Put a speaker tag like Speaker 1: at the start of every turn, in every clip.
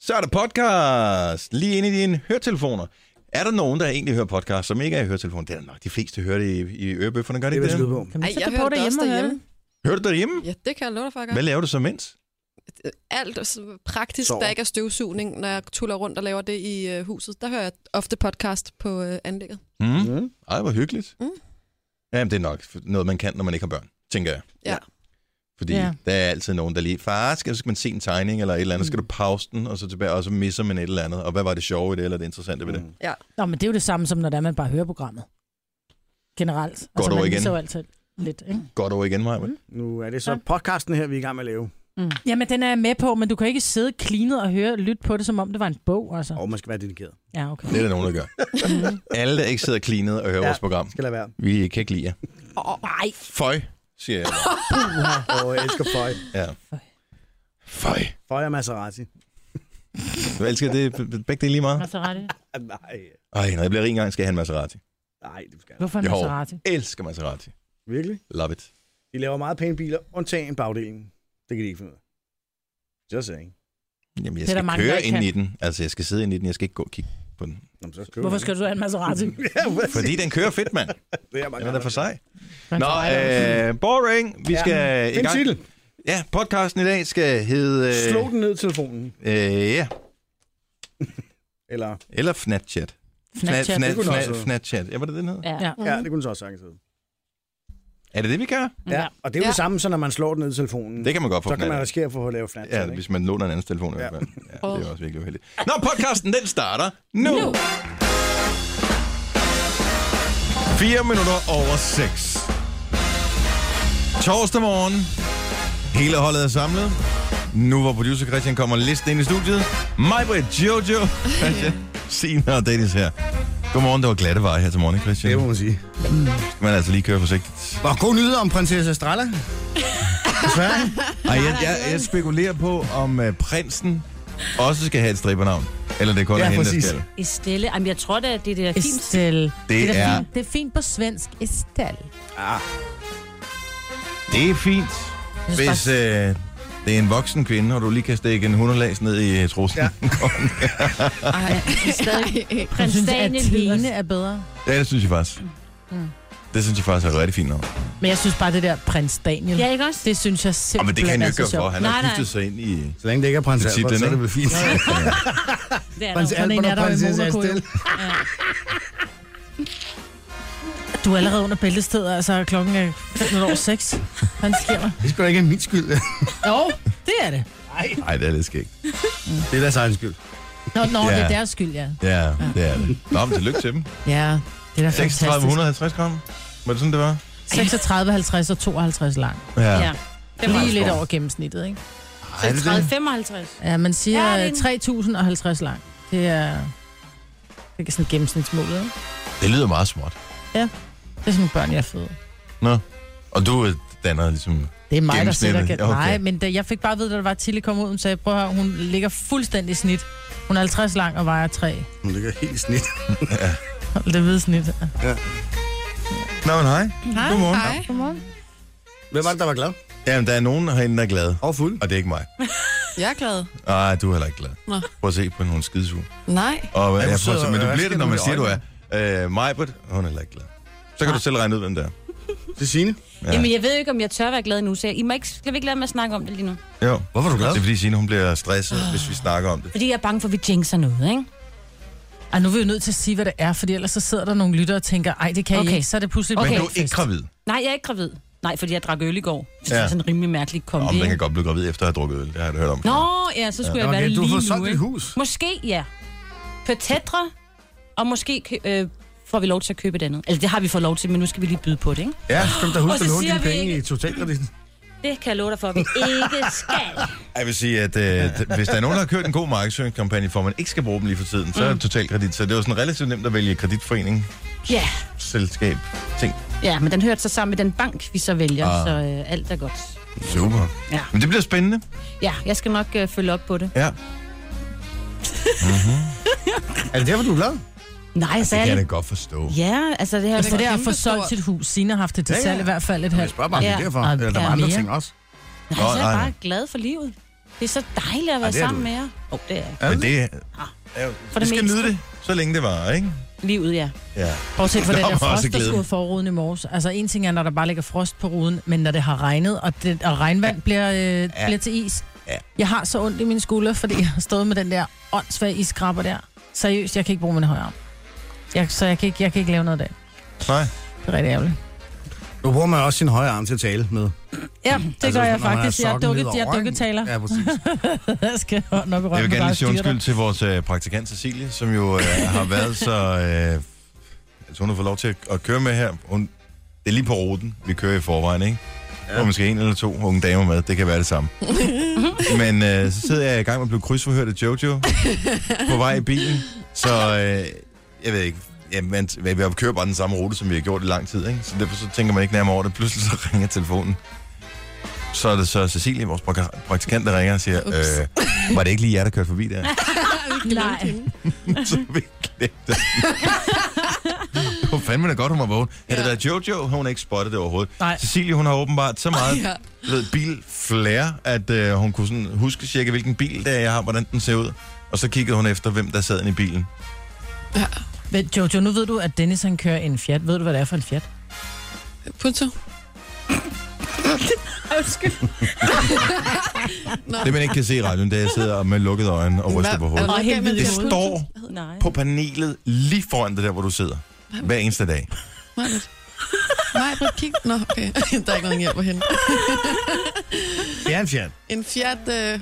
Speaker 1: Så er der podcast lige inde i dine høretelefoner. Er der nogen, der egentlig hører podcast, som ikke er i høretelefonen? Det er der nok de fleste, hører det i, i ørebøfferne, gør det
Speaker 2: Det
Speaker 1: ikke
Speaker 2: vil
Speaker 1: det?
Speaker 2: jeg skyde på.
Speaker 3: Kan man
Speaker 4: Ej,
Speaker 3: så
Speaker 4: jeg
Speaker 3: tage
Speaker 4: hører
Speaker 3: på
Speaker 4: det
Speaker 3: derhjemme
Speaker 4: også
Speaker 3: og høre det?
Speaker 4: derhjemme.
Speaker 1: Hører du derhjemme?
Speaker 4: Ja, det kan jeg love dig for, at gøre.
Speaker 1: Hvad laver du så mens?
Speaker 4: Alt så praktisk,
Speaker 2: Sover.
Speaker 4: der ikke er støvsugning, når jeg tuller rundt og laver det i øh, huset. Der hører jeg ofte podcast på øh, anlægget.
Speaker 1: Mm.
Speaker 2: Mm.
Speaker 1: Ej, hvor hyggeligt.
Speaker 4: Mm.
Speaker 1: Jamen, det er nok noget, man kan, når man ikke har børn, tænker jeg.
Speaker 4: Ja.
Speaker 1: Fordi
Speaker 3: Ja.
Speaker 1: der er altid nogen, der lige, far, skal, skal man se en tegning eller et eller andet, mm. skal du pause den, og så tilbage, og så misser man et eller andet. Og hvad var det sjove i det, eller det interessante ved det?
Speaker 2: Mm.
Speaker 3: Nå, men det er jo det samme som, når det er, man bare hører programmet. Generelt. Godt altså,
Speaker 1: over
Speaker 3: man
Speaker 1: igen.
Speaker 3: misser jo altid lidt, ikke?
Speaker 1: Godt over igen, Maja. Mm.
Speaker 2: Nu er det så
Speaker 3: Ja.
Speaker 2: podcasten her, vi er i gang med at lave.
Speaker 5: Mm.
Speaker 3: Jamen, den er jeg med på, men du kan ikke sidde cleanet og høre, lytte på det, som om det var en bog, altså.
Speaker 2: Og man skal være dedikeret.
Speaker 3: Ja, okay.
Speaker 1: Det er der nogen, der gør.
Speaker 4: Mm.
Speaker 1: Alle, der ikke sidder cleanet og hører ja.
Speaker 2: Ja.
Speaker 1: vores program,
Speaker 2: Skal lade være.
Speaker 1: vi kan ikke lide jer.
Speaker 3: Nej.
Speaker 1: Føj, siger jeg. bare.
Speaker 2: Og jeg elsker Føj.
Speaker 1: Ja. Føj.
Speaker 2: Føj og Maserati.
Speaker 1: Du elsker det, begge det lige meget.
Speaker 3: Maserati.
Speaker 2: Ah, Nej,
Speaker 1: Ej, når jeg bliver rig engang, skal jeg have en Maserati.
Speaker 2: nej, du skal.
Speaker 3: Hvorfor en
Speaker 1: Jo.
Speaker 3: Maserati?
Speaker 1: Elsker Maserati.
Speaker 2: Virkelig?
Speaker 1: Love it.
Speaker 2: De laver meget pæne biler, undtagen bagdelen. Det kan de ikke finde ud af. Just saying.
Speaker 1: Jamen, jeg
Speaker 3: Det er
Speaker 1: skal
Speaker 3: der mange, der
Speaker 1: køre
Speaker 3: ikke
Speaker 1: ind
Speaker 3: kan.
Speaker 1: i den. Altså, jeg skal sidde ind i den. Jeg skal ikke gå og kigge på den.
Speaker 2: Nå, men så køber
Speaker 3: Hvorfor
Speaker 2: man.
Speaker 3: skal du have en Maserati?
Speaker 2: Ja, hvad?
Speaker 1: Fordi den kører fedt, mand.
Speaker 2: Det er mange
Speaker 1: Den er da for sej. Nå,
Speaker 3: Maserati.
Speaker 1: øh, boring. Vi
Speaker 2: Ja.
Speaker 1: skal i
Speaker 2: Find
Speaker 1: gang.
Speaker 2: titel.
Speaker 1: Ja, podcasten i dag skal hedde... øh,
Speaker 2: Slå den ned i telefonen.
Speaker 1: Øh, ja,
Speaker 2: Eller,
Speaker 1: eller Fnatchat.
Speaker 3: Snapchat.
Speaker 1: Fnat,
Speaker 2: Det kunne den
Speaker 1: fnat, fnat,
Speaker 2: også hedde.
Speaker 1: Fnatchat. Ja, var det den hed?
Speaker 3: Ja. ja.
Speaker 2: ja, det kunne den så også sagtens hedde.
Speaker 1: Er det det, vi gør?
Speaker 2: Ja, og det er jo
Speaker 4: Ja.
Speaker 2: det samme, så når man slår den ned i telefonen.
Speaker 1: Det kan man godt få
Speaker 2: så kan man
Speaker 1: fnat af.
Speaker 2: risikere at få at lave fnat.
Speaker 1: Ja, hvis man låner en anden telefon i
Speaker 2: Ja.
Speaker 1: hvert fald. Ja, det er også virkelig uheldigt. Nå, podcasten, den starter nu.
Speaker 4: Nu.
Speaker 1: 4 minutter over 6. Torsdag morgen. Hele holdet er samlet. Nu hvor producer Christian kommer listen ind i studiet. Mig, Britt, Jojo, Christian, Sina og Dennis her. Godmorgen, det var glatte veje her til morgen, ikke, Christian.
Speaker 2: Det må man sige.
Speaker 1: Skal man altså lige køre forsigtigt.
Speaker 6: Og god nyhed om prinsesse Estrella. Desværre.
Speaker 1: Ej, jeg, jeg, jeg spekulerer på, om uh, prinsen også skal have et stribernavn. Eller det er kun
Speaker 2: Ja,
Speaker 1: er hende, der
Speaker 2: præcis.
Speaker 1: skal.
Speaker 5: Estelle. Jamen, jeg tror da, det, det er fint.
Speaker 3: Estelle.
Speaker 1: Det
Speaker 3: Det er,
Speaker 1: er,
Speaker 3: fint. det er fint på svensk. Estelle.
Speaker 1: det er fint, hvis øh, det er en voksen kvinde, og du lige kan stikke en hunderlags ned i øh, trussen. Ja.
Speaker 4: Ej,
Speaker 5: Stadig.
Speaker 3: Jeg
Speaker 5: Prins
Speaker 3: synes, at
Speaker 5: Daniel
Speaker 3: Tine
Speaker 5: Line.
Speaker 3: er bedre.
Speaker 1: Ja, det synes jeg faktisk. Mm. Det synes jeg faktisk er rigtig fint Ah, navn.
Speaker 3: Men jeg synes bare, det der prins Daniel,
Speaker 5: Ja, ikke også?
Speaker 3: det synes jeg
Speaker 1: Og
Speaker 3: simpelthen
Speaker 1: men det kan han jo
Speaker 3: er
Speaker 1: ikke
Speaker 3: så
Speaker 1: gøre for.
Speaker 3: sjovt.
Speaker 1: Han har
Speaker 5: Nej, nej.
Speaker 1: giftet sig ind i
Speaker 6: Så længe det ikke er prins Albert,
Speaker 1: titlen,
Speaker 6: så er det
Speaker 1: ikke?
Speaker 6: vel fint.
Speaker 5: Det er der
Speaker 6: prins
Speaker 5: jo.
Speaker 3: Al-
Speaker 6: Albert
Speaker 3: er
Speaker 6: og
Speaker 3: der jo i
Speaker 6: prinsesse
Speaker 3: Monaco, jo.
Speaker 6: Estelle.
Speaker 3: Du er allerede under bæltestedet, altså klokken er 15 over 6. Han sker mig.
Speaker 6: Det er sgu da ikke min skyld.
Speaker 3: Jo, det er det.
Speaker 1: Nej, det er lidt skægt.
Speaker 6: det er deres egen skyld.
Speaker 3: Mm. Nå, nå
Speaker 1: Ja.
Speaker 3: det er deres skyld, ja.
Speaker 1: Ja, det er det. Nå, men tillykke til dem.
Speaker 3: Ja, det er da fantastisk.
Speaker 1: 3650 gram. Var det sådan, det var?
Speaker 3: 36, 50 og 52 lang.
Speaker 5: Ja. Det var
Speaker 3: Lige
Speaker 5: lige
Speaker 3: lidt over gennemsnittet, ikke?
Speaker 6: Ej, er det det?
Speaker 5: 55.
Speaker 3: Ja, man siger
Speaker 5: Ja, det er
Speaker 3: ja,
Speaker 5: en-
Speaker 3: 3050 lang. Det er, det er sådan gennemsnitsmålet, ikke?
Speaker 1: Det lyder meget smart.
Speaker 3: Det er sådan børn, jeg er født.
Speaker 1: Nå. Og du øh, danner ligesom...
Speaker 3: Det er mig, der sætter
Speaker 1: Gennemsnittet,
Speaker 3: gen-
Speaker 1: ja, okay.
Speaker 3: okay. Nej, men da, jeg fik bare at vide, da det var Tilly kom ud, hun sagde, prøv at høre, hun ligger fuldstændig i snit. Hun er 50 lang og vejer 3.
Speaker 6: Hun ligger helt i snit.
Speaker 3: Det hvide snit.
Speaker 1: Nå, men hej.
Speaker 4: hej,
Speaker 1: Godmorgen.
Speaker 4: hej.
Speaker 6: Hvem var det, der var glad?
Speaker 1: Jamen, der er nogen herinde, der er glade.
Speaker 6: Og fuld.
Speaker 1: Og det er ikke mig.
Speaker 4: Jeg er glad.
Speaker 1: Nej, du er heller ikke glad.
Speaker 4: Nå.
Speaker 1: Prøv at se på nogle skidesug.
Speaker 4: Nej.
Speaker 1: Og, jeg
Speaker 6: du
Speaker 1: prøver,
Speaker 6: sidder-
Speaker 1: men du
Speaker 6: hvad
Speaker 1: bliver
Speaker 6: sker
Speaker 1: det,
Speaker 6: der
Speaker 1: når
Speaker 6: med
Speaker 1: man
Speaker 6: de
Speaker 1: siger, du er. Øh, Majbert, hun er heller ikke glad. Så kan du selv regne ud, hvem det er.
Speaker 6: Det er Signe.
Speaker 1: Ja.
Speaker 5: Jamen, jeg ved jo ikke, om jeg tør være glad nu, så I må ikke, skal vi ikke lade mig snakke om det lige nu.
Speaker 1: Jo.
Speaker 6: Hvorfor er du glad?
Speaker 1: Det er fordi, Signe, hun bliver stresset, hvis vi snakker om
Speaker 3: Ah.
Speaker 1: det.
Speaker 5: Fordi jeg er bange for, at vi jinxer noget, ikke?
Speaker 3: Ej, nu er vi jo nødt til at sige, hvad det er, for ellers så sidder der nogle lyttere og tænker, ej, det kan okay.
Speaker 5: Okay.
Speaker 3: I ikke, så er det pludselig
Speaker 5: Okay.
Speaker 1: Men du er
Speaker 3: en
Speaker 1: ikke
Speaker 3: fest.
Speaker 1: gravid.
Speaker 5: Nej, jeg er ikke gravid. Nej, fordi jeg drak øl i går. Så det
Speaker 1: Ja.
Speaker 5: er sådan en rimelig mærkelig kombi.
Speaker 1: Om man kan
Speaker 5: ikke?
Speaker 1: godt blive gravid efter at have drukket øl. Det har jeg da hørt om.
Speaker 5: Nå, ja, så skulle ja, jeg være
Speaker 6: Okay,
Speaker 5: det
Speaker 6: du
Speaker 5: lige
Speaker 6: har fået
Speaker 5: nu,
Speaker 6: solgt dit
Speaker 5: ikke?
Speaker 6: hus.
Speaker 5: Måske, ja. På tætre, og måske kø- øh, får vi lov til at købe et andet. Altså, det har vi fået lov til, men nu skal vi lige byde på det, ikke?
Speaker 6: Ja, så skal du da
Speaker 5: Og
Speaker 6: huske
Speaker 5: så
Speaker 6: at låne
Speaker 5: siger
Speaker 6: dine
Speaker 5: vi
Speaker 6: penge
Speaker 5: ikke-
Speaker 6: i totalkrediten.
Speaker 5: Det kan jeg love dig for, at vi ikke skal.
Speaker 1: Jeg vil sige, at øh, d- hvis der er nogen, der har kørt en god markedsføringskampagne, for at man ikke skal bruge dem lige for tiden, så er det totalkredit. Så det er jo sådan relativt nemt at vælge kreditforening,
Speaker 5: Ja,
Speaker 1: selskab, ting.
Speaker 5: ja men den hørte så sammen med den bank, vi så vælger,
Speaker 1: Ah.
Speaker 5: ah. så øh, alt er godt.
Speaker 1: Super.
Speaker 5: Ja.
Speaker 1: Men det bliver spændende.
Speaker 5: Ja, jeg skal nok øh, følge op på det.
Speaker 1: Ja.
Speaker 6: Er det derfor, du er glad?
Speaker 5: Nej, så
Speaker 1: Det
Speaker 5: er
Speaker 1: kan jeg da
Speaker 5: det...
Speaker 1: godt forstå.
Speaker 5: Ja, altså det her...
Speaker 3: Altså det er at få
Speaker 4: Kæmpe
Speaker 3: solgt
Speaker 4: stort.
Speaker 3: sit hus. Sine har haft det til
Speaker 6: Ja, ja.
Speaker 3: salg i hvert fald et halvt.
Speaker 6: Jeg spørger bare, om det er
Speaker 5: Ja.
Speaker 6: derfor.
Speaker 3: Ej,
Speaker 6: Eller der
Speaker 3: ja,
Speaker 6: var andre
Speaker 3: mere.
Speaker 6: ting også.
Speaker 5: Nej, så er
Speaker 1: Nå, nej,
Speaker 5: jeg
Speaker 1: nej.
Speaker 5: bare glad for livet. Det er så dejligt at være
Speaker 1: Ej, det er
Speaker 5: sammen
Speaker 1: du
Speaker 5: med jer. Åh, oh, det er Ah,
Speaker 1: Men det, er jo- vi
Speaker 5: For det
Speaker 1: skal
Speaker 5: meste.
Speaker 1: nyde det, så længe det var, ikke?
Speaker 5: livet, ja.
Speaker 1: Ja.
Speaker 3: Bortset fra
Speaker 1: Der
Speaker 3: den
Speaker 1: var
Speaker 3: der
Speaker 1: også
Speaker 3: frost, der
Speaker 1: glæden.
Speaker 3: skulle for ruden i morges. Altså en ting er, når der bare ligger frost på ruden, men når det har regnet, og, det, og regnvand ja. bliver, øh, ja. bliver til is.
Speaker 1: Ja.
Speaker 3: Ja. Jeg har så ondt i mine skuldre, fordi jeg har stået med den der åndssvage iskrabber der. Seriøst, jeg kan ikke bruge min højre arm. Jeg, så jeg kan, ikke, jeg kan ikke lave noget af det.
Speaker 1: Nej.
Speaker 3: Det er rigtig ærgerligt.
Speaker 6: Nu bruger man også sin højre arm til at tale med.
Speaker 3: Ja, det altså, gør
Speaker 6: når
Speaker 3: jeg
Speaker 6: man har
Speaker 3: faktisk. Jeg er
Speaker 6: sokken
Speaker 3: dukket,
Speaker 6: ned
Speaker 3: jeg er
Speaker 6: over, ikke?
Speaker 3: dukketaler.
Speaker 6: Ja, præcis.
Speaker 3: Jeg skal hånden op i røven.
Speaker 1: Jeg vil gerne lige
Speaker 3: og bare
Speaker 1: sige
Speaker 3: styre dig.
Speaker 1: undskyld til vores øh, praktikant Cecilie, som jo øh, har været så... Øh, altså hun har fået lov til at, at køre med her. Hun, det er lige på ruten, vi kører i forvejen, ikke? Ja. Hvor man skal en eller to unge damer med. Det kan være det samme. Men øh, så sidder jeg i gang med at blive krydsforhørt af Jojo på vej i bilen. Så øh, jeg ved ikke, ja, man, vi har kørt bare den samme rute, som vi har gjort i lang tid. Ikke? Så derfor så tænker man ikke nærmere over det. Pludselig så ringer telefonen. Så er det så Cecilie, vores praktik- praktikant, der ringer og siger,
Speaker 4: Ups.
Speaker 1: øh, var det ikke lige jer, der kørte forbi der?
Speaker 3: Nej.
Speaker 1: så vi glemte Hvor fanden da godt, hun var vågen. Havde det
Speaker 4: Ja.
Speaker 1: været Jojo, havde hun ikke spottet det overhovedet.
Speaker 3: Nej.
Speaker 1: Cecilie, hun har åbenbart så meget
Speaker 4: Ja.
Speaker 1: du ved, bilflair, at øh, hun kunne sådan huske cirka, hvilken bil det er, jeg har, hvordan den ser ud. Og så kiggede hun efter, hvem der sad inde i bilen.
Speaker 3: Men Jojo, nu ved du, at Dennis han kører en Fiat. Ved du, hvad det er for en Fiat?
Speaker 4: Punto.
Speaker 5: Undskyld.
Speaker 4: Nå.
Speaker 1: Det, man ikke kan se i radioen, det er, jeg sidder med lukkede øjne og ryster på hovedet.
Speaker 5: Og helt
Speaker 1: Det
Speaker 5: Punto?
Speaker 1: står
Speaker 5: Nej.
Speaker 1: på panelet lige foran det der, hvor du sidder. Hver eneste dag.
Speaker 4: Nej, Britt, kig. Nå, okay. Der er ikke nogen hjælp at hente.
Speaker 6: Det er en fjern.
Speaker 4: En Fiat, øh,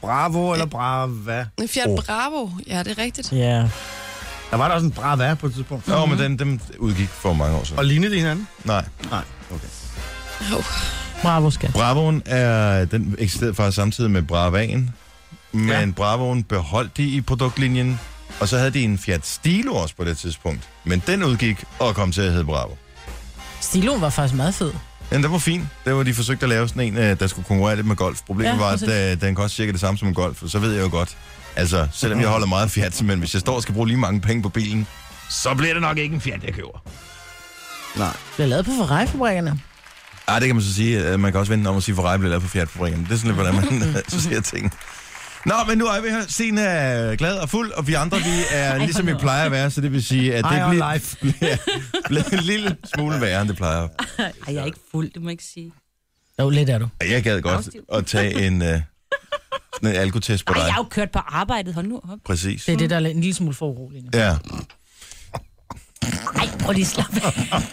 Speaker 6: Bravo eller brava.
Speaker 4: en Fiat
Speaker 1: Oh.
Speaker 4: oh. Bravo. Ja, det er rigtigt.
Speaker 3: Ja.
Speaker 6: Der var der også en brava på et tidspunkt.
Speaker 1: Nå, men den, dem udgik for mange år siden.
Speaker 6: Og lignede de hinanden?
Speaker 1: Nej.
Speaker 6: Nej. Okay.
Speaker 4: Oh.
Speaker 3: Bravo, skat.
Speaker 1: Bravoen er, den eksisterede faktisk samtidig med Bravaen, men ja.
Speaker 6: Ja.
Speaker 1: Bravoen beholdt de i produktlinjen, og så havde de en Fiat Stilo også på det tidspunkt, men den udgik og kom til at hedde Bravo.
Speaker 3: Stiloen var faktisk meget fed.
Speaker 1: Men den var fin. Det var, de forsøgte at lave sådan en, øh, der skulle konkurrere lidt med golf. Problemet ja,
Speaker 3: Ja,
Speaker 1: var, at
Speaker 3: præcis.
Speaker 1: øh, den koster cirka det samme som en golf, og så ved jeg jo godt, altså, selvom jeg holder meget af Fiat, men hvis jeg står og skal bruge lige mange penge på bilen, så bliver det nok ikke en Fiat, jeg køber.
Speaker 6: Nej.
Speaker 3: Det blev lavet på Ferrari-fabrikkerne.
Speaker 1: Ah, det kan man så sige. Øh, Man kan også vente om at sige, Ferrari bliver lavet på Fiat-fabrikken. Det er sådan lidt, hvordan man så siger ting. Nå, men nu er vi her. Signe er glad og fuld, og vi andre, vi er ligesom vi plejer at være, så det vil sige, at det
Speaker 6: Ej, og
Speaker 1: bliver,
Speaker 6: life.
Speaker 1: bliver, bliver en lille smule værre, end det plejer.
Speaker 5: Ej, jeg er ikke fuld, det må jeg ikke sige.
Speaker 3: Jo, lidt er du.
Speaker 1: Og Jeg gad godt at tage en, øh, sådan en alkotest på
Speaker 5: Ej,
Speaker 1: dig.
Speaker 5: jeg har jo kørt på arbejdet. Hold nu op.
Speaker 1: Præcis.
Speaker 3: Det er det, der er en lille smule for uroligende.
Speaker 1: Ja.
Speaker 5: Ej, prøv lige at slappe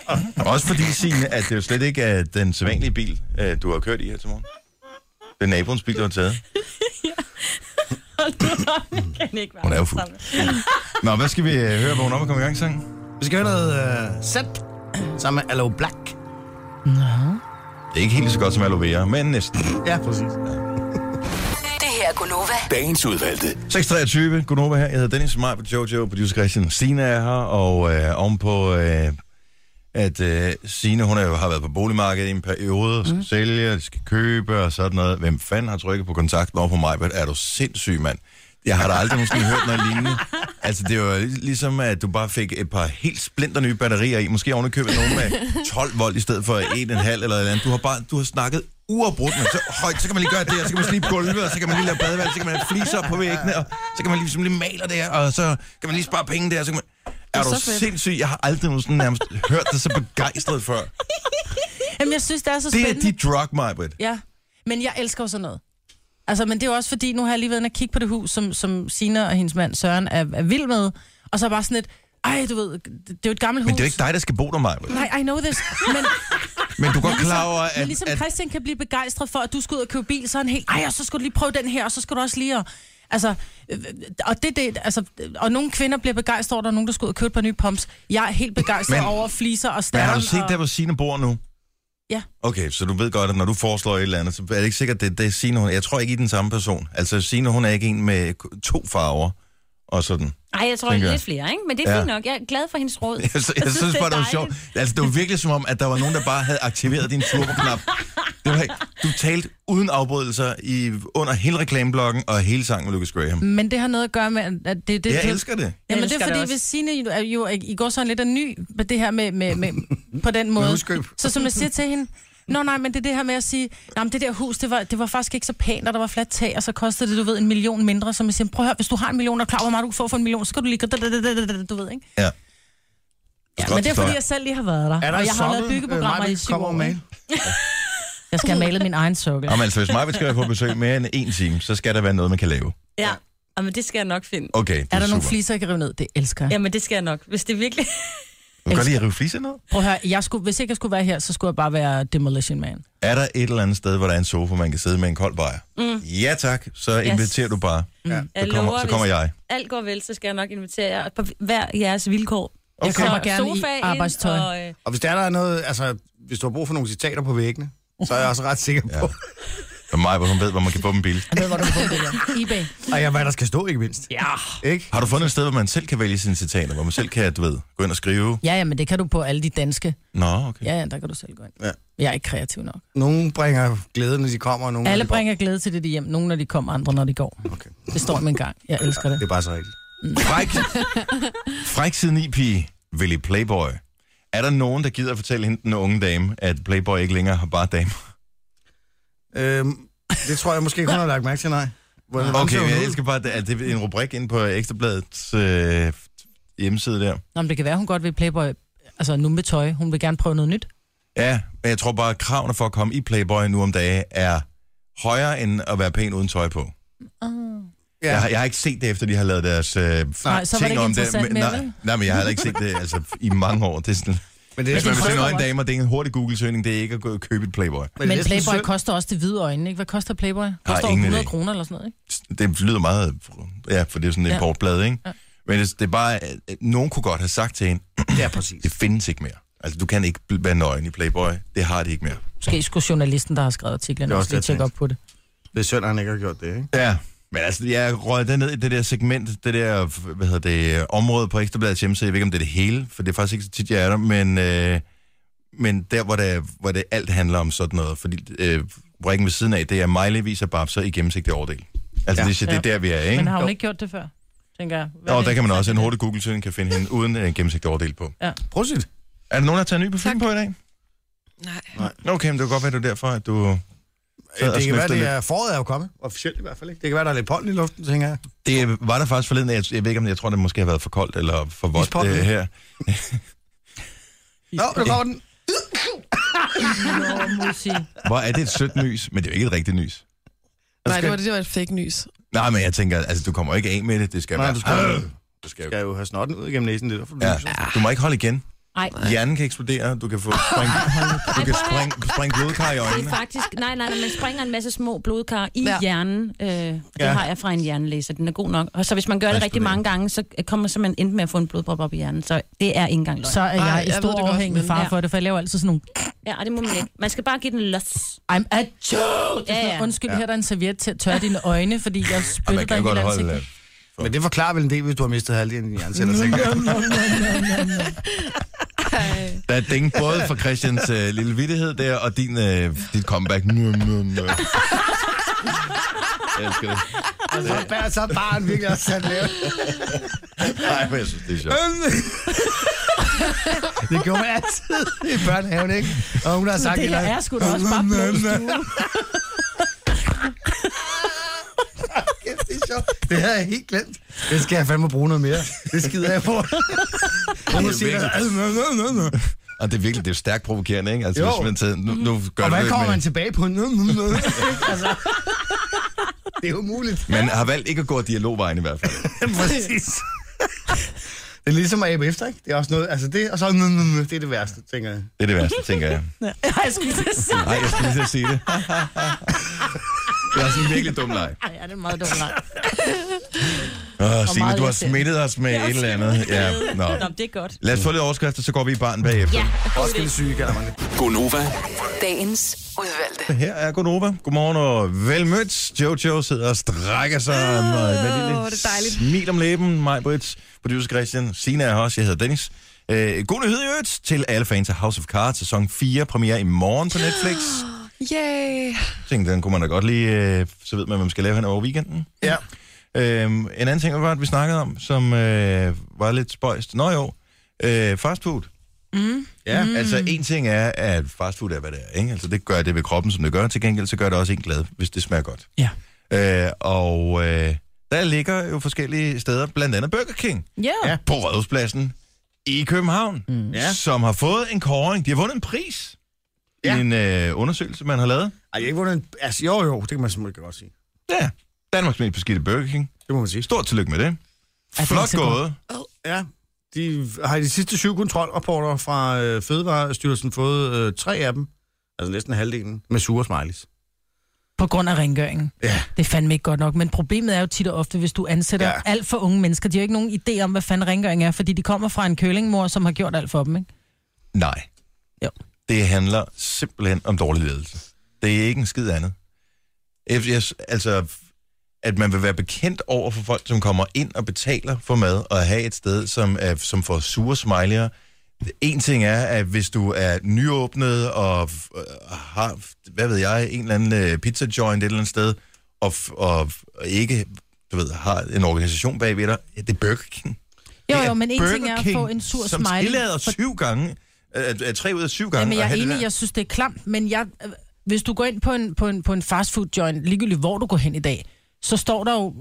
Speaker 5: af.
Speaker 1: Også fordi, Signe, at det jo slet ikke er den sædvanlige bil, øh, du har kørt i her til morgen. Det er naboens bil, du har taget.
Speaker 5: Hold nu op, jeg kan ikke være
Speaker 1: Hun er jo fuld.
Speaker 5: sammen.
Speaker 1: Nå, hvad skal vi øh, høre, hvor hun op og komme i gang, sang?
Speaker 6: Vi skal høre noget uh, sæt sammen med Allo Black.
Speaker 1: Det er ikke helt så godt som aloe vera, men næsten.
Speaker 6: Ja, præcis.
Speaker 7: Det her er Gunova.
Speaker 1: 623, Gunova her. Jeg hedder Dennis Maj på Jojo, producer Christian. Sina er her, og øh, ovenpå, øh, at øh, Sina, hun er jo, har været på boligmarkedet i en periode, og skal mm. sælge, og de skal købe og sådan noget. Hvem fanden har trykket på kontakten over på mig? Er du sindssyg, mand? Jeg har da aldrig nogensinde hørt noget lignende. Altså, det var ligesom, at du bare fik et par helt splinter nye batterier i. Måske ovenikøbet nogen med 12 volt i stedet for 1,5 eller et eller andet. Du har, bare, du har snakket uafbrudt, men så højt, så kan man lige gøre det, og så kan man slibe gulve, og så kan man lige lave badeværelse, så kan man have fliser op på væggene, og så kan man ligesom lige maler der, og så kan man lige spare penge der, og så kan man... Er
Speaker 4: er
Speaker 1: du
Speaker 4: så fedt.
Speaker 1: sindssyg? Jeg har aldrig nogensinde nærmest hørt dig så begejstret før.
Speaker 3: Jamen, jeg synes, det er så
Speaker 1: Det
Speaker 3: spændende.
Speaker 1: er dit drug, Majbrit.
Speaker 3: Ja, men jeg elsker jo sådan noget. Altså, men det er jo også fordi, nu har jeg lige været inde og kigge på det hus, som, som Sina og hendes mand Søren er, er vild med, og så er bare sådan et, ej, du ved, det det er jo et gammelt
Speaker 1: Men
Speaker 3: hus.
Speaker 1: det er jo ikke dig, der skal bo der, Majbrit.
Speaker 3: Nej, I know this. Men,
Speaker 1: Men du er godt klar over,
Speaker 3: men
Speaker 1: at,
Speaker 3: ligesom
Speaker 1: at
Speaker 3: Christian kan blive begejstret for, at du skal ud og købe bil, så er han helt, ej, og så skal du lige prøve den her, og så skal du også lige og, Altså, øh, og, det, det, altså, og nogle kvinder bliver begejstret over, at der er nogen, der skal ud og købe et par nye pumps. Jeg er helt begejstret
Speaker 1: Men-
Speaker 3: men, over fliser og
Speaker 1: Men
Speaker 3: stander.
Speaker 1: har du set
Speaker 3: og...
Speaker 1: der, hvor Signe bor nu?
Speaker 3: Ja.
Speaker 1: Okay, så du ved godt, at når du foreslår et eller andet, så er det ikke sikkert, det, det er Signe, hun... Jeg tror ikke, I er den samme person. Altså, Signe, hun er ikke en med k- to farver og sådan.
Speaker 5: Ej, jeg tror,
Speaker 1: Tænker
Speaker 5: det er
Speaker 1: jeg.
Speaker 5: lidt flere, ikke? Men det er
Speaker 1: Ja.
Speaker 5: fint nok. Jeg er glad for hendes råd.
Speaker 1: Jeg, sy- jeg synes
Speaker 5: det er
Speaker 1: bare, det var sjovt.
Speaker 5: dejligt.
Speaker 1: Altså, det var virkelig som om, at der var nogen, der bare havde aktiveret din turboknap. Det var, ikke- du talte uden afbrydelser i, under hele reklameblokken og hele sangen med Lucas Graham.
Speaker 3: Men det har noget at gøre med, at det, det,
Speaker 1: Jeg
Speaker 3: det
Speaker 1: elsker det.
Speaker 3: Jamen det
Speaker 5: elsker
Speaker 3: er
Speaker 5: det
Speaker 3: fordi,
Speaker 5: også.
Speaker 3: hvis Signe jo, er jo i går sådan lidt er ny på det her med, med, med på den måde.
Speaker 6: huskøb.
Speaker 3: Så som jeg siger til hende, Nå nej, men det er det her med at sige, nej, men det der hus, det var, det var faktisk ikke så pænt, og der var fladt tag, og så kostede det, du ved, en million mindre. Så man siger, prøv at høre, hvis du har en million, og er klar, over, hvor meget du kan få for en million, så skal du lige gå, da, da, da, da, da, da, du ved, ikke?
Speaker 1: Ja.
Speaker 3: Ja,
Speaker 1: Godt
Speaker 3: men det er fordi,
Speaker 1: forstår.
Speaker 3: jeg selv lige har været der.
Speaker 6: Er der
Speaker 3: og jeg har lavet
Speaker 1: Øh,
Speaker 3: byggeprogrammer i syv år. ikke? Jeg skal have malet min egen sokkel.
Speaker 1: Jamen, altså, hvis mig skal være på besøg mere end en time, så skal der være noget, man kan lave.
Speaker 5: Ja, men det skal jeg nok finde.
Speaker 1: Okay, det er,
Speaker 3: Er der nogle
Speaker 1: super.
Speaker 3: fliser, jeg kan rive ned? Det elsker jeg.
Speaker 5: Jamen, det skal jeg nok. Hvis det virkelig...
Speaker 1: Du kan godt lide at rive fliser ned.
Speaker 3: Prøv at høre, jeg skulle, hvis ikke jeg skulle være her, så skulle jeg bare være Demolition Man.
Speaker 1: Er der et eller andet sted, hvor der er en sofa, man kan sidde med en kold bajer? Mm. Ja tak, så inviterer du bare.
Speaker 3: Ja.
Speaker 1: Så kommer, så kommer jeg.
Speaker 5: Hvis alt går vel, så skal jeg nok invitere jer på hver jeres vilkår.
Speaker 1: Okay.
Speaker 3: Jeg kommer
Speaker 5: Så
Speaker 3: gerne i
Speaker 5: sofa ind,
Speaker 3: arbejdstøj.
Speaker 5: Og, øh,
Speaker 6: Og hvis der er noget, altså, hvis du har brug for nogle citater på væggene, så er jeg også ret sikker på,
Speaker 1: Så mig, hvor hun ved, hvor man kan få dem billigt.
Speaker 3: Jeg ved, hvor du har det der. eBay.
Speaker 6: ja. og ja, hvad der skal stå, ikke mindst. Ja. Ikke?
Speaker 1: Har du fundet et sted, hvor man selv kan vælge sine citater? Hvor man selv kan, du ved, gå ind og skrive?
Speaker 3: Ja, ja, men det kan du på alle de danske.
Speaker 1: Nå, okay.
Speaker 3: Ja, ja, der kan du selv gå ind.
Speaker 6: Ja.
Speaker 3: Jeg er ikke kreativ nok.
Speaker 6: Nogle bringer glæde, når de kommer, og nogle når
Speaker 3: Alle
Speaker 6: de går.
Speaker 3: bringer glæde til det de hjem. Nogle, når de kommer, andre, når de går.
Speaker 6: Okay.
Speaker 3: Det står i min gang. Jeg elsker det. Mm.
Speaker 6: Det er bare så rigtigt.
Speaker 1: Fræk, fræk siden i pige, Willy Playboy. Er der nogen, der gider at fortælle hende, den unge dame, at Playboy ikke længere har bare damer?
Speaker 6: Øhm, det tror jeg måske ikke, hun har lagt mærke til, nej. Hvordan
Speaker 1: Okay,
Speaker 6: ser hun
Speaker 1: men jeg
Speaker 6: ud?
Speaker 1: elsker bare, at det er en rubrik inde på Ekstrabladets øh, hjemmeside der.
Speaker 3: Nå, men det kan være, hun godt vil Playboy. Altså nu med tøj. Hun vil gerne prøve noget nyt.
Speaker 1: Ja, men jeg tror bare, at kravene for at komme i Playboy nu om dage er højere end at være pæn uden tøj på. Ja.
Speaker 6: Ja.
Speaker 1: Jeg, har, jeg har ikke set det, efter de har lavet deres øh, nej, ting
Speaker 6: så var
Speaker 3: det ikke
Speaker 1: om det.
Speaker 3: interessant
Speaker 1: Men,
Speaker 3: mere,
Speaker 1: nej,
Speaker 3: vel?
Speaker 1: nej, men jeg har heller ikke set det altså, i mange år. Det er sådan,
Speaker 6: Men det er,
Speaker 1: hvis man vil se
Speaker 6: men,
Speaker 1: nøgen damer, det er en hurtig Google-søgning, det er ikke at gå og købe et Playboy.
Speaker 6: det er
Speaker 3: Men
Speaker 6: næsten
Speaker 3: Playboy
Speaker 6: synd.
Speaker 3: koster også det hvide øjne, ikke? Hvad koster Playboy? Koster over
Speaker 1: ingen
Speaker 3: 100
Speaker 1: idé.
Speaker 3: kroner eller sådan noget, ikke?
Speaker 1: Det lyder meget, ja, for det er sådan en
Speaker 3: Ja.
Speaker 1: importblad, ikke? Men det, det er bare, at nogen kunne godt have sagt til hende,
Speaker 6: Ja, præcis.
Speaker 1: det findes ikke mere. Altså, du kan ikke bl- være nøgen i Playboy. Det har de ikke mere.
Speaker 3: Måske skulle journalisten, der har skrevet artiklen,
Speaker 6: Det er også
Speaker 3: også lige
Speaker 6: det, jeg
Speaker 3: tjekke op på det.
Speaker 6: Det er synd, at han ikke har gjort det, ikke?
Speaker 1: Ja, men altså, jeg røg den ned i det der segment, det der, hvad hedder det, øh, område på Ekstrabladets hjemmeside. Jeg ved ikke, om det er det hele, for det er faktisk ikke så tit, jeg er der, men, øh, men der, hvor det, hvor det alt handler om sådan noget, fordi øh, rækken ved siden af, det er Miley viser babser i gennemsigtig overdel. Altså, ja.
Speaker 6: Ja.
Speaker 1: det, er- det er der, vi er, ikke?
Speaker 3: Men har hun ikke gjort det før? Tænker jeg. Hvad er
Speaker 1: Og
Speaker 3: det?
Speaker 1: der kan man også en hurtig Google-søgning kan finde hende uden en gennemsigtig overdel på.
Speaker 6: Prosit.
Speaker 1: Er der nogen, der tager ny parfume på i dag?
Speaker 4: Nej.
Speaker 1: Okay, men det kan godt være, det er derfor, at du... sad og
Speaker 6: Øh, Det kan være,
Speaker 1: snøftede
Speaker 6: det
Speaker 1: lidt.
Speaker 6: er foråret er jo kommet. Officielt i hvert fald ikke. Det kan være, der er lidt pollen i luften, tænker jeg.
Speaker 1: Det var der faktisk forleden, jeg, jeg ved ikke, om jeg tror, det måske har været for koldt eller for vådt
Speaker 6: Ispop.
Speaker 1: øh, her.
Speaker 6: Nå, der kommer den.
Speaker 3: Nå, Musi.
Speaker 1: Hvor er det et sødt nys, men det er jo ikke et rigtigt nys.
Speaker 4: Nej, det var det, der var et fake news.
Speaker 1: Nej, men jeg tænker, altså, du kommer ikke af med det. Det skal
Speaker 6: Nej,
Speaker 1: være...
Speaker 6: du skal-
Speaker 1: Øh, du skal
Speaker 6: Jeg skal jo have snotten ud igennem næsen, det er derfor, du
Speaker 1: Ja. Ah.
Speaker 6: lyser.
Speaker 1: Du må ikke holde igen.
Speaker 5: Ej.
Speaker 1: Hjernen kan eksplodere, du kan få spring, du kan spring, springe blodkar i
Speaker 5: Det er
Speaker 1: øjnene.
Speaker 5: faktisk, nej, nej, nej, man springer en masse små blodkar i
Speaker 4: Ja.
Speaker 5: ja. hjernen. Øh, det
Speaker 6: Ja.
Speaker 5: ja. har jeg fra en hjernelæser, den er god nok. Og så hvis man gør
Speaker 1: Hvad
Speaker 5: det
Speaker 1: er
Speaker 5: rigtig
Speaker 1: det?
Speaker 5: mange gange, så kommer så man enten med at få en blodprop op i hjernen. Så det er ikke engang løgn.
Speaker 3: Så
Speaker 5: Så.
Speaker 3: er
Speaker 4: Ej,
Speaker 3: jeg i
Speaker 4: jeg ved
Speaker 3: stor
Speaker 4: det godt,
Speaker 3: overhængende
Speaker 4: men-
Speaker 3: far for det, for jeg laver altid sådan nogle...
Speaker 5: Ja, og det må man ikke. Man skal bare give den los.
Speaker 3: I'm a joke!
Speaker 5: Ja, ja.
Speaker 3: Undskyld, her er der en serviet til at tørre dine øjne, fordi jeg
Speaker 1: Og
Speaker 3: spytter
Speaker 1: man kan
Speaker 3: dig i
Speaker 1: jo
Speaker 3: hele
Speaker 1: godt holde...
Speaker 3: ansigtet.
Speaker 1: øh,
Speaker 6: Men det forklarer vel en del, hvis du har mistet halvdelen af altså, dine hjerneceller, tænker jeg.
Speaker 1: Der er ding både for Christians øh, lille vittighed der, og din, øh, dit comeback. Nå, nå, nå. Jeg elsker det.
Speaker 6: Så bærer så bare en virkelig også sat lavet.
Speaker 1: Nej, men jeg synes, det er sjovt.
Speaker 6: Øhm. Det gjorde man altid i børnehaven, ikke? Og hun har sagt
Speaker 3: Det her
Speaker 6: eller-
Speaker 3: er sgu da også
Speaker 6: Øhm,
Speaker 3: bare blodstue.
Speaker 6: Kæft, det er sjovt. Det havde jeg helt glemt. Det skal jeg fandme bruge noget mere. Det skider jeg på. Hun siger, øhm,
Speaker 1: Og det er virkelig, det er stærkt provokerende, ikke? Altså,
Speaker 6: Øh. Jo. Mm-hmm.
Speaker 1: hvis man tager, nu, nu gør
Speaker 6: og
Speaker 1: du
Speaker 6: hvad
Speaker 1: det
Speaker 6: kommer
Speaker 1: med-
Speaker 6: man tilbage på? Nå, nå, nå. Altså, det er umuligt.
Speaker 1: Man har valgt ikke at gå dialogvejen i hvert fald.
Speaker 6: Præcis. Det er ligesom at æbe efter, ikke? Det er også noget, altså det, og så, nå, nå, nå, det er det værste, tænker jeg.
Speaker 1: Det er det værste, tænker jeg.
Speaker 3: Ej, jeg skulle til at sige.
Speaker 1: Nej, jeg skulle lige til at sige det. Det er sådan en virkelig dum leg.
Speaker 3: Ej, ja, det er meget dumt. nej.
Speaker 1: Åh, Signe,
Speaker 3: meget
Speaker 1: du har
Speaker 3: irriterende.
Speaker 1: smittet os med et eller andet. Ja, nå.
Speaker 5: Nå, det er godt.
Speaker 1: Lad os få lidt overskrifter, så går vi i barn bagefter.
Speaker 5: Ja,
Speaker 6: Også det syge, kalder man det.
Speaker 8: Gonova.
Speaker 7: Dagens udvalgte.
Speaker 1: Her er Gunova. Godmorgen og velmødt. Jojo sidder og strækker sig oh, med et lille
Speaker 4: det er dejligt.
Speaker 1: smil om læben. Mig, Brits, producer Christian, Sina er her også. Jeg hedder Dennis. Øh, god nyhed i øvrigt til alle fans af House of Cards. Sæson 4 premiere i morgen på Netflix.
Speaker 4: Yay!
Speaker 1: tænkte, den kunne man da godt lige, øh, så ved man, hvad man skal lave hen over weekenden.
Speaker 6: Ja.
Speaker 1: Øhm, en anden ting, var, at vi snakkede om, som øh, var lidt spøjst. Nå jo, øh, fast food. Mm. Ja, mm. altså en ting er, at fastfood er, hvad det er. Ikke? Altså det gør det ved kroppen, som det gør. Til gengæld så gør det også en glad, hvis det smager godt.
Speaker 3: Ja.
Speaker 1: Øh, og øh, der ligger jo forskellige steder, blandt andet Burger King
Speaker 3: Ja.
Speaker 1: ja. på Rådhuspladsen i København, mm.
Speaker 2: Ja.
Speaker 1: som har fået en kåring. De har vundet en pris ja.
Speaker 2: Ja.
Speaker 1: i en øh, undersøgelse, man har lavet.
Speaker 2: Ej, jeg har ikke vundet en... Altså, jo, jo, det kan man simpelthen godt sige.
Speaker 1: Ja, Danmarks mest beskidte Burger King.
Speaker 2: Det må man sige.
Speaker 1: Stort tillykke med det.
Speaker 3: er
Speaker 1: Flot
Speaker 3: så godt.
Speaker 1: gået.
Speaker 2: Ja. De har i de sidste syv kontrolrapporter fra øh, Fødevarestyrelsen fået øh, tre af dem, altså næsten halvdelen, med sure smileys.
Speaker 3: På grund af rengøringen.
Speaker 2: Ja.
Speaker 3: Det er fandme ikke godt nok. Men problemet er jo tit og ofte, hvis du ansætter ja.
Speaker 2: Ja.
Speaker 3: alt for unge mennesker. De har jo ikke nogen idé om, hvad fanden rengøring er, fordi de kommer fra en kølingmor, som har gjort alt for dem, ikke?
Speaker 1: Nej.
Speaker 3: Jo.
Speaker 1: Det handler simpelthen om dårlig ledelse. Det er ikke en skid andet. Jeg- jeg- Altså, at man vil være bekendt over for folk, som kommer ind og betaler for mad, og have et sted, som, er, som får sure smiley'er. En ting er, at hvis du er nyåbnet og f- øh, har, hvad ved jeg, en eller anden øh, pizza joint et eller andet sted, og, f- og, f- og ikke du ved, har en organisation bagved dig, det er Burger King.
Speaker 3: Jo,
Speaker 1: Det
Speaker 3: jo, men en
Speaker 1: Burger
Speaker 3: ting er at
Speaker 1: King,
Speaker 3: få en sur
Speaker 1: som
Speaker 3: smiley.
Speaker 1: tillader syv gange, øh, øh, tre ud af syv gange.
Speaker 3: Jamen,
Speaker 1: at
Speaker 3: jeg er
Speaker 1: have det
Speaker 3: enig,
Speaker 1: der.
Speaker 3: jeg synes, det er klamt, men jeg, øh, hvis du går ind på en, på en, på en fastfood joint, ligegyldigt hvor du går hen i dag, så står der jo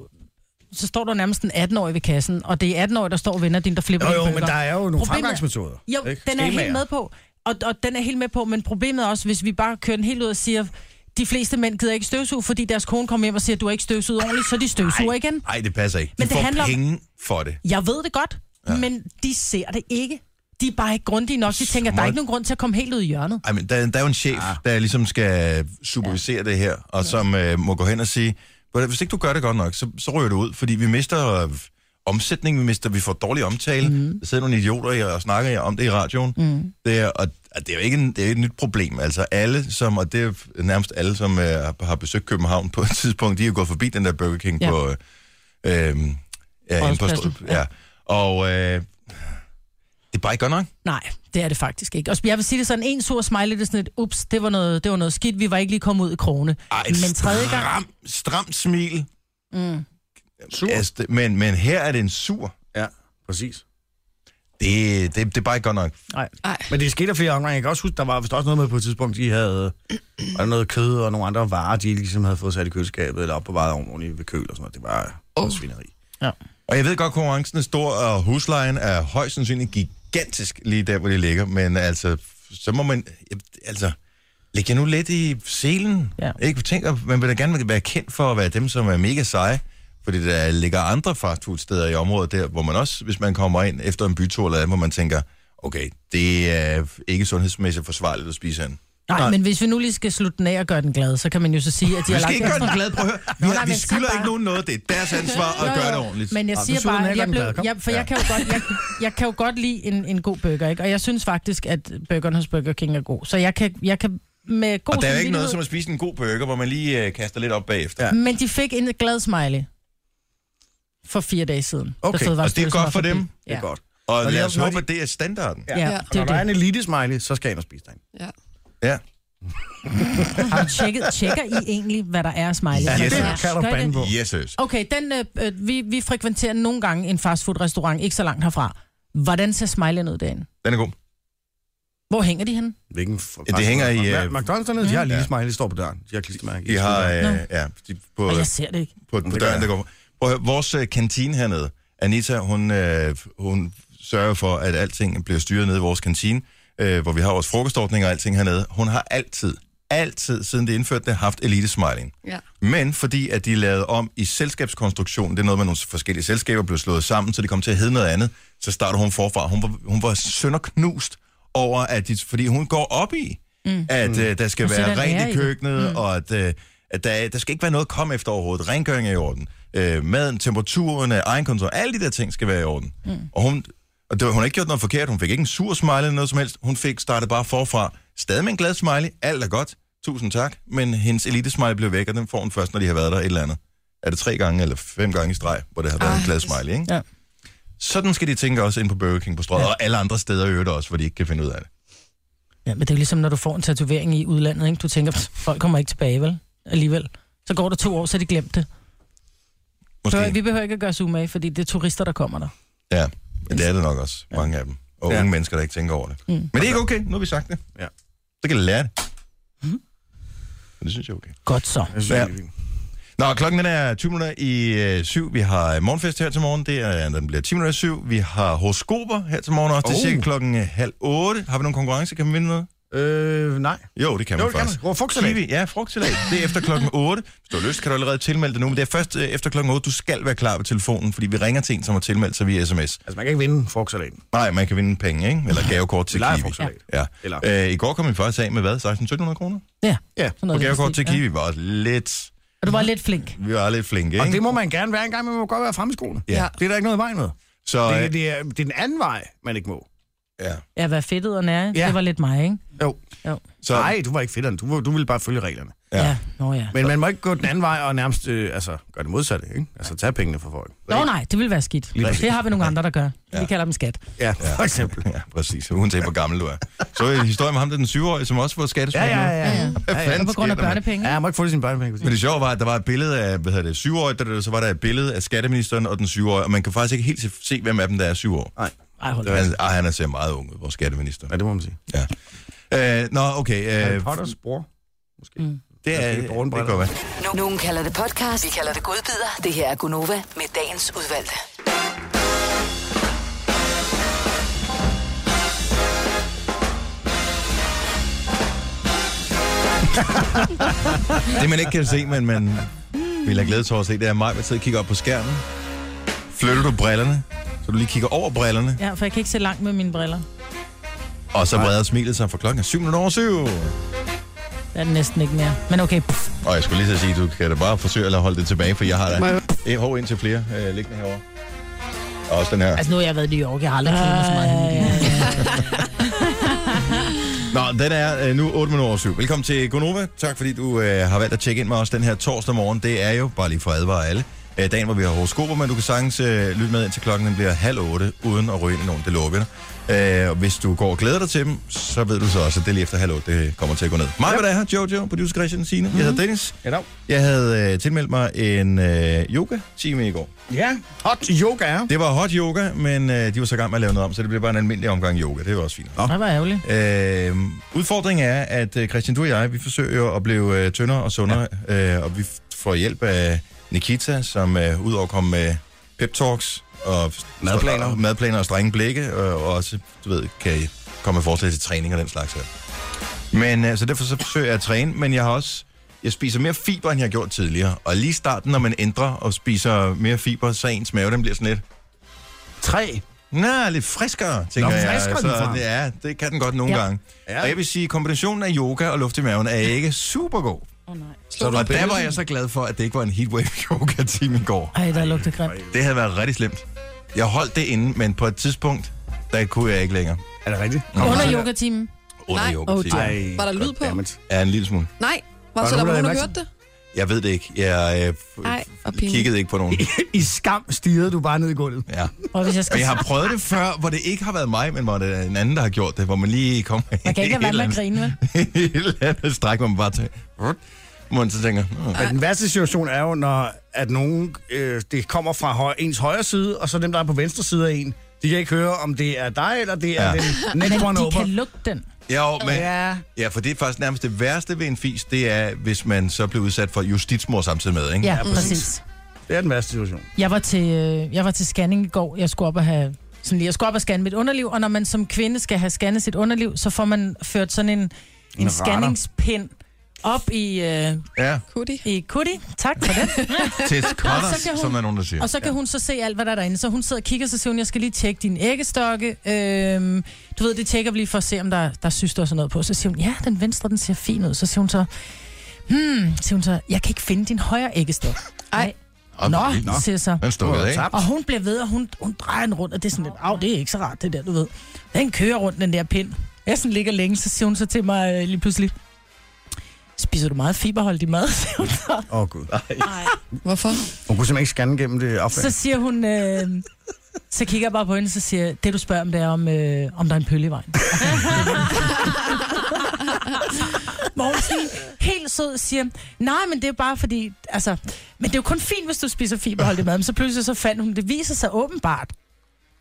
Speaker 3: så står der nærmest en 18-årig ved kassen, og det er 18-årig, der står og vender din, der flipper
Speaker 2: Jo,
Speaker 3: din
Speaker 2: jo, men
Speaker 3: burger.
Speaker 2: der er jo nogle
Speaker 3: Problemet-
Speaker 2: Problemet... fremgangsmetoder.
Speaker 3: Jo,
Speaker 2: ikke?
Speaker 3: den er jeg helt
Speaker 2: Skemaer.
Speaker 3: med på. Og, og den er helt med på, men problemet er også, hvis vi bare kører den helt ud og siger, de fleste mænd gider ikke støvsuge, fordi deres kone kommer hjem og siger, du har ikke støvsuget ordentligt, så de støvsuger igen.
Speaker 1: Nej, det passer ikke. De
Speaker 3: Men
Speaker 1: men
Speaker 3: det
Speaker 1: får
Speaker 3: handler om-
Speaker 1: penge om... for det.
Speaker 3: Jeg ved det godt, ja. men de ser det ikke. De er bare ikke grundige nok. De tænker, der er
Speaker 1: Smart.
Speaker 3: ikke nogen grund til at komme helt ud i hjørnet.
Speaker 1: Ej, men der, der er jo en chef, ah. der ligesom skal supervisere ja. det her, og som øh, må gå hen og sige, "Ved du, hvis ikke du gør det godt nok, så, så ryger du ud, fordi vi mister øh, omsætning, vi mister, vi får dårlig omtale,
Speaker 3: Mhm.
Speaker 1: mm. der sidder nogle idioter i- og snakker om det i radioen. Mm. Det er, og og det er jo ikke, en, det er jo ikke et nyt problem. Altså alle, som, og det er jo nærmest alle, som øh, har- har besøgt København på et tidspunkt, de er jo gået forbi den der Burger King
Speaker 3: Ja.
Speaker 1: ja. på... Øh, øh, ja, inde på
Speaker 3: Rådhuspladsen,
Speaker 1: Strø- ja. Og øh, det er bare ikke godt nok.
Speaker 3: Nej, det er det faktisk ikke. Og jeg vil sige det sådan, en sur smiley, det er sådan et, ups, det var noget, det var noget skidt, vi var ikke lige kommet ud i krone.
Speaker 1: Ej, et
Speaker 3: Men tredje gang,
Speaker 1: Stram, stramt smil.
Speaker 3: Mm.
Speaker 2: Sur.
Speaker 1: Altså, det- men, men her er det en sur.
Speaker 2: Ja, præcis.
Speaker 1: Det, det, det er bare ikke godt nok.
Speaker 2: Men det skete der flere omgange. Jeg kan også huske, der var vist også noget med på et tidspunkt, de havde var der noget kød og nogle andre varer, de ligesom havde fået sat i køleskabet eller op på varet ordentligt ved køl og sådan noget. Det var oh. svineri.
Speaker 1: Og jeg ved godt, konkurrencen er stor, og huslejen er højst sandsynligt gigantisk lige der, hvor det ligger. Men altså, så må man... Altså, læg jer nu lidt i selen.
Speaker 3: Ja.
Speaker 1: Ikke? Tænk, at man vil da gerne være kendt for at være dem, som er mega seje. Fordi der ligger andre fastfoodsteder i området der, hvor man også, hvis man kommer ind efter en bytur eller andet, hvor man tænker, okay, det er ikke sundhedsmæssigt forsvarligt at spise herinde.
Speaker 3: nej, men hvis vi nu lige skal slutte den af og gøre den glad, så kan man jo så sige, at
Speaker 1: Vi
Speaker 3: de
Speaker 1: skal
Speaker 3: har lagt
Speaker 1: ikke gøre den glad, prøv at høre. Vi,
Speaker 3: nej,
Speaker 1: har, vi
Speaker 3: men
Speaker 1: skylder
Speaker 3: tak bare.
Speaker 1: ikke nogen noget. Det er deres ansvar at gøre det ordentligt.
Speaker 3: Men jeg
Speaker 2: Nå,
Speaker 3: siger
Speaker 2: nu slutter
Speaker 3: bare,
Speaker 2: den af, gør
Speaker 3: jeg
Speaker 2: den
Speaker 3: blev,
Speaker 2: glad. Kom.
Speaker 3: jeg, for
Speaker 1: Ja.
Speaker 3: jeg kan jo godt, jeg, jeg kan jo godt lide en, en god burger, ikke? Og jeg synes faktisk, at burgeren hos Burger King er god. Så jeg kan, jeg kan med god
Speaker 1: Og der er jo ikke noget
Speaker 3: samvittighed-
Speaker 1: som at spise en god burger, hvor man lige øh, kaster lidt op bagefter.
Speaker 2: Ja.
Speaker 1: Ja.
Speaker 3: Men de fik en glad smiley for fire dage siden.
Speaker 2: Okay,
Speaker 3: da Fødevarestyrelsen
Speaker 1: og altså, det er godt for
Speaker 3: var
Speaker 1: dem.
Speaker 3: forbi.
Speaker 2: Det er ja. godt.
Speaker 1: Og,
Speaker 2: Og
Speaker 1: lad
Speaker 2: lad
Speaker 1: os
Speaker 2: os-
Speaker 1: håbe, at det er standarden.
Speaker 2: Ja.
Speaker 3: Ja,
Speaker 4: Ja.
Speaker 3: ja.
Speaker 2: Når
Speaker 3: det
Speaker 2: der er
Speaker 3: er
Speaker 2: en
Speaker 3: det.
Speaker 2: elite smiley, så skal jeg ind og spise den.
Speaker 4: Ja.
Speaker 1: Ja.
Speaker 3: Har du tjekket, tjekker I egentlig, hvad der er af smiley?
Speaker 1: Ja, yes,
Speaker 2: det
Speaker 1: sir.
Speaker 2: kan du
Speaker 3: Gør I
Speaker 2: bande
Speaker 3: det?
Speaker 2: på.
Speaker 1: Yes, yes.
Speaker 3: Okay, den, øh, øh, vi, vi frekventerer nogle gange en fastfood-restaurant, ikke så langt herfra. Hvordan ser smileyen ud derinde?
Speaker 1: Den er god.
Speaker 3: Hvor hænger de henne?
Speaker 2: Hvilken
Speaker 1: Ja, det hænger i, øh,
Speaker 2: McDonald's dernede, de har lige
Speaker 1: Ja.
Speaker 2: ja. smiley, står på døren. De har klistermærke.
Speaker 1: De har, øh, ja, de, på,
Speaker 3: Og jeg ser det ikke.
Speaker 1: på, på
Speaker 2: det
Speaker 1: døren,
Speaker 2: gør
Speaker 1: der går. Prøv at høre, vores øh, kantine hernede, Anita, hun, øh, hun sørger for, at alting bliver styret nede i vores kantine, øh, hvor vi har vores frokostordning og alting hernede. Hun har altid, altid, siden det indførte det, haft elite-smiling.
Speaker 4: Ja.
Speaker 1: Men fordi at de lavede om i selskabskonstruktionen, det er noget med nogle forskellige selskaber blev slået sammen, så de kom til at hedde noget andet, så starter hun forfra. Hun var, hun var sønderknust over, at de, fordi hun går op i, mm. at øh, der skal
Speaker 3: Og sætter
Speaker 1: være
Speaker 3: en ære
Speaker 1: rent
Speaker 3: i
Speaker 1: i
Speaker 3: det.
Speaker 1: køkkenet, mm. og at, øh, at der, der skal ikke være noget at komme efter overhovedet. Rengøring er i orden. Øh, maden, temperaturen, øh, egenkontrol, alle de der ting skal være i orden. Mm. Og hun, og det, var- hun har ikke gjort noget forkert. Hun fik ikke en sur smiley eller noget som helst. Hun fik startet bare forfra. Stadig med en glad smiley. Alt er godt. Tusind tak. Men hendes elite smiley blev væk, og den får hun først, når de har været der et eller andet. Er det tre gange eller fem gange i streg, hvor det har været
Speaker 4: Ej,
Speaker 1: en glad
Speaker 4: det-
Speaker 1: smiley, ikke?
Speaker 3: Ah, Ja.
Speaker 1: Sådan skal de tænke også ind på Burger King på strøget, ja. og alle andre steder i øvrigt også, hvor de ikke kan finde ud af det.
Speaker 3: Ja, men det er jo ligesom, når du får en tatovering i udlandet, ikke? Du tænker, "Pff, folk kommer ikke tilbage, vel? Alligevel. Så går der to år, så er de glemt det.
Speaker 1: Måske.
Speaker 3: Behøver, vi behøver ikke at gøre os umage, fordi det er turister, der kommer der.
Speaker 1: Ja, men det er det nok også, mange af dem. og ja. unge mennesker, der ikke tænker over det. Mm. Men det er ikke okay, nu har vi sagt det.
Speaker 2: Ja.
Speaker 1: Så kan de lære det. Men det synes jeg er okay.
Speaker 3: Godt så.
Speaker 2: Mhm. Jeg synes,
Speaker 1: Ja.
Speaker 2: ja. det er fint.
Speaker 1: Nå, klokken den er 20 minutter i øh, syv. Vi har øh, morgenfest her til morgen. Det er, den bliver 10 minutter i syv. Vi har horoskoper her til morgen også. Det er
Speaker 2: Oh.
Speaker 1: cirka klokken øh, halv otte. Har vi nogle konkurrence? Kan man vinde noget?
Speaker 2: Øh, nej.
Speaker 1: Jo, det kan
Speaker 2: Jo,
Speaker 1: man
Speaker 2: det kan
Speaker 1: faktisk.
Speaker 2: man. Rå frugtsalat.
Speaker 1: Kiwi, ja, frugtsalat. Det er efter klokken 8. Hvis du har lyst, kan du allerede tilmelde dig nu, men det er først øh, efter klokken 8. Du skal være klar ved telefonen, fordi vi ringer til en, som har tilmeldt sig via sms.
Speaker 2: Altså, man kan ikke vinde frugtsalaten.
Speaker 1: Nej, man kan vinde penge, ikke? Eller gavekort til
Speaker 2: leger
Speaker 1: Kiwi.
Speaker 2: frugtsalat.
Speaker 1: Ja.
Speaker 2: Eller-
Speaker 1: Eller... Øh, I går kom vi faktisk af med hvad? 16-1700 kroner?
Speaker 3: Ja.
Speaker 2: Ja.
Speaker 3: Sådan
Speaker 1: Og
Speaker 3: noget,
Speaker 1: gavekort til
Speaker 3: Ja.
Speaker 1: Kiwi var også lidt...
Speaker 3: Og du var lidt flink.
Speaker 1: Vi var lidt flinke,
Speaker 2: Og
Speaker 1: ikke?
Speaker 2: det må man gerne være engang, men man må godt være fremme i skoene.
Speaker 1: Ja.
Speaker 2: Det er der ikke noget i vejen med.
Speaker 1: Så,
Speaker 2: Det,
Speaker 1: øh,
Speaker 2: det, det, er, det er den anden vej, man ikke må.
Speaker 1: ja.
Speaker 3: Ja, hvad fedtet og nære.
Speaker 2: Ja.
Speaker 3: Ja. Det var lidt mig, ikke?
Speaker 2: Jo.
Speaker 3: Jo.
Speaker 1: Så,
Speaker 2: Nej, du var ikke fedteren. Du, du ville bare følge reglerne.
Speaker 1: Ja.
Speaker 3: Ja. ja. Nå ja.
Speaker 2: Men man må ikke gå den anden vej og nærmest øh, altså, gøre det modsatte. Ikke? Altså tage pengene fra folk.
Speaker 3: Nå nej, det ville være skidt.
Speaker 2: præcis.
Speaker 3: Det har vi nogle andre, der gør. Vi kalder dem skat.
Speaker 2: Ja, for eksempel.
Speaker 1: Ja, præcis. Uanset hvor gammel du er. Så er historien med ham, der er den 7-årige, som også får
Speaker 2: Ja,
Speaker 1: skattesmæk
Speaker 2: ja,
Speaker 1: nu.
Speaker 2: ja. ja, ja.
Speaker 1: Hvad
Speaker 3: Og
Speaker 1: fanden
Speaker 3: på grund af
Speaker 1: sker der, mand?
Speaker 3: børnepenge.
Speaker 2: Ja,
Speaker 3: Ja.
Speaker 2: jeg må ikke få det i sine børnepenge.
Speaker 1: Men det sjove var, at der var et billede af, hvad hedder det, syvårige, der- der- så var der et billede af skatteministeren og den syvårige, og man kan faktisk ikke helt se- se, hvem af dem, der er syv år.
Speaker 2: Nej,
Speaker 3: Ej, hold da.
Speaker 1: Han, ah, han er ser meget ung ud, vores skatteminister.
Speaker 2: ja, det må man sige.
Speaker 1: Ja. Øh, nå, okay.
Speaker 2: Harry
Speaker 1: Øh,
Speaker 2: Potters bror. Måske.
Speaker 1: det er...
Speaker 2: Måske
Speaker 1: Det kan
Speaker 2: brune briller.
Speaker 1: godt være.
Speaker 7: Nu- Nogen kalder det podcast, vi kalder det godbider. Det her er Gunova med dagens udvalgte.
Speaker 1: Det, man ikke kan se, men man vil have glæde til at se, det er mig, der sidder og kigger op på skærmen. Flytter du brillerne, så du lige kigger over brillerne,
Speaker 3: Ja, for jeg kan ikke se langt med mine briller.
Speaker 1: og så breder smilet sig for klokken er syv minutter over syv.
Speaker 3: Det er den næsten ikke mere. Men okay, pff,
Speaker 1: Og jeg skulle lige så sige, du kan da bare forsøge at holde det tilbage, for jeg har da et hår ind til flere øh, liggende herovre. Og også den her.
Speaker 3: altså nu har jeg været i New York, jeg har aldrig kigget mig så meget hen i livet.
Speaker 1: Nå, den er øh, nu 8 minutter over 7. Velkommen til Gonova. Tak fordi du øh, har valgt at tjekke ind med os den her torsdag morgen. Det er jo, bare lige for at advare alle, øh, dagen, hvor vi har horoskoper, men du kan sagtens øh, lytte med indtil klokken den bliver halv otte, uden at ryge ind i nogen. Det lover vi dig. Øh, og hvis du går og glæder dig til dem, så ved du så også, at det er lige efter halv otte, det kommer til at gå ned. Mig, hvad der er her, Jojo, producer Christian Signe. Jeg hedder Dennis.
Speaker 2: Ja, dog.
Speaker 1: Jeg havde øh, tilmeldt mig en øh, yoga-time i går.
Speaker 2: ja. hot yoga. ja.
Speaker 1: Det var hot yoga, men øh, de var så i gang med at lave noget om, så det blev bare en almindelig omgang yoga. Det var også fint.
Speaker 3: Det var ærgerligt.
Speaker 1: Øh, udfordringen er, at øh, Christian, du og jeg, vi forsøger jo at blive øh, tyndere og sundere, ja. øh, og vi f- får hjælp af Nikita, som øh, udover at komme med pep talks og
Speaker 2: Madplaner.
Speaker 1: og, madplaner og strenge blikke, øh, og også, du ved, kan komme med forslag til træning og den slags her. Men øh, så derfor så forsøger jeg at træne, men jeg har også jeg spiser mere fiber, end jeg har gjort tidligere. Og lige i starten, når man ændrer og spiser mere fiber, så ens mave, den bliver sådan lidt...
Speaker 2: Tre.
Speaker 1: Nå, lidt friskere, tænker
Speaker 2: Nå,
Speaker 1: jeg.
Speaker 2: friskere ligefrem.
Speaker 1: ja, det kan den godt nogle ja.
Speaker 3: Ja.
Speaker 1: gange.
Speaker 2: Ja.
Speaker 1: Og jeg vil sige, kombinationen af yoga og luft i maven er ikke super god.
Speaker 5: Åh oh, nej.
Speaker 1: Og der var jeg så glad for, at det ikke var en heatwave yoga time i går.
Speaker 3: Ej, der lugter grimt.
Speaker 1: Det havde været rigtig slemt. Jeg holdt det inde, men på et tidspunkt, der kunne jeg ikke længere.
Speaker 2: Er det rigtigt?
Speaker 3: Under yogatimen.
Speaker 1: Under
Speaker 4: Nej.
Speaker 1: yoga
Speaker 3: Oh,
Speaker 1: time.
Speaker 3: dear.
Speaker 2: Ej,
Speaker 4: Var der lyd på?
Speaker 2: goddammit.
Speaker 1: Ja, en lille smule.
Speaker 4: Nej, var,
Speaker 2: Var
Speaker 4: så
Speaker 2: der
Speaker 4: der var
Speaker 2: nogen,
Speaker 4: nogen,
Speaker 2: der
Speaker 4: der
Speaker 2: havde
Speaker 4: hørte det?
Speaker 1: Jeg ved det ikke. Jeg øh, f-
Speaker 4: Ej, og pinligt.
Speaker 1: kiggede ikke på nogen.
Speaker 6: I skam stirrede du bare ned i gulvet.
Speaker 1: Ja.
Speaker 3: Og hvis jeg skal...
Speaker 1: Men jeg har prøvet det før, hvor det ikke har været mig, men hvor det er en anden, der har gjort det. Hvor man lige kommer
Speaker 3: Man kan ikke lade være med at grine, vel?
Speaker 1: et eller andet stræk, hvor man bare tager... Hvor man så tænker... "Nå,
Speaker 2: Men den værste situation er jo, når at nogen, øh, det kommer fra høj, ens højre side, og så dem, der er på venstre side af en, de kan ikke høre, om det er dig, eller det er
Speaker 1: Ja.
Speaker 2: ja. den next
Speaker 3: Men
Speaker 2: one
Speaker 3: de
Speaker 2: over.
Speaker 3: kan lugte den.
Speaker 1: Jo, men,
Speaker 2: Ja.
Speaker 1: ja, for det er faktisk nærmest det værste ved en fis, det er, hvis man så bliver udsat for justitsmord samtidig med, ikke?
Speaker 3: Ja,
Speaker 2: præcis.
Speaker 3: præcis.
Speaker 2: Det er den værste situation.
Speaker 3: Jeg var, til, øh, jeg var til scanning i går. Jeg skulle op og have sådan lige, jeg skulle op og scanne mit underliv, og når man som kvinde skal have scannet sit underliv, så får man ført sådan en, en,
Speaker 2: radar.
Speaker 3: scanningspind op i, øh,
Speaker 1: Ja,
Speaker 4: Kunne de?
Speaker 3: i kutti. Tak for det.
Speaker 1: til
Speaker 3: Og så
Speaker 1: cutters,
Speaker 3: kan hun-
Speaker 1: som er nogen, der siger.
Speaker 3: Og så kan ja. hun så se alt, hvad der er derinde. Så hun sidder og kigger, så siger hun, jeg skal lige tjekke din æggestokke. Øhm, du ved, det tjekker vi lige for at se, om der, der syster og sådan noget på. Så siger hun, ja, den venstre, den ser fin ud. Så siger hun så, hmm, siger hun så, jeg kan ikke finde din højre æggestok. Ej.
Speaker 1: Og-
Speaker 3: Nå,
Speaker 1: Nå.
Speaker 3: siger jeg så.
Speaker 1: Den
Speaker 2: Du
Speaker 1: stod
Speaker 2: har
Speaker 1: ikke?
Speaker 2: tabt.
Speaker 3: Og hun bliver ved, og hun, hun drejer den rundt, og det er sådan lidt, af, det er ikke så rart, det der, du ved. Den kører rundt, den der pind. Jeg sådan ligger længe, så siger hun så til mig øh, lige pludselig, spiser du meget fiberholdig mad, siger hun så.
Speaker 2: Åh, oh, gud.
Speaker 4: Hvorfor?
Speaker 2: Hun kunne simpelthen ikke scanne gennem det affald.
Speaker 3: Så siger hun, øh, så kigger jeg bare på hende, så siger jeg, det du spørger om, det er, om, øh, om der er en pølle i vejen. Hvor hun sådan helt sød siger, nej, men det er bare fordi, altså, men det er jo kun fint, hvis du spiser fiberholdig mad. Men så pludselig så fandt hun, det viser sig åbenbart,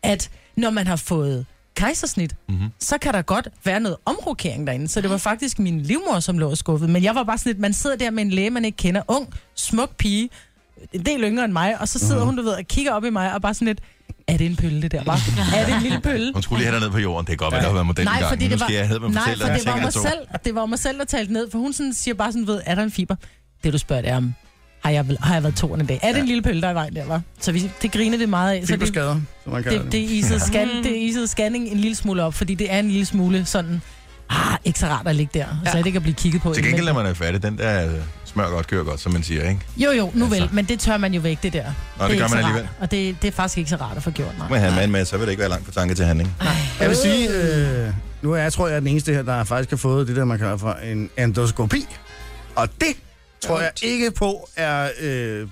Speaker 3: at når man har fået kejsersnit, mm-hmm. så kan der godt være noget omrokering derinde. Så det var faktisk min livmor, som lå og skuffede. Men jeg var bare sådan lidt, man sidder der med en læge, man ikke kender. Ung, smuk pige, en del yngre end mig. Og så sidder hun, du ved, og kigger op i mig og bare sådan lidt, er det en pølle, det der var? Er det en lille pølle?
Speaker 1: Hun skulle lige have dig ned på jorden. Det kan godt være, der har været model
Speaker 3: Nej,
Speaker 1: engang.
Speaker 3: fordi
Speaker 1: Nu
Speaker 3: det var,
Speaker 1: skal jeg have mig
Speaker 3: nej,
Speaker 1: fortælle,
Speaker 3: for
Speaker 1: at
Speaker 3: det var
Speaker 1: jeg
Speaker 3: mig
Speaker 1: tænker, at
Speaker 3: selv, det var mig selv, der talte ned, for hun sådan siger bare sådan, ved, er der en fiber? Det du spørger, det er om, har jeg, vel- har jeg været toren en dag? Er det en lille pølle, der er i vejen der, var? Så vi, det griner vi meget af. Så det,
Speaker 2: Fiberskader, som man kalder
Speaker 3: det,
Speaker 2: det.
Speaker 3: det, isede scan, det isede scanning en lille smule op, fordi det er en lille smule sådan, ah, ikke så rart at ligge der, ja. så jeg ikke at blive kigget på.
Speaker 1: Til gengæld er
Speaker 3: indvendigt.
Speaker 1: man jo fattig. Den der øh, smør godt, kører godt, som man siger, ikke?
Speaker 3: Jo, jo, nu
Speaker 1: Altså.
Speaker 3: vel, men det tør man jo væk, det der.
Speaker 1: Nå, det, gør
Speaker 3: er ikke
Speaker 1: man
Speaker 3: så
Speaker 1: alligevel.
Speaker 3: Rart, og det, det er faktisk ikke så rart at få gjort,
Speaker 1: Men
Speaker 3: nej.
Speaker 1: have en mand med, så vil det ikke være langt fra tanke til handling.
Speaker 2: Jeg vil sige, øh, nu er jeg, tror jeg, er den eneste her, der faktisk har fået det der, man kalder for en endoskopi. Og det tror jeg ikke på er øh,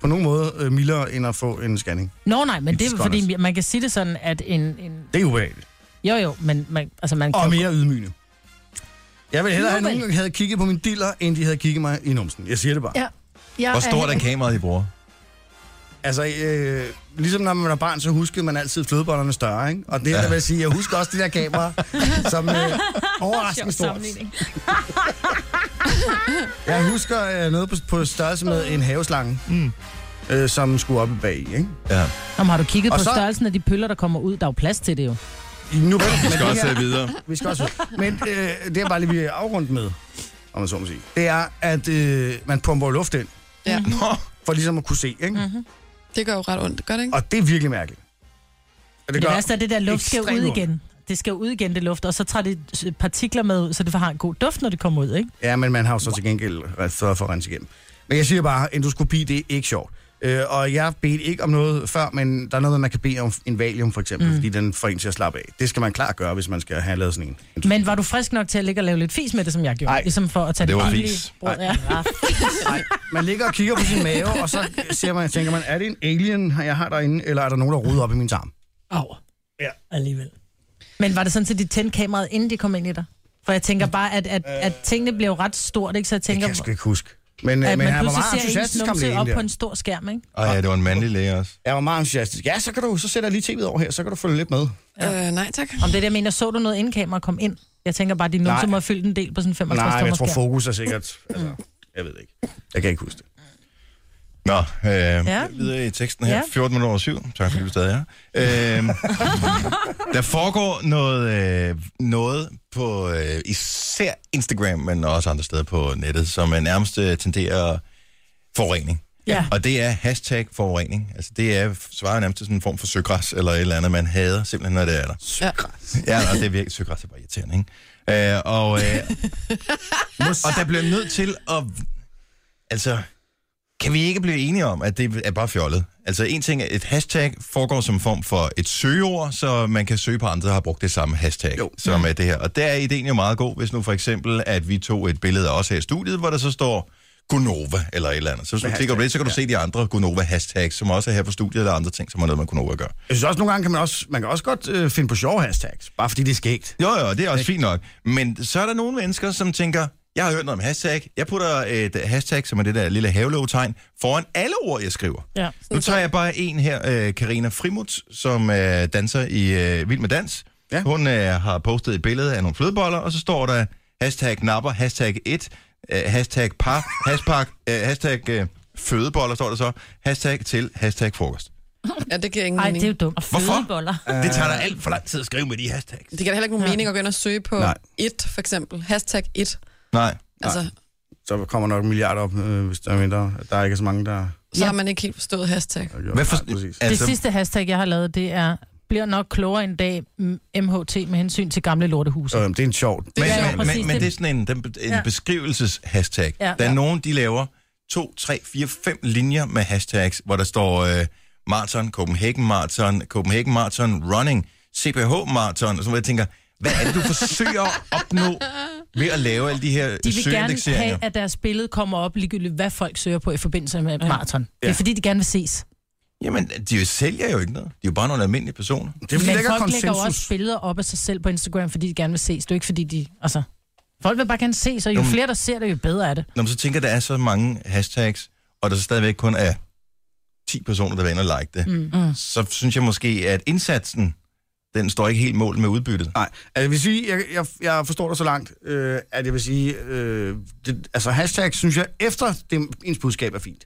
Speaker 2: på nogen måde øh, mildere end at få en scanning.
Speaker 3: Nå, nej, men
Speaker 2: It's
Speaker 3: det er jo fordi, man kan sige det sådan, at en... en
Speaker 2: Det er ubehageligt.
Speaker 3: jo, jo, men man, altså, man kan
Speaker 2: Og
Speaker 3: jo-
Speaker 2: mere ydmygende. Jeg vil hellere have, at
Speaker 3: Nå, vel.
Speaker 2: nogen der havde kigget på min diller, end de havde kigget mig i numsen. Jeg siger det bare.
Speaker 3: Ja. Jeg
Speaker 1: Hvor stort er kameraet, I bruger?
Speaker 2: Altså, øh, ligesom når man var barn, så huskede man altid flødebollerne større, ikke? Og det ja. vil jeg sige, jeg husker også det der kamera, som øh, overraskende stort. Jeg husker øh, noget på, på størrelse med en haveslange, mm. øh, som skulle op i bag, ikke?
Speaker 1: Ja.
Speaker 3: Jamen, har du kigget
Speaker 2: Og
Speaker 3: på
Speaker 2: så-
Speaker 3: så... størrelsen af de pøller, der kommer ud? Der er jo plads til det jo.
Speaker 2: I Nu men
Speaker 1: Vi skal
Speaker 2: det
Speaker 1: også
Speaker 2: her-
Speaker 1: øh, videre.
Speaker 2: Vi skal også Men øh, det er bare lige, vi er afrundt med, om man så må sige. Det er, at øh, man pumper luft ind,
Speaker 4: Ja, Mhm.
Speaker 1: Nå,
Speaker 2: for ligesom at kunne se, ikke? Mm-hmm.
Speaker 4: det gør jo ret ondt, gør det ikke?
Speaker 2: Og det er virkelig mærkeligt. Og
Speaker 3: Det, det værste er, at det der luft skal
Speaker 2: ekstremt
Speaker 3: ud
Speaker 2: ondt.
Speaker 3: igen. Det skal ud igen, det luft, og så tager det s- partikler med ud, så det har en god duft, når det kommer ud, ikke?
Speaker 2: Ja, men man har jo så til gengæld ret sørget for at rense igennem. Men jeg siger bare, endoskopi, det er ikke sjovt. Øh, og jeg bedte ikke om noget før, men der er noget, med, man kan bede om en valium for eksempel, mm. fordi den får en til at slappe af. Det skal man klart gøre, hvis man skal have lavet sådan en.
Speaker 3: Men var du frisk nok til at ligge og lave lidt fis med det, som jeg gjorde?
Speaker 2: Ej.
Speaker 3: Ligesom for at tage
Speaker 1: Det var
Speaker 3: pinlige
Speaker 1: fis.
Speaker 3: brød, ja.
Speaker 2: Nej, man ligger og kigger på sin mave, og så ser man, tænker man, er det en alien, jeg har derinde, eller er der nogen, der roder op i min tarm?
Speaker 3: Au. Ja. Alligevel. Men var det sådan, at de tændte kameraet, inden de kom ind i dig? For jeg tænker bare, at, at, at tingene bliver jo ret stort, ikke? Så jeg
Speaker 2: Øh. Det
Speaker 3: tænker,
Speaker 2: kan jeg sgu ikke huske. Men,
Speaker 3: at
Speaker 2: øh, men
Speaker 3: man
Speaker 2: han var
Speaker 3: pludselig
Speaker 2: meget
Speaker 3: ser ens
Speaker 2: entusiastisk om
Speaker 3: numse
Speaker 2: lægen
Speaker 3: op
Speaker 2: der.
Speaker 3: på en stor skærm, ikke?
Speaker 1: Ej, ja, det var en mandlig læge også.
Speaker 2: Jeg var meget entusiastisk. Ja, så kan du, så sætter jeg lige tv'et over her, så kan du følge lidt med.
Speaker 4: Ja. Øh, nej, tak.
Speaker 3: Om det der jeg mener, så du noget inden kamera kom ind? Jeg tænker bare, at din numse
Speaker 2: Nej.
Speaker 3: må have fyldt en del på sådan en 55
Speaker 2: Nej, men
Speaker 3: tommer
Speaker 2: jeg tror,
Speaker 3: skærm. Mm.
Speaker 2: fokus er sikkert... Altså, jeg ved det ikke. Jeg kan ikke huske det.
Speaker 1: Nå, øh, ja.
Speaker 3: Ja.
Speaker 1: videre i teksten her.
Speaker 3: Ja.
Speaker 1: 14 minutter over syv. Tak fordi du stadig er. her. Øh, der foregår noget, øh, noget på øh, især Instagram, men også andre steder på nettet, som er nærmest øh, tenderer forurening.
Speaker 3: Ja.
Speaker 1: Og det er hashtag forurening. Altså det er, svarer nærmest til sådan en form for søgræs eller et eller andet, man hader simpelthen, når det er der.
Speaker 4: Ja.
Speaker 1: Ja, og det er virkelig søgræs er bare irriterende, ikke? Øh, og, øh, og der bliver nødt til at... Altså, kan vi ikke blive enige om, at det er bare fjollet? Altså, en ting er, et hashtag foregår som form for et søgeord, så man kan søge på andre, der har brugt det samme hashtag, jo. som er det her. Og der er ideen jo meget god, hvis nu for eksempel, at vi tog et billede af os her i studiet, hvor der så står Gunova eller et eller andet. Så hvis du klikker på det, så kan du se de andre Gunova-hashtags, som også er her på studiet, eller andre ting, som har noget med Gunova at gøre.
Speaker 2: Jeg synes også, nogle gange kan man også, man kan også godt øh, finde på sjove hashtags, bare fordi det er skægt.
Speaker 1: Jo, jo, det er også fint nok. Men så er der nogle mennesker, som tænker, jeg har hørt noget om hashtag. Jeg putter et hashtag, som er det der lille havelov-tegn, foran alle ord, jeg skriver.
Speaker 3: Ja.
Speaker 1: Nu tager jeg bare en her, øh, Karina Frimut, som øh, danser i øh, Vild med Dans. Ja.
Speaker 2: Ja.
Speaker 1: Hun øh, har postet et billede af nogle flødeboller, og så står der hashtag napper, hashtag 1, øh, hashtag par, hashtag, øh, hashtag øh, fødeboller, står der så, hashtag til, hashtag frokost.
Speaker 4: ja, det giver ingen
Speaker 3: Ej,
Speaker 4: mening.
Speaker 3: det er jo dumt.
Speaker 5: Og
Speaker 1: Hvorfor? Øh,
Speaker 5: fødeboller.
Speaker 1: Det tager da alt for lang tid at skrive med de hashtags.
Speaker 4: Det giver da heller ikke nogen mening at gå ind og søge på
Speaker 2: Nej.
Speaker 4: et, for eksempel. Hashtag et.
Speaker 1: Nej.
Speaker 4: Altså,
Speaker 2: Så kommer nok en milliard op, øh, hvis der er mindre. Der er ikke så mange, der...
Speaker 4: så har man ikke helt forstået hashtag.
Speaker 2: der gør.
Speaker 1: Hvad for,
Speaker 2: Nej, præcis. Altså-
Speaker 3: Det sidste hashtag, jeg har lavet, det er, bliver nok klogere en dag, mm, m- MHT, med hensyn til gamle lortehuse.
Speaker 2: Så, øhm, det er en sjov.
Speaker 3: Det
Speaker 1: Men,
Speaker 3: er jo
Speaker 1: men,
Speaker 3: præcis
Speaker 1: men, men
Speaker 3: det.
Speaker 1: det er sådan en, den, en ja.
Speaker 3: Ja.
Speaker 1: beskrivelses-hashtag. Ja.
Speaker 3: Ja.
Speaker 1: Der er
Speaker 3: Ja.
Speaker 1: nogen, de laver to, tre, fire, fem linjer med hashtags, hvor der står øh, marathon, Copenhagen Marathon, Copenhagen Marathon Running, CPH Marathon, og så jeg tænker, hvad er det, du forsøger at opnå ved at lave alle de her
Speaker 3: De vil gerne
Speaker 1: søgeindekseringer?
Speaker 3: have, at deres billede kommer op, ligegyldigt hvad folk søger på i forbindelse med ja. maraton. Det er fordi, de gerne vil ses.
Speaker 1: Jamen, de sælger jo ikke noget. De er jo bare nogle almindelige personer.
Speaker 2: Det er fordi,
Speaker 3: Men
Speaker 2: der ikke er
Speaker 3: folk lægger jo også
Speaker 2: konsensus.
Speaker 3: billeder op af sig selv på Instagram, fordi de gerne vil ses. Det er jo ikke fordi, de... Altså, folk vil bare gerne ses, og jo
Speaker 1: Jamen.
Speaker 3: flere, der ser det, jo bedre er det.
Speaker 1: Når man så tænker, der er så mange hashtags, og der så stadigvæk kun er 10 personer, der vil ind og like det, mm. så synes jeg måske, at indsatsen den står ikke helt mål med udbyttet.
Speaker 2: Nej, altså jeg vil sige, jeg, jeg, jeg forstår dig så langt, øh, at jeg vil sige, øh, det, altså hashtag synes jeg efter det, ens budskab er fint.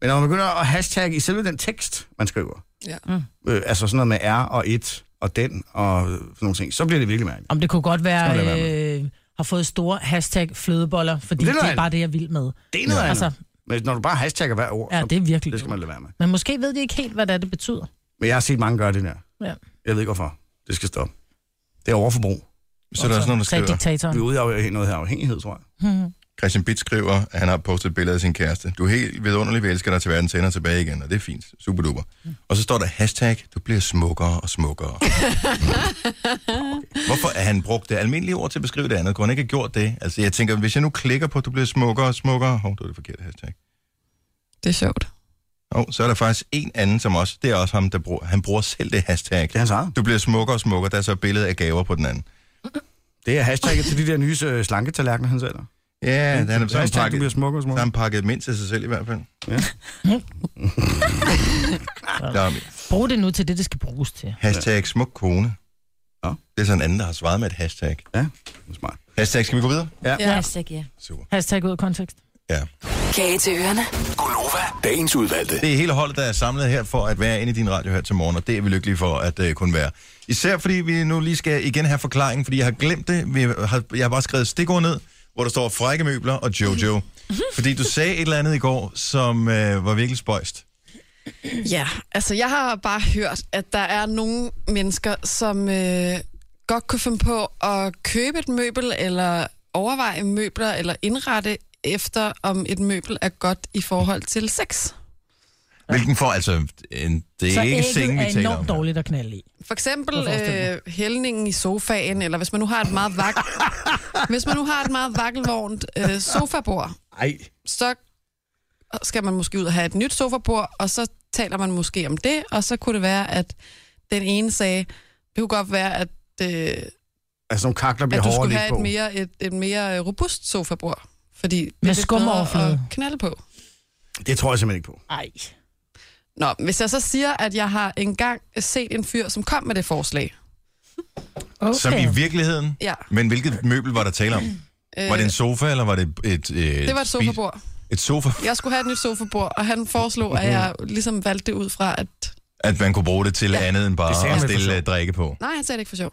Speaker 2: Men når man begynder at hashtag i selve den tekst, man skriver,
Speaker 4: Ja.
Speaker 3: Mm.
Speaker 2: øh, altså sådan noget med R og et og den og sådan nogle ting, så bliver det virkelig mærkeligt.
Speaker 3: Om det kunne godt være,
Speaker 2: Skal man lade
Speaker 3: øh, har fået store hashtag flødeboller, fordi
Speaker 2: Det er
Speaker 3: det, det er
Speaker 2: noget
Speaker 3: bare det, jeg vil med.
Speaker 2: Det er noget ja.
Speaker 3: Altså,
Speaker 2: andet. Men når du bare hashtagger hver ord,
Speaker 3: ja,
Speaker 2: så,
Speaker 3: det er virkelig.
Speaker 2: det skal man lade være med.
Speaker 3: Men måske ved de ikke helt, hvad det, er, det betyder.
Speaker 2: Men jeg har set mange gøre det der.
Speaker 3: Ja.
Speaker 2: Jeg ved ikke hvorfor. Det skal stoppe. Det er overforbrug.
Speaker 1: Så er der også nogen, der
Speaker 3: Sagde
Speaker 1: skriver,
Speaker 3: diktatoren.
Speaker 2: Vi er ude af noget her afhængighed, tror jeg.
Speaker 1: Christian Bitt skriver, at han har postet et billede af sin kæreste. Du er helt vidunderlig, vi elsker dig til verden, sender tilbage igen, og det er fint. Super duper. Og så står der hashtag, du bliver smukkere og smukkere. okay. Hvorfor er han brugt det almindelige ord til at beskrive det andet? Kunne han ikke have gjort det? Altså, jeg tænker, hvis jeg nu klikker på, du bliver smukkere og smukkere, hov, det var det forkerte hashtag.
Speaker 4: Det er sjovt.
Speaker 1: Og så er der faktisk en anden, som også, det er også ham, der bruger, han bruger selv det hashtag.
Speaker 2: Det er hans eget.
Speaker 1: Du bliver smukkere og smukkere, der er så et billede af gaver på den anden.
Speaker 2: Det er hashtagget til de der nye øh, slanketallerkener, han sælger.
Speaker 1: Ja, han er
Speaker 2: Så
Speaker 1: sådan
Speaker 2: hashtag, du bliver
Speaker 1: pakket,
Speaker 2: smukkere og
Speaker 1: så har
Speaker 2: smukkere.
Speaker 1: han pakket mindst til sig selv i hvert fald.
Speaker 2: Ja.
Speaker 1: Der er
Speaker 3: Brug det nu til det, det skal bruges til.
Speaker 1: Hashtag smuk kone.
Speaker 2: Nå.
Speaker 1: Det er sådan en anden, der har svaret med et hashtag.
Speaker 2: Det er Smart.
Speaker 1: Hashtag, skal vi gå videre?
Speaker 5: Ja. Hashtag, ja.
Speaker 1: Super.
Speaker 3: Hashtag ud af kontekst.
Speaker 1: Ja.
Speaker 7: Kage til ørerne.
Speaker 8: Gunova, dagens udvalgte.
Speaker 1: Det er hele holdet, der er samlet her for at være inde i din radio her til morgen, og det er vi lykkelige for at uh, kunne være. Især fordi vi nu lige skal igen have forklaringen, fordi jeg har glemt det. Vi har, jeg har bare skrevet stikord ned, hvor der står frække møbler og Jojo. Fordi du sagde et eller andet i går, som uh, var virkelig spøjst.
Speaker 4: Ja, altså jeg har bare hørt, at der er nogle mennesker, som øh, godt kunne finde på at købe et møbel, eller overveje møbler, eller indrette efter, om et møbel er godt i forhold til sex.
Speaker 1: Hvilken for, altså, en, det er
Speaker 3: Så
Speaker 1: ikke
Speaker 3: ægget
Speaker 1: sengen, vi
Speaker 3: er
Speaker 1: taler om.
Speaker 3: enormt
Speaker 1: her.
Speaker 3: dårligt at knalde i.
Speaker 4: For eksempel
Speaker 3: Hvorfor forestiller
Speaker 4: øh, hældningen i sofaen, eller hvis man nu har et meget vak hvis man nu har et meget vakkelvognt øh, sofabord,
Speaker 2: Ej.
Speaker 4: så skal man måske ud og have et nyt sofabord, og så taler man måske om det, og så kunne det være, at den ene sagde, det kunne godt være, at, øh,
Speaker 2: Altså, nogle kakler bliver
Speaker 4: at du
Speaker 2: hårdere at
Speaker 4: skulle
Speaker 2: ligge
Speaker 4: have et mere,
Speaker 2: på.
Speaker 4: et, et mere øh, robust sofabord, fordi det
Speaker 3: Med
Speaker 4: er lidt bedre at
Speaker 3: skumoverflade.
Speaker 4: knalde på.
Speaker 2: Det tror jeg simpelthen ikke på.
Speaker 3: Ej.
Speaker 4: Nå, hvis jeg så siger, at jeg har engang set en fyr, som kom med det forslag.
Speaker 3: Okay.
Speaker 1: Som i virkeligheden.
Speaker 4: Ja.
Speaker 1: Men hvilket møbel var der tale om?
Speaker 4: Øh,
Speaker 1: Var det en sofa, eller var det et... et
Speaker 4: det var et sofabord.
Speaker 1: Et sofa,
Speaker 4: Jeg skulle have et nyt sofabord, og han foreslog, at jeg ligesom valgte det ud fra, at...
Speaker 1: at man kunne bruge det til ja. andet end
Speaker 2: Det sagde
Speaker 1: bare at
Speaker 2: han vel for
Speaker 1: stille
Speaker 2: sjov.
Speaker 1: øh, drikke på.
Speaker 4: Nej, han sagde det ikke for sjov.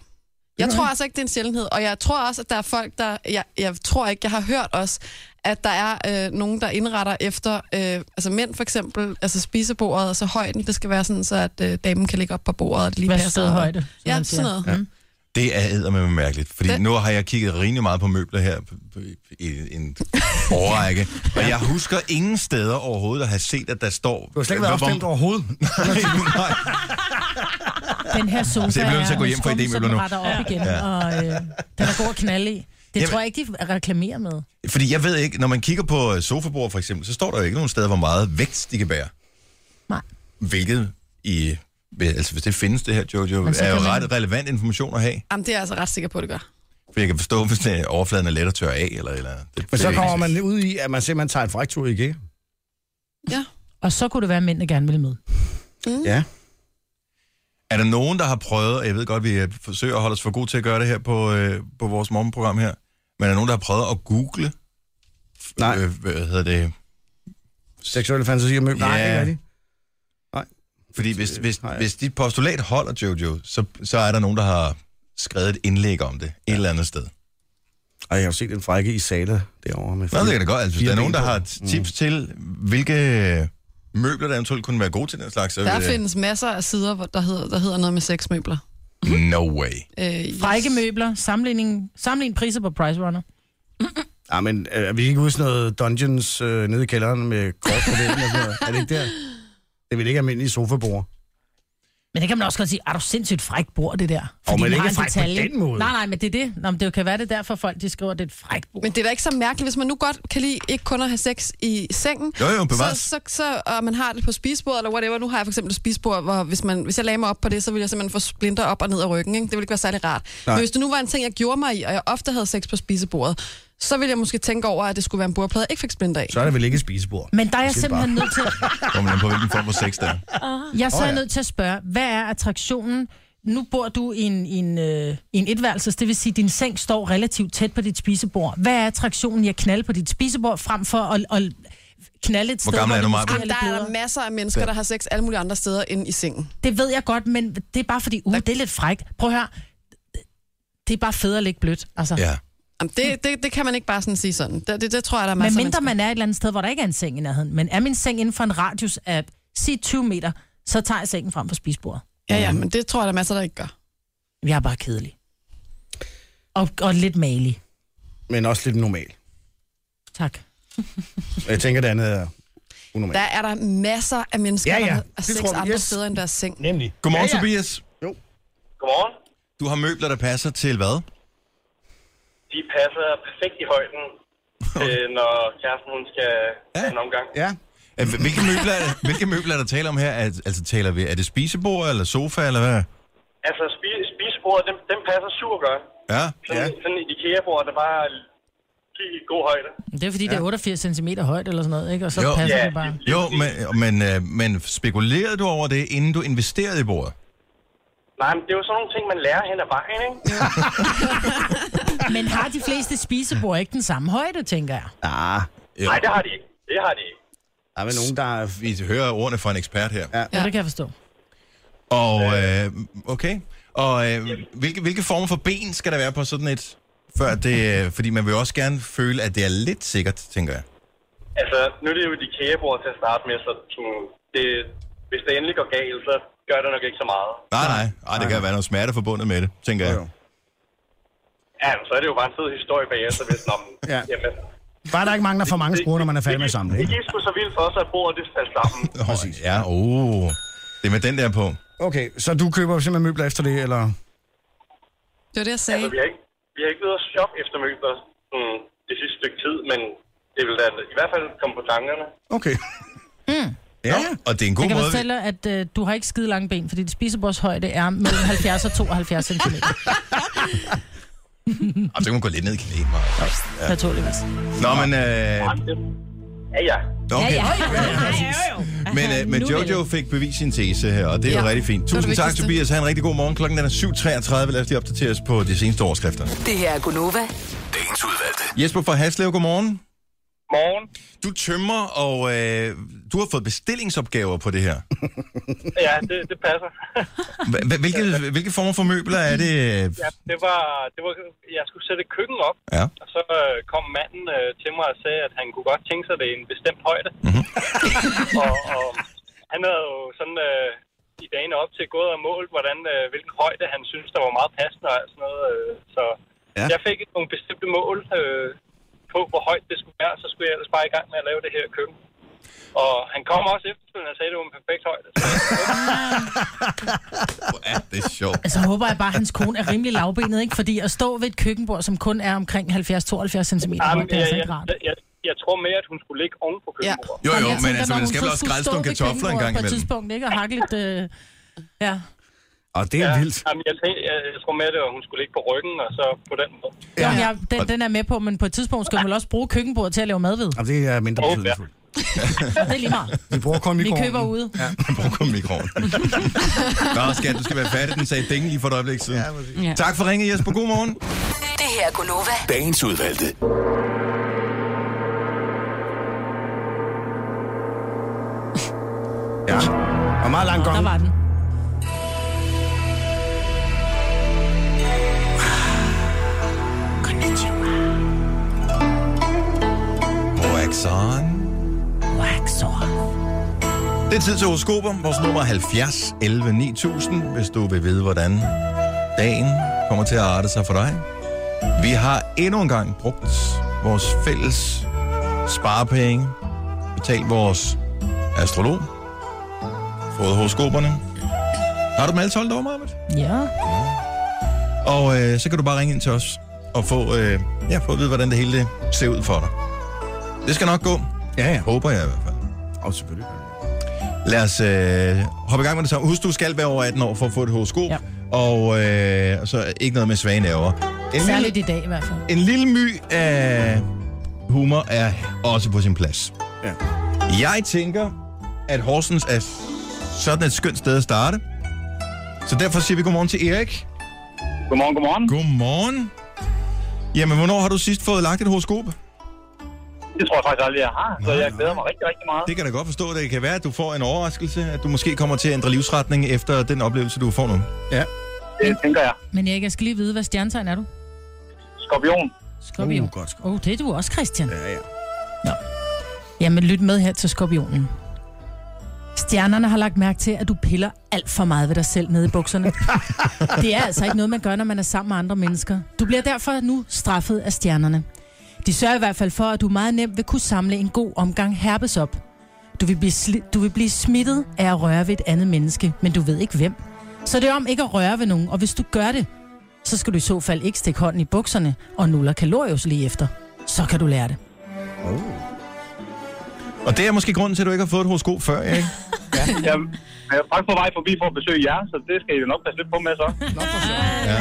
Speaker 4: Jeg tror altså ikke, det er en sjældenhed, og jeg tror også, at der er folk, der... Jeg, jeg tror ikke, jeg har hørt også, at der er øh, nogen, der indretter efter... Øh, altså mænd for eksempel, altså spisebordet, og så højden, det skal være sådan, så at øh, damen kan ligge op på bordet, og det lige
Speaker 3: Hvad
Speaker 4: passer.
Speaker 3: sted højde? som
Speaker 4: Ja,
Speaker 3: man siger.
Speaker 4: sådan noget. Ja.
Speaker 1: Det er eddermame mærkeligt, fordi det.
Speaker 4: Det-
Speaker 1: nu har jeg kigget rimelig meget på møbler her p- p- i en årrække, og jeg husker ingen steder overhovedet at have set, at der står...
Speaker 2: Du har slet ikke været
Speaker 1: Hvor-
Speaker 2: opstemt overhovedet.
Speaker 1: Nej,
Speaker 3: Den her sofa
Speaker 1: Altså, jeg bliver nødt til at gå hjem for
Speaker 3: en skum,
Speaker 1: idémøbler
Speaker 3: som
Speaker 1: nu.
Speaker 3: retter op igen, og øh, den er god at knalde i. Det
Speaker 1: Jamen-
Speaker 3: tror jeg ikke, de reklamerer med.
Speaker 1: Fordi jeg ved ikke, når man kigger på øh, sofabord for eksempel, så står der jo ikke nogen steder, hvor meget vægt de kan bære.
Speaker 3: Nej.
Speaker 1: Hvilket i... Altså, hvis det findes det her, Jojo,
Speaker 3: Men så
Speaker 1: er jo
Speaker 3: kan man-
Speaker 1: ret relevant information at have.
Speaker 4: Jamen, det er jeg altså ret sikker på, det gør.
Speaker 1: For jeg kan forstå, hvis det er overfladen er let at tørre af, eller... eller det,
Speaker 2: Men så
Speaker 1: det-
Speaker 2: kommer man ud i, at man simpelthen tager en fraktur i IKEA.
Speaker 4: Ja.
Speaker 3: Og så kunne det være, at mændene gerne ville med.
Speaker 2: Ja.
Speaker 1: Er der nogen, der har prøvet, og jeg ved godt, vi øh, forsøger at holde os for gode til at gøre det her på, øh, på vores morgenprogram her, men er der nogen, der har prøvet at google,
Speaker 2: Nej.
Speaker 1: øh, hvad hedder det?
Speaker 2: Seksuelle fantasier med... Nej,
Speaker 1: Ja.
Speaker 2: ikke rigtigt. Øh,
Speaker 1: Fordi hvis, hvis,
Speaker 2: Nej.
Speaker 1: hvis dit postulat holder, Jojo, så, så er der nogen, der har skrevet et indlæg om det et eller andet sted.
Speaker 2: Ej, jeg har jo set en frække i Sala derovre med...
Speaker 1: Nå, det kan det godt. Altså, hvis
Speaker 2: Fire Mm.
Speaker 1: der er nogen,
Speaker 2: ben
Speaker 1: der
Speaker 2: på.
Speaker 1: har tips til, hvilke møbler, der eventuelt kunne være gode til den slags, så
Speaker 4: Der
Speaker 1: vil
Speaker 4: findes masser af sider, hvor der hedder, der hedder noget med sexmøbler.
Speaker 1: det... No way.
Speaker 4: Øh,
Speaker 3: Frække møbler, sammenligning, sammenlign priser på Price Runner.
Speaker 2: Ja, men øh, er vi ikke ude i sådan noget dungeons øh, nede i kælderen med kort på væggen og sådan noget? Er det ikke der? Det er vel ikke almindelige sofabord.
Speaker 3: Men det kan man også godt sige, er du sindssygt frækt bord, det der?
Speaker 2: Åh, men
Speaker 3: vi
Speaker 2: ikke
Speaker 3: har en
Speaker 2: frækt på
Speaker 3: detalje.
Speaker 2: den måde.
Speaker 3: Nej, nej, men det er det. Nå, men det kan være, det er derfor folk, de skriver, at det er et frækt bord.
Speaker 4: Men det er da ikke så mærkeligt, hvis man nu godt kan lide ikke kun at have sex i sengen,
Speaker 1: Jo, jo,
Speaker 4: så,
Speaker 1: bevares.
Speaker 4: så, så, og man har det på spisbordet eller whatever. Nu har jeg for eksempel et spisbord, hvor hvis, man, hvis jeg lagde mig op på det, så ville jeg simpelthen få splinter op og ned af ryggen. Ikke? Det ville ikke være særlig rart. Nej. Men hvis det nu var en ting, jeg gjorde mig i, og jeg ofte havde sex på spisebordet, så ville jeg måske tænke over, at det skulle være en bordplade, jeg ikke fik splinter af.
Speaker 2: Så er der vel ikke et spisebord.
Speaker 3: Men der er jeg simpelthen nødt til,
Speaker 1: Kommer man an på, hvilken form for sex der er.
Speaker 4: Ah.
Speaker 3: jeg så
Speaker 2: Åh,
Speaker 3: er
Speaker 2: ja.
Speaker 3: nødt til at spørge, hvad er attraktionen nu bor du i en, i en, øh, i en etværelses, det vil sige, at din seng står relativt tæt på dit spisebord. Hvad er attraktionen i at knalde på dit spisebord, frem for at, at knalde et sted,
Speaker 1: gammel er
Speaker 3: hvor
Speaker 1: du,
Speaker 3: det måske
Speaker 1: Maja?
Speaker 3: er
Speaker 4: Jamen,
Speaker 3: lidt
Speaker 4: der er
Speaker 3: blødere?
Speaker 4: der masser af mennesker, der har sex alle mulige andre steder end i sengen.
Speaker 3: Det ved jeg godt, men det er bare fordi, uh, det er lidt frækt. Prøv at høre, det er bare fedt at ligge blødt. Altså.
Speaker 1: Ja.
Speaker 4: Jamen, det, det, det kan man ikke bare sådan sige sådan. Det, det, det tror jeg, der er
Speaker 3: Men
Speaker 4: masser
Speaker 3: mindre
Speaker 4: af
Speaker 3: man er et eller andet sted, hvor der ikke er en seng i nærheden, men er min seng inden for en radius af, sig 20 meter, så tager jeg sengen frem for spisbordet.
Speaker 4: Ja, ja, men det tror jeg, der er masser, der ikke gør.
Speaker 3: Jeg er bare kedelig. Og, og lidt malig.
Speaker 2: Men også lidt normal.
Speaker 3: Tak.
Speaker 2: Jeg tænker, det andet er
Speaker 4: Der
Speaker 2: unormalt.
Speaker 4: er der masser af mennesker,
Speaker 2: Ja,
Speaker 4: ja,
Speaker 2: ja.
Speaker 4: ja. der har
Speaker 2: Det
Speaker 4: sex
Speaker 2: tror vi,
Speaker 4: andre
Speaker 2: yes.
Speaker 4: steder end deres seng.
Speaker 2: Nemlig.
Speaker 1: Godmorgen, ja, ja. Tobias.
Speaker 9: Godmorgen.
Speaker 1: Du har møbler, der passer til hvad?
Speaker 9: De passer perfekt i højden, øh, når kæresten hun skal ja. have en omgang.
Speaker 2: Ja.
Speaker 1: Øh, hv- Hvilke møbler, er det, hvilke møbler er der tale om her? Er, altså, taler vi, er det spisebord eller sofa, eller hvad?
Speaker 9: Altså, spi spisebordet, den, den passer super godt.
Speaker 1: Ja.
Speaker 9: Sådan, ja. sådan et IKEA-bord, der bare er lige i god højde.
Speaker 3: Det er fordi, ja. det er 88 cm højt eller sådan noget, ikke? Og så
Speaker 1: Jo.
Speaker 3: jo. passer
Speaker 9: Ja,
Speaker 3: ja. det bare.
Speaker 9: lige
Speaker 1: Jo,
Speaker 9: præcis.
Speaker 1: men, men, øh, men spekulerede du over det, inden du investerede i bordet?
Speaker 9: Nej, men det er jo sådan nogle ting, man lærer hen ad vejen, ikke?
Speaker 3: Men har de fleste spisebord ikke den samme højde, tænker jeg?
Speaker 2: Ah,
Speaker 1: Jo.
Speaker 9: Nej, det har de ikke. Det har de ikke.
Speaker 2: der er vel nogen, der er...
Speaker 1: Vi hører ordene fra en ekspert her. Ja.
Speaker 3: Ja, det kan jeg forstå.
Speaker 1: Og, øh, okay. Og øh, hvilke, hvilke former for ben skal der være på sådan et? Før det, øh, fordi man vil jo også gerne føle, at det er lidt sikkert, tænker jeg.
Speaker 9: Altså, nu er det jo et IKEA-bord til at starte med, så sådan, det, hvis det endelig går galt, så gør det nok ikke så meget.
Speaker 1: Nej, nej. Ej, det kan være noget smerte forbundet med det, tænker jeg.
Speaker 2: Jo, jo.
Speaker 9: Ja, men så er det jo bare en fed historie bagefter, hvis når man...
Speaker 2: Ja.
Speaker 9: Jamen,
Speaker 2: Bare der ikke mangler for mange skruer, når man er færdig med
Speaker 9: det,
Speaker 2: at samle,
Speaker 9: det, det
Speaker 2: ikke?
Speaker 9: gik sgu så vildt for os, at bordet det faldt sammen.
Speaker 1: Præcis. Ja, oh. Det er med den der på.
Speaker 2: Okay, så du køber simpelthen møbler efter det, eller...
Speaker 4: Det var det, jeg
Speaker 9: Altså,
Speaker 4: sagde.
Speaker 9: vi har ikke, vi har ikke været at shoppe efter møbler mm, det sidste stykke tid, men det vil da i hvert fald komme på tankerne.
Speaker 2: Okay.
Speaker 1: Ja, ja. Og det er en god
Speaker 3: Jeg kan
Speaker 1: måde.
Speaker 3: fortælle, at øh, du har ikke skide lange ben, fordi dit spisebordshøjde er mellem 70 og 72 cm.
Speaker 1: Og så kan man gå lidt ned i knæ. Maja.
Speaker 3: Ja. Naturligvis.
Speaker 1: Nå, men... Øh,
Speaker 9: Ja, ja.
Speaker 1: okay.
Speaker 5: Ja, ja.
Speaker 1: Men, øh, men
Speaker 5: Nu
Speaker 1: Jojo fik bevist sin tese her, og det er ja. jo
Speaker 4: Ja.
Speaker 1: rigtig fint.
Speaker 4: Det var det
Speaker 1: Tusind tak,
Speaker 4: vigtigste.
Speaker 1: Tobias. Ha' en rigtig god morgen. Klokken den er 7.33. Lad os lige opdatere os på de seneste overskrifter.
Speaker 7: Det her er Gunova.
Speaker 8: Dagens udvalgte.
Speaker 1: Jesper fra Haslev, godmorgen.
Speaker 9: Morgen.
Speaker 1: Du tømmer, og øh, du har fået bestillingsopgaver på det her.
Speaker 9: Ja, det, det passer.
Speaker 1: Hva- hva- Hvilke, hvilke former for møbler er det?
Speaker 9: Ja, det var, det var, jeg skulle sætte et køkken op,
Speaker 1: Øh, Ja.
Speaker 9: og så øh, kom manden øh, til mig og sagde, at han kunne godt tænke sig det i en bestemt højde.
Speaker 1: Mhm.
Speaker 9: Mm-hmm. og, og han havde jo sådan øh, i dagene op til gået og målt, hvordan, øh, hvilken højde han synes, der var meget passende og alt sådan noget. Øh, så
Speaker 2: Ja.
Speaker 9: ja. jeg fik nogle bestemte mål øh, på, hvor højt det skulle være, så skulle jeg ellers bare i gang med at lave det her køkken. Og han kom også efterfølgende og sagde, at det var en perfekt højde. Så,
Speaker 1: Hvor er det sjovt.
Speaker 3: Altså håber jeg bare, at hans kone er rimelig lavbenet, ikke? Fordi at stå ved et køkkenbord, som kun er omkring 70-72 cm, det er
Speaker 9: Jamen, jeg,
Speaker 3: altså
Speaker 9: jeg,
Speaker 3: ikke rart.
Speaker 9: jeg, jeg, jeg tror mere, at hun skulle ligge oven på køkkenbordet.
Speaker 1: Jo,
Speaker 3: Jamen,
Speaker 1: jo,
Speaker 3: jeg
Speaker 1: men
Speaker 3: tænker,
Speaker 1: altså,
Speaker 3: når
Speaker 1: man
Speaker 3: hun
Speaker 1: skal vel
Speaker 3: så
Speaker 1: også
Speaker 3: skulle
Speaker 1: skrælle
Speaker 3: stå
Speaker 1: nogle
Speaker 3: ved
Speaker 1: kartofler en
Speaker 3: køkkenbordet
Speaker 1: gang
Speaker 3: På et
Speaker 1: imellem.
Speaker 3: tidspunkt, ikke? Og hakke lidt... Øh, ja.
Speaker 1: Ah,
Speaker 2: Og det er
Speaker 9: Ja,
Speaker 2: vildt.
Speaker 9: Jamen, jeg, tænkte, jeg, jeg tror mere, det var, at hun skulle ligge på ryggen, og så på den måde.
Speaker 3: Jo, men jeg, den, den er med på, men på et tidspunkt skal man vel også bruge køkkenbordet til at lave mad ved.
Speaker 2: Og det er mindre
Speaker 9: Åh, ja.
Speaker 2: betydningsfuldt.
Speaker 3: Det er lige meget.
Speaker 2: Vi bruger kun
Speaker 3: Vi
Speaker 2: mikroovnen.
Speaker 3: køber ude.
Speaker 1: Brug kun mikroen. Nå, skat, du skal være færdig. Den sagde ding lige for et øjeblik siden.
Speaker 5: Ja.
Speaker 1: Tak for ringet, Jesper. God morgen.
Speaker 7: Det her er Gunova.
Speaker 8: Dagens udvalgte.
Speaker 2: Ja. Og meget langt
Speaker 3: Der
Speaker 2: gong.
Speaker 3: var den.
Speaker 1: Wax on.
Speaker 3: Wax off.
Speaker 1: Det er tid til horoskoper. Vores nummer er 70 11 9000, hvis du vil vide, hvordan dagen kommer til at arte sig for dig. Vi har endnu en gang brugt vores fælles sparepenge, betalt vores astrolog, fået horoskoperne. Har du dem alle 12 år, Marvitt?
Speaker 3: Ja.
Speaker 1: Og øh, så kan du bare ringe ind til os og få, øh, ja, få at vide, hvordan det hele det ser ud for dig. Det skal nok gå.
Speaker 2: Ja, ja.
Speaker 1: Håber jeg i hvert fald.
Speaker 2: Og selvfølgelig.
Speaker 1: Lad os øh, hoppe i gang med det samme. Husk, du skal være over 18 år for at få et horoskop. Ja.
Speaker 3: Ja.
Speaker 1: Og øh, så ikke noget med svage nerver. En
Speaker 3: Særligt
Speaker 1: lille,
Speaker 3: i dag i hvert fald.
Speaker 1: en lille my af humor er også på sin plads.
Speaker 2: Ja.
Speaker 1: Jeg tænker, at Horsens er sådan et skønt sted at starte. Så derfor siger vi godmorgen til Erik.
Speaker 9: Godmorgen, godmorgen.
Speaker 1: Godmorgen. Jamen, hvornår har du sidst fået lagt et horoskop?
Speaker 9: Det tror jeg faktisk aldrig, jeg har, så Altså, jeg glæder mig rigtig, rigtig meget.
Speaker 1: Det kan jeg da godt forstå. Det kan være, at du får en overraskelse, at du måske kommer til at ændre livsretning efter den oplevelse, du får nu.
Speaker 9: Det tænker jeg.
Speaker 3: Men Erik, jeg skal lige vide, hvad stjernetegn er du?
Speaker 9: Skorpion.
Speaker 3: Skorpion.
Speaker 2: Uh, godt,
Speaker 3: Åh, oh, det er du også, Christian.
Speaker 2: Ja, ja.
Speaker 3: Jamen, lyt med her til skorpionen. Stjernerne har lagt mærke til, at du piller alt for meget ved dig selv nede i bukserne. Det er altså ikke noget, man gør, når man er sammen med andre mennesker. Du bliver derfor nu straffet af stjernerne. De sørger i hvert fald for, at du meget nemt vil kunne samle en god omgang herpes op. Du vil, blive sli- du vil blive smittet af at røre ved et andet menneske, men du ved ikke hvem. Så det er om ikke at røre ved nogen, og hvis du gør det, så skal du i så fald ikke stikke hånden i bukserne og nuller kalorius lige efter. Så kan du lære det.
Speaker 1: Og det er måske grunden til, at du ikke har fået et horoskop før, Erik.
Speaker 9: Jeg jeg er faktisk på vej forbi for at besøge jer, så det skal I jo nok passe lidt på med så.
Speaker 1: Ja.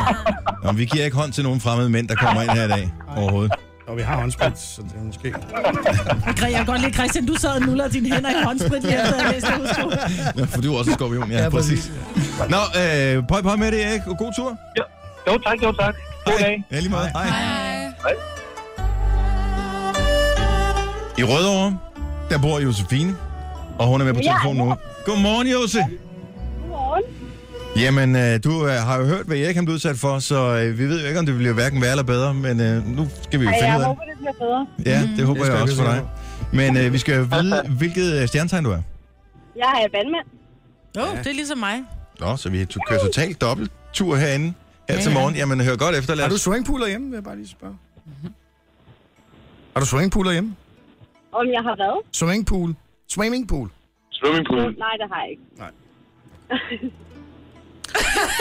Speaker 1: Nå, men vi giver ikke hånd til nogen fremmede mænd, der kommer ind her i dag overhovedet.
Speaker 2: Og vi har håndsprit, så det er måske...
Speaker 3: Jeg kan godt lide, Christian, du sad og nullerede dine hænder i håndsprit lige efter, jeg læste hovedsko.
Speaker 1: Ja, for du er også en skorpion, ja, ja præcis. Nå, øh, pøj, pøj med det, Erik, og god tur.
Speaker 9: Ja. Jo tak, jo tak. God dag.
Speaker 1: Ja, lige meget. Hej.
Speaker 9: Hej.
Speaker 1: I Rødovre, der bor Josefine, og hun er med på telefon nu. Godmorgen, Jose. Jamen, øh, du øh, har jo hørt, hvad Erik han blev udsat for, så øh, vi ved jo ikke, om det bliver hverken værre eller bedre, men øh, nu skal vi jo finde ud af
Speaker 10: det bliver bedre. Mm-hmm.
Speaker 1: det. Ja, Mm. det håber
Speaker 2: Det skal
Speaker 1: jeg
Speaker 2: jeg
Speaker 1: også for dig.
Speaker 2: vide.
Speaker 1: Men øh, vi skal jo vide, hvilket øh, stjernetegn du er.
Speaker 10: Jeg er vandmand.
Speaker 3: Jo, det er ligesom mig.
Speaker 1: Nå, så vi to- kører totalt dobbelt tur herinde her til
Speaker 3: Ja, ja.
Speaker 1: morgen. Jamen, hør godt efter. Lad
Speaker 2: Har du
Speaker 1: os...
Speaker 2: swingpooler hjemme, vil jeg bare lige spørge? Har du swingpooler hjemme?
Speaker 10: Om jeg har været?
Speaker 2: Swingpool? Swimmingpool?
Speaker 1: Mm.
Speaker 9: Swimmingpool.
Speaker 10: Nej, det har jeg ikke.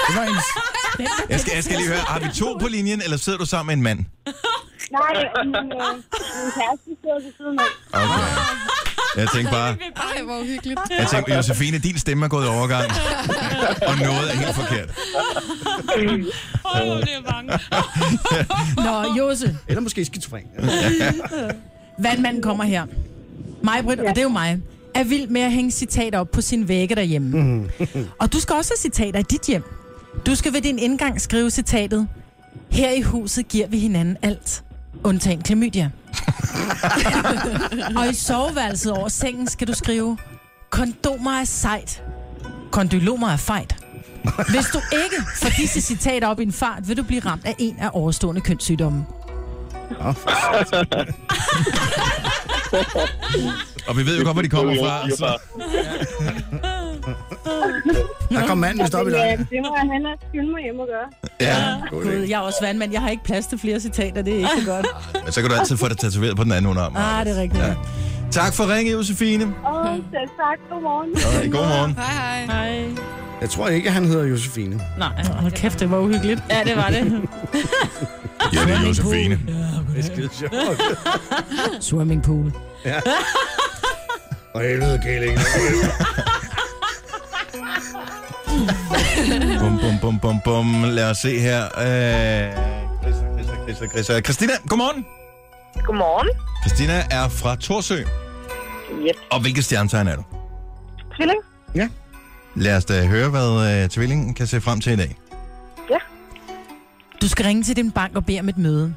Speaker 2: Det var hendes...
Speaker 1: Jeg skal, jeg skal lige høre, har vi to på linjen, eller sidder du sammen med en mand?
Speaker 10: Nej, min, øh, min kæreste sidder ved siden af.
Speaker 1: Okay. Jeg tænkte bare,
Speaker 4: Ej, hvor uhyggeligt.
Speaker 1: jeg tænkte, Josefine, din stemme er gået i overgang, og noget er helt forkert.
Speaker 5: Åh, hvor bliver jeg bange.
Speaker 3: Nå, Jose,
Speaker 2: Eller måske skizofren.
Speaker 3: vandmanden kommer her. Mig, Britt, og det er jo mig, er vild med at hænge citater op på sine vægge derhjemme. og du skal også have citater i dit hjem. Du skal ved din indgang skrive citatet, her i huset giver vi hinanden alt, undtagen klamydia. og i soveværelset over sengen skal du skrive, kondomer er sejt, kondylomer er fejt. Hvis du ikke får disse citater op i en fart, vil du blive ramt af en af overstående kønssygdomme.
Speaker 1: Og vi ved jo godt, hvor de kommer fra. altså. Så.
Speaker 2: Der kom manden, vi stopper i
Speaker 10: Men,
Speaker 2: dag.
Speaker 10: øh, det må jeg hellere skynde mig hjem og gøre.
Speaker 1: Ja, god
Speaker 3: Gud,
Speaker 1: idé.
Speaker 3: jeg er også vandmand. Jeg har ikke plads til flere citater. Det er ikke så godt.
Speaker 1: Men så kan du altid få det tatoveret på den anden underarm.
Speaker 3: Ah, det er rigtigt.
Speaker 1: Ja. Tak for ringet, Josefine.
Speaker 10: Åh, selv tak. Godmorgen.
Speaker 1: Og god morgen.
Speaker 4: Hej, hej.
Speaker 5: Nej.
Speaker 2: Jeg tror ikke, han hedder Josefine.
Speaker 5: Nej.
Speaker 3: Hold kæft, det var uhyggeligt.
Speaker 5: Ja, det var det.
Speaker 1: Ja, det er Josefine.
Speaker 2: Det er skide sjovt.
Speaker 3: Swimmingpool.
Speaker 2: Og helvede, Kæling.
Speaker 1: Bum, bum, bum, bum, bum. Lad os se her. Øh, Christa, Christa, Christa, Christa. Christina, godmorgen.
Speaker 10: Godmorgen.
Speaker 1: Christina er fra Torsø.
Speaker 10: Yep.
Speaker 1: Og hvilket stjernetegn er du?
Speaker 10: Tvilling.
Speaker 1: Lad os da høre, hvad øh, tvillingen kan se frem til i dag.
Speaker 3: Du skal ringe til din bank og bede om et møde.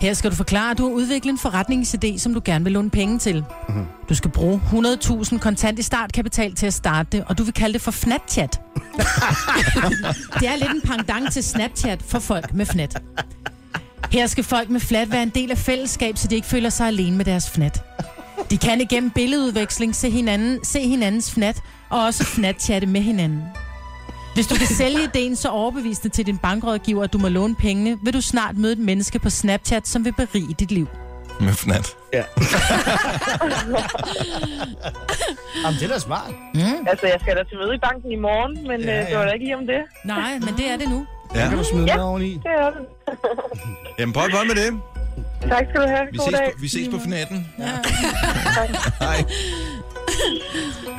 Speaker 3: Her skal du forklare, at du har udviklet en forretningsidé, som du gerne vil låne penge til. Du skal bruge 100.000 kontant i startkapital til at starte det, og du vil kalde det for Fnatchat. det er lidt en pendant til Snapchat for folk med fnat. Her skal folk med flat være en del af fællesskab, så de ikke føler sig alene med deres fnat. De kan igennem billedudveksling se, hinanden, se hinandens fnat, og også fnatchatte med hinanden. Hvis du kan sælge ideen så overbevisende til din bankrådgiver, at du må låne pengene, vil du snart møde et menneske på Snapchat, som vil berige dit liv.
Speaker 1: Med fnat.
Speaker 6: Jamen, det er da smart.
Speaker 3: Mm.
Speaker 10: Altså, jeg skal da til møde i banken i morgen, men ja, ja. Øh, det var da ikke lige om det. Mm.
Speaker 3: Nej, men det er det nu.
Speaker 1: Ja.
Speaker 6: Kan du smide noget oveni?
Speaker 10: Det er det.
Speaker 1: Jamen, prøv, prøv med det.
Speaker 10: Tak skal du have.
Speaker 1: Vi
Speaker 10: God
Speaker 1: ses,
Speaker 10: dag.
Speaker 1: på, vi ses på fnatten. Ja. Hej.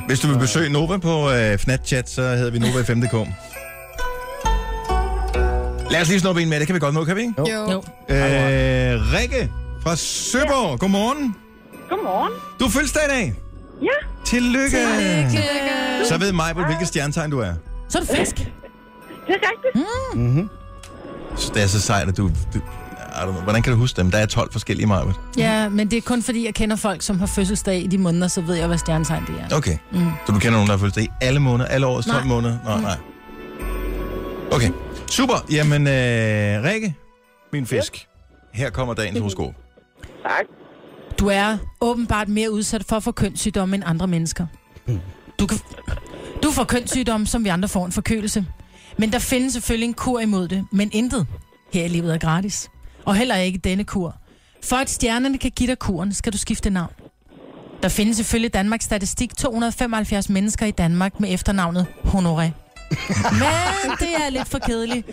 Speaker 1: Hvis du vil besøge Nova på øh, Fnatchat, så hedder vi Nova i 5.dk. Lad os lige snuppe en med, det kan vi godt nå, kan vi ikke?
Speaker 4: Jo.
Speaker 3: Jo.
Speaker 1: Øh, Rikke fra Søborg, ja. godmorgen.
Speaker 10: Godmorgen.
Speaker 1: Du er fødselsdag i dag.
Speaker 10: Ja,
Speaker 1: Tillykke. Tillykke.
Speaker 4: Lykke.
Speaker 1: Så ved mig, hvilket stjernetegn du er.
Speaker 3: Så er du fisk.
Speaker 10: Det er rigtigt. Mm.
Speaker 1: Mm-hmm. Så det er så sejt, at du... du I don't know, hvordan kan du huske dem? Der er 12 forskellige, Maja.
Speaker 3: Ja, men det er kun fordi, jeg kender folk, som har fødselsdag i de måneder, så ved jeg, hvad stjernetegn det er.
Speaker 1: Okay.
Speaker 3: Mm.
Speaker 1: Så du kender nogen, der har fødselsdag i alle måneder, alle årets 12
Speaker 3: Nej.
Speaker 1: måneder? Nej,
Speaker 3: Mm.
Speaker 1: nej. Okay, super. Jamen, øh, Rikke, min fisk. Her kommer dagens horoskop.
Speaker 10: Tak.
Speaker 3: Du er åbenbart mere udsat for at få kønssygdomme end andre mennesker. Du, kan, du får kønssygdomme, som vi andre får en forkølelse. Men der findes selvfølgelig en kur imod det, men intet her i livet er gratis. Og heller ikke denne kur. For at stjernerne kan give dig kuren, skal du skifte navn. Der findes ifølge Danmarks Statistik 275 mennesker i Danmark med efternavnet Honoré. Men det er lidt for kedeligt.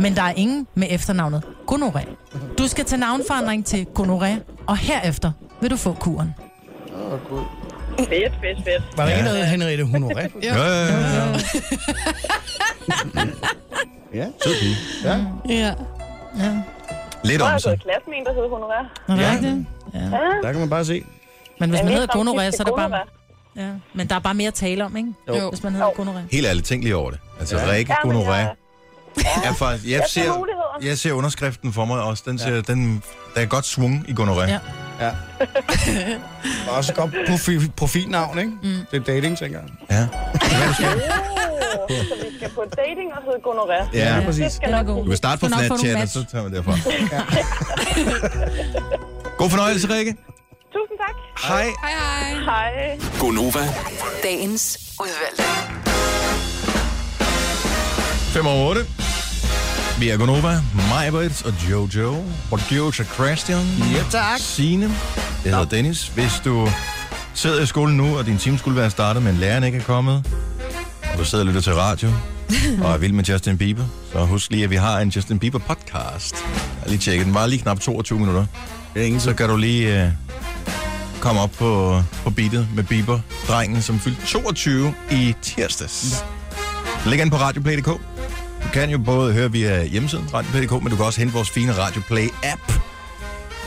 Speaker 3: Men der er ingen med efternavnet Gonoré. Du skal tage navnforandring til Gonoré, og herefter vil du få kuren.
Speaker 10: Åh, oh, gud. Fedt, fedt, fedt.
Speaker 2: Var der ja. en, der hed Henriette Honoré?
Speaker 1: Ja, ja, ja. ja.
Speaker 2: ja.
Speaker 1: Sød pige.
Speaker 2: ja.
Speaker 4: Ja.
Speaker 3: ja.
Speaker 1: Lidt
Speaker 10: Så har
Speaker 1: om
Speaker 10: jeg gået
Speaker 1: sig.
Speaker 10: i klasse med en, der hedder Honoré.
Speaker 3: Ja. det?
Speaker 10: Ja.
Speaker 2: Der kan man bare se.
Speaker 3: Men hvis
Speaker 10: Jeg
Speaker 3: man
Speaker 10: ved
Speaker 3: hedder
Speaker 10: faktisk
Speaker 3: Gonoré,
Speaker 10: ikke,
Speaker 3: så er der bare...
Speaker 10: Gonorrhea.
Speaker 3: Ja. Men der er bare mere at tale om, ikke?
Speaker 4: Jo.
Speaker 3: Hvis man hedder Gonoré.
Speaker 1: Helt ærligt, tænk lige over det. Altså,
Speaker 2: Ja.
Speaker 1: ja. Rikke,
Speaker 10: Ja, men
Speaker 1: gonoré.
Speaker 10: jeg-
Speaker 1: er faktisk... Jeg,
Speaker 10: Jeg ser
Speaker 1: ser,
Speaker 10: muligheder.
Speaker 1: jeg ser underskriften for mig også. Den, ser, den, der er godt svung i
Speaker 10: Ah.
Speaker 1: gonoré.
Speaker 3: Ja.
Speaker 1: Ja.
Speaker 2: Der er også et godt profi- profilnavn, ikke? Mm. Det er dating, tænker jeg.
Speaker 1: ja.
Speaker 10: Åh, Oh, så vi skal på dating og hedde Gonoré.
Speaker 1: Ja.
Speaker 2: Ja, præcis.
Speaker 10: Det skal
Speaker 3: Den er
Speaker 10: nok
Speaker 3: god.
Speaker 1: Du kan starte på
Speaker 3: Du skal nok få
Speaker 1: Snapchat,
Speaker 3: nogle
Speaker 1: og
Speaker 3: match.
Speaker 1: så tager vi derfra. God fornøjelse, Rikke.
Speaker 10: Tusind tak.
Speaker 1: Hej.
Speaker 4: Hej, hej.
Speaker 10: Hej.
Speaker 8: Gonova.
Speaker 7: Dagens udvalgte.
Speaker 1: 5 over 8. Vi er Gonova, Majbert og Jojo. Producer Christian.
Speaker 2: Ja, tak.
Speaker 1: Signe. Jeg hedder Dennis. Hvis du sidder i skolen nu, og din time skulle være startet, men læreren ikke er kommet, og du sidder og lytter til radio, og er vild med Justin Bieber, så husk lige, at vi har en Justin Bieber podcast. Jeg har lige tjekket den. Var lige knap 22 minutter.
Speaker 2: Det er ingen
Speaker 1: Så kan du lige øh, komme op på, på beatet med Bieber, drengen, som fyldte 22 i tirsdags. Læg an på radioplay.dk. Du kan jo både høre via hjemmesiden radioplay.dk, men du kan også hente vores fine Radioplay-app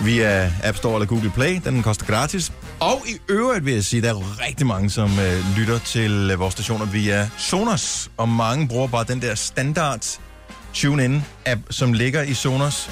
Speaker 1: via App Store eller Google Play. Den koster gratis. Og i øvrigt vil jeg sige, at der er rigtig mange, som øh, lytter til øh, vores stationer via Sonos. Og mange bruger bare den der standard TuneIn-app, som ligger i Sonos.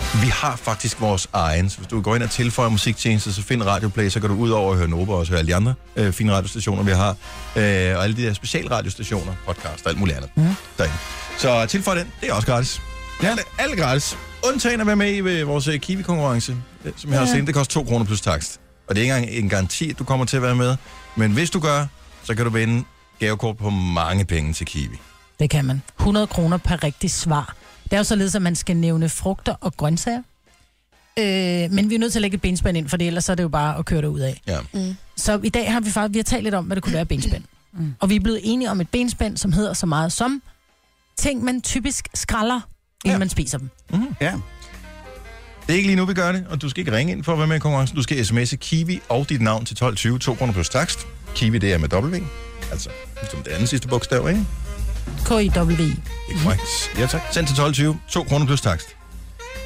Speaker 1: Vi har faktisk vores egen. Så hvis du går ind og tilføjer musiktjenester, så find Radioplay, så kan du ud over at høre Nova og også høre alle de andre øh, fine radiostationer, vi har. Øh, og alle de der specialradiostationer, podcast og alt muligt andet mm. derinde. Så tilføj den. Det er også gratis. Ja. Alle, alle gratis. Undtagen at være med i øh, vores øh, Kiwi-konkurrence, øh, som jeg har sendt. Det koster 2 kroner plus takst. Og det er ikke engang en garanti, at du kommer til at være med. Men hvis du gør, så kan du vinde gavekort på mange penge til Kiwi.
Speaker 3: Det kan man. 100 kroner per rigtig svar. Det er jo således, at man skal nævne frugter og grøntsager. Øh, men vi er nødt til at lægge et benspænd ind, for ellers så er det jo bare at køre ud af.
Speaker 1: Ja.
Speaker 3: Så i dag har vi faktisk vi har talt lidt om, hvad det kunne være benspænd. Mm. Og vi er blevet enige om et benspænd, som hedder så meget som ting, man typisk skralder, inden
Speaker 1: Ja.
Speaker 3: ja. man spiser dem.
Speaker 2: Ja.
Speaker 1: Det er ikke lige nu, vi gør det, og du skal ikke ringe ind for at være med i konkurrencen. Du skal sms'e Kiwi og dit navn til 12.20, 2 kroner plus takst. Kiwi, det er med W, altså som det andet sidste bogstav, ikke?
Speaker 3: K-I-W.
Speaker 1: Det er korrekt. Ja, tak. Send til 12.20, 2 kroner plus takst.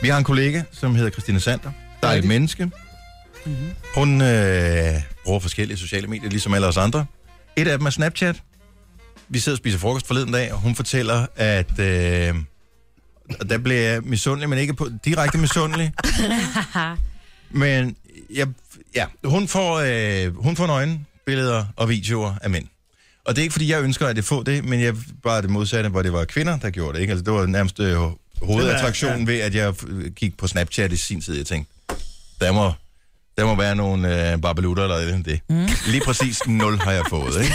Speaker 1: Vi har en kollega, som hedder Christine Sander. Der er et menneske.
Speaker 10: Mm-hmm.
Speaker 1: Hun øh, bruger forskellige sociale medier, ligesom alle os andre. Et af dem er Snapchat. Vi sidder og spiser frokost forleden dag, og hun fortæller, at... Øh, og der blev jeg misundelig, men ikke på, direkte misundelig. men jeg, ja, hun får, øh, hun får nøgen, billeder og videoer af mænd. Og det er ikke, fordi jeg ønsker, at det får det, men jeg bare det modsatte, hvor det var kvinder, der gjorde det. Ikke? Altså, det var nærmest øh, hovedattraktionen ved, at jeg øh, gik på Snapchat i sin tid. Jeg tænkte, der må, der må være nogle øh, barbelutter eller andet end det. Mm. Lige præcis nul har jeg fået. Ikke?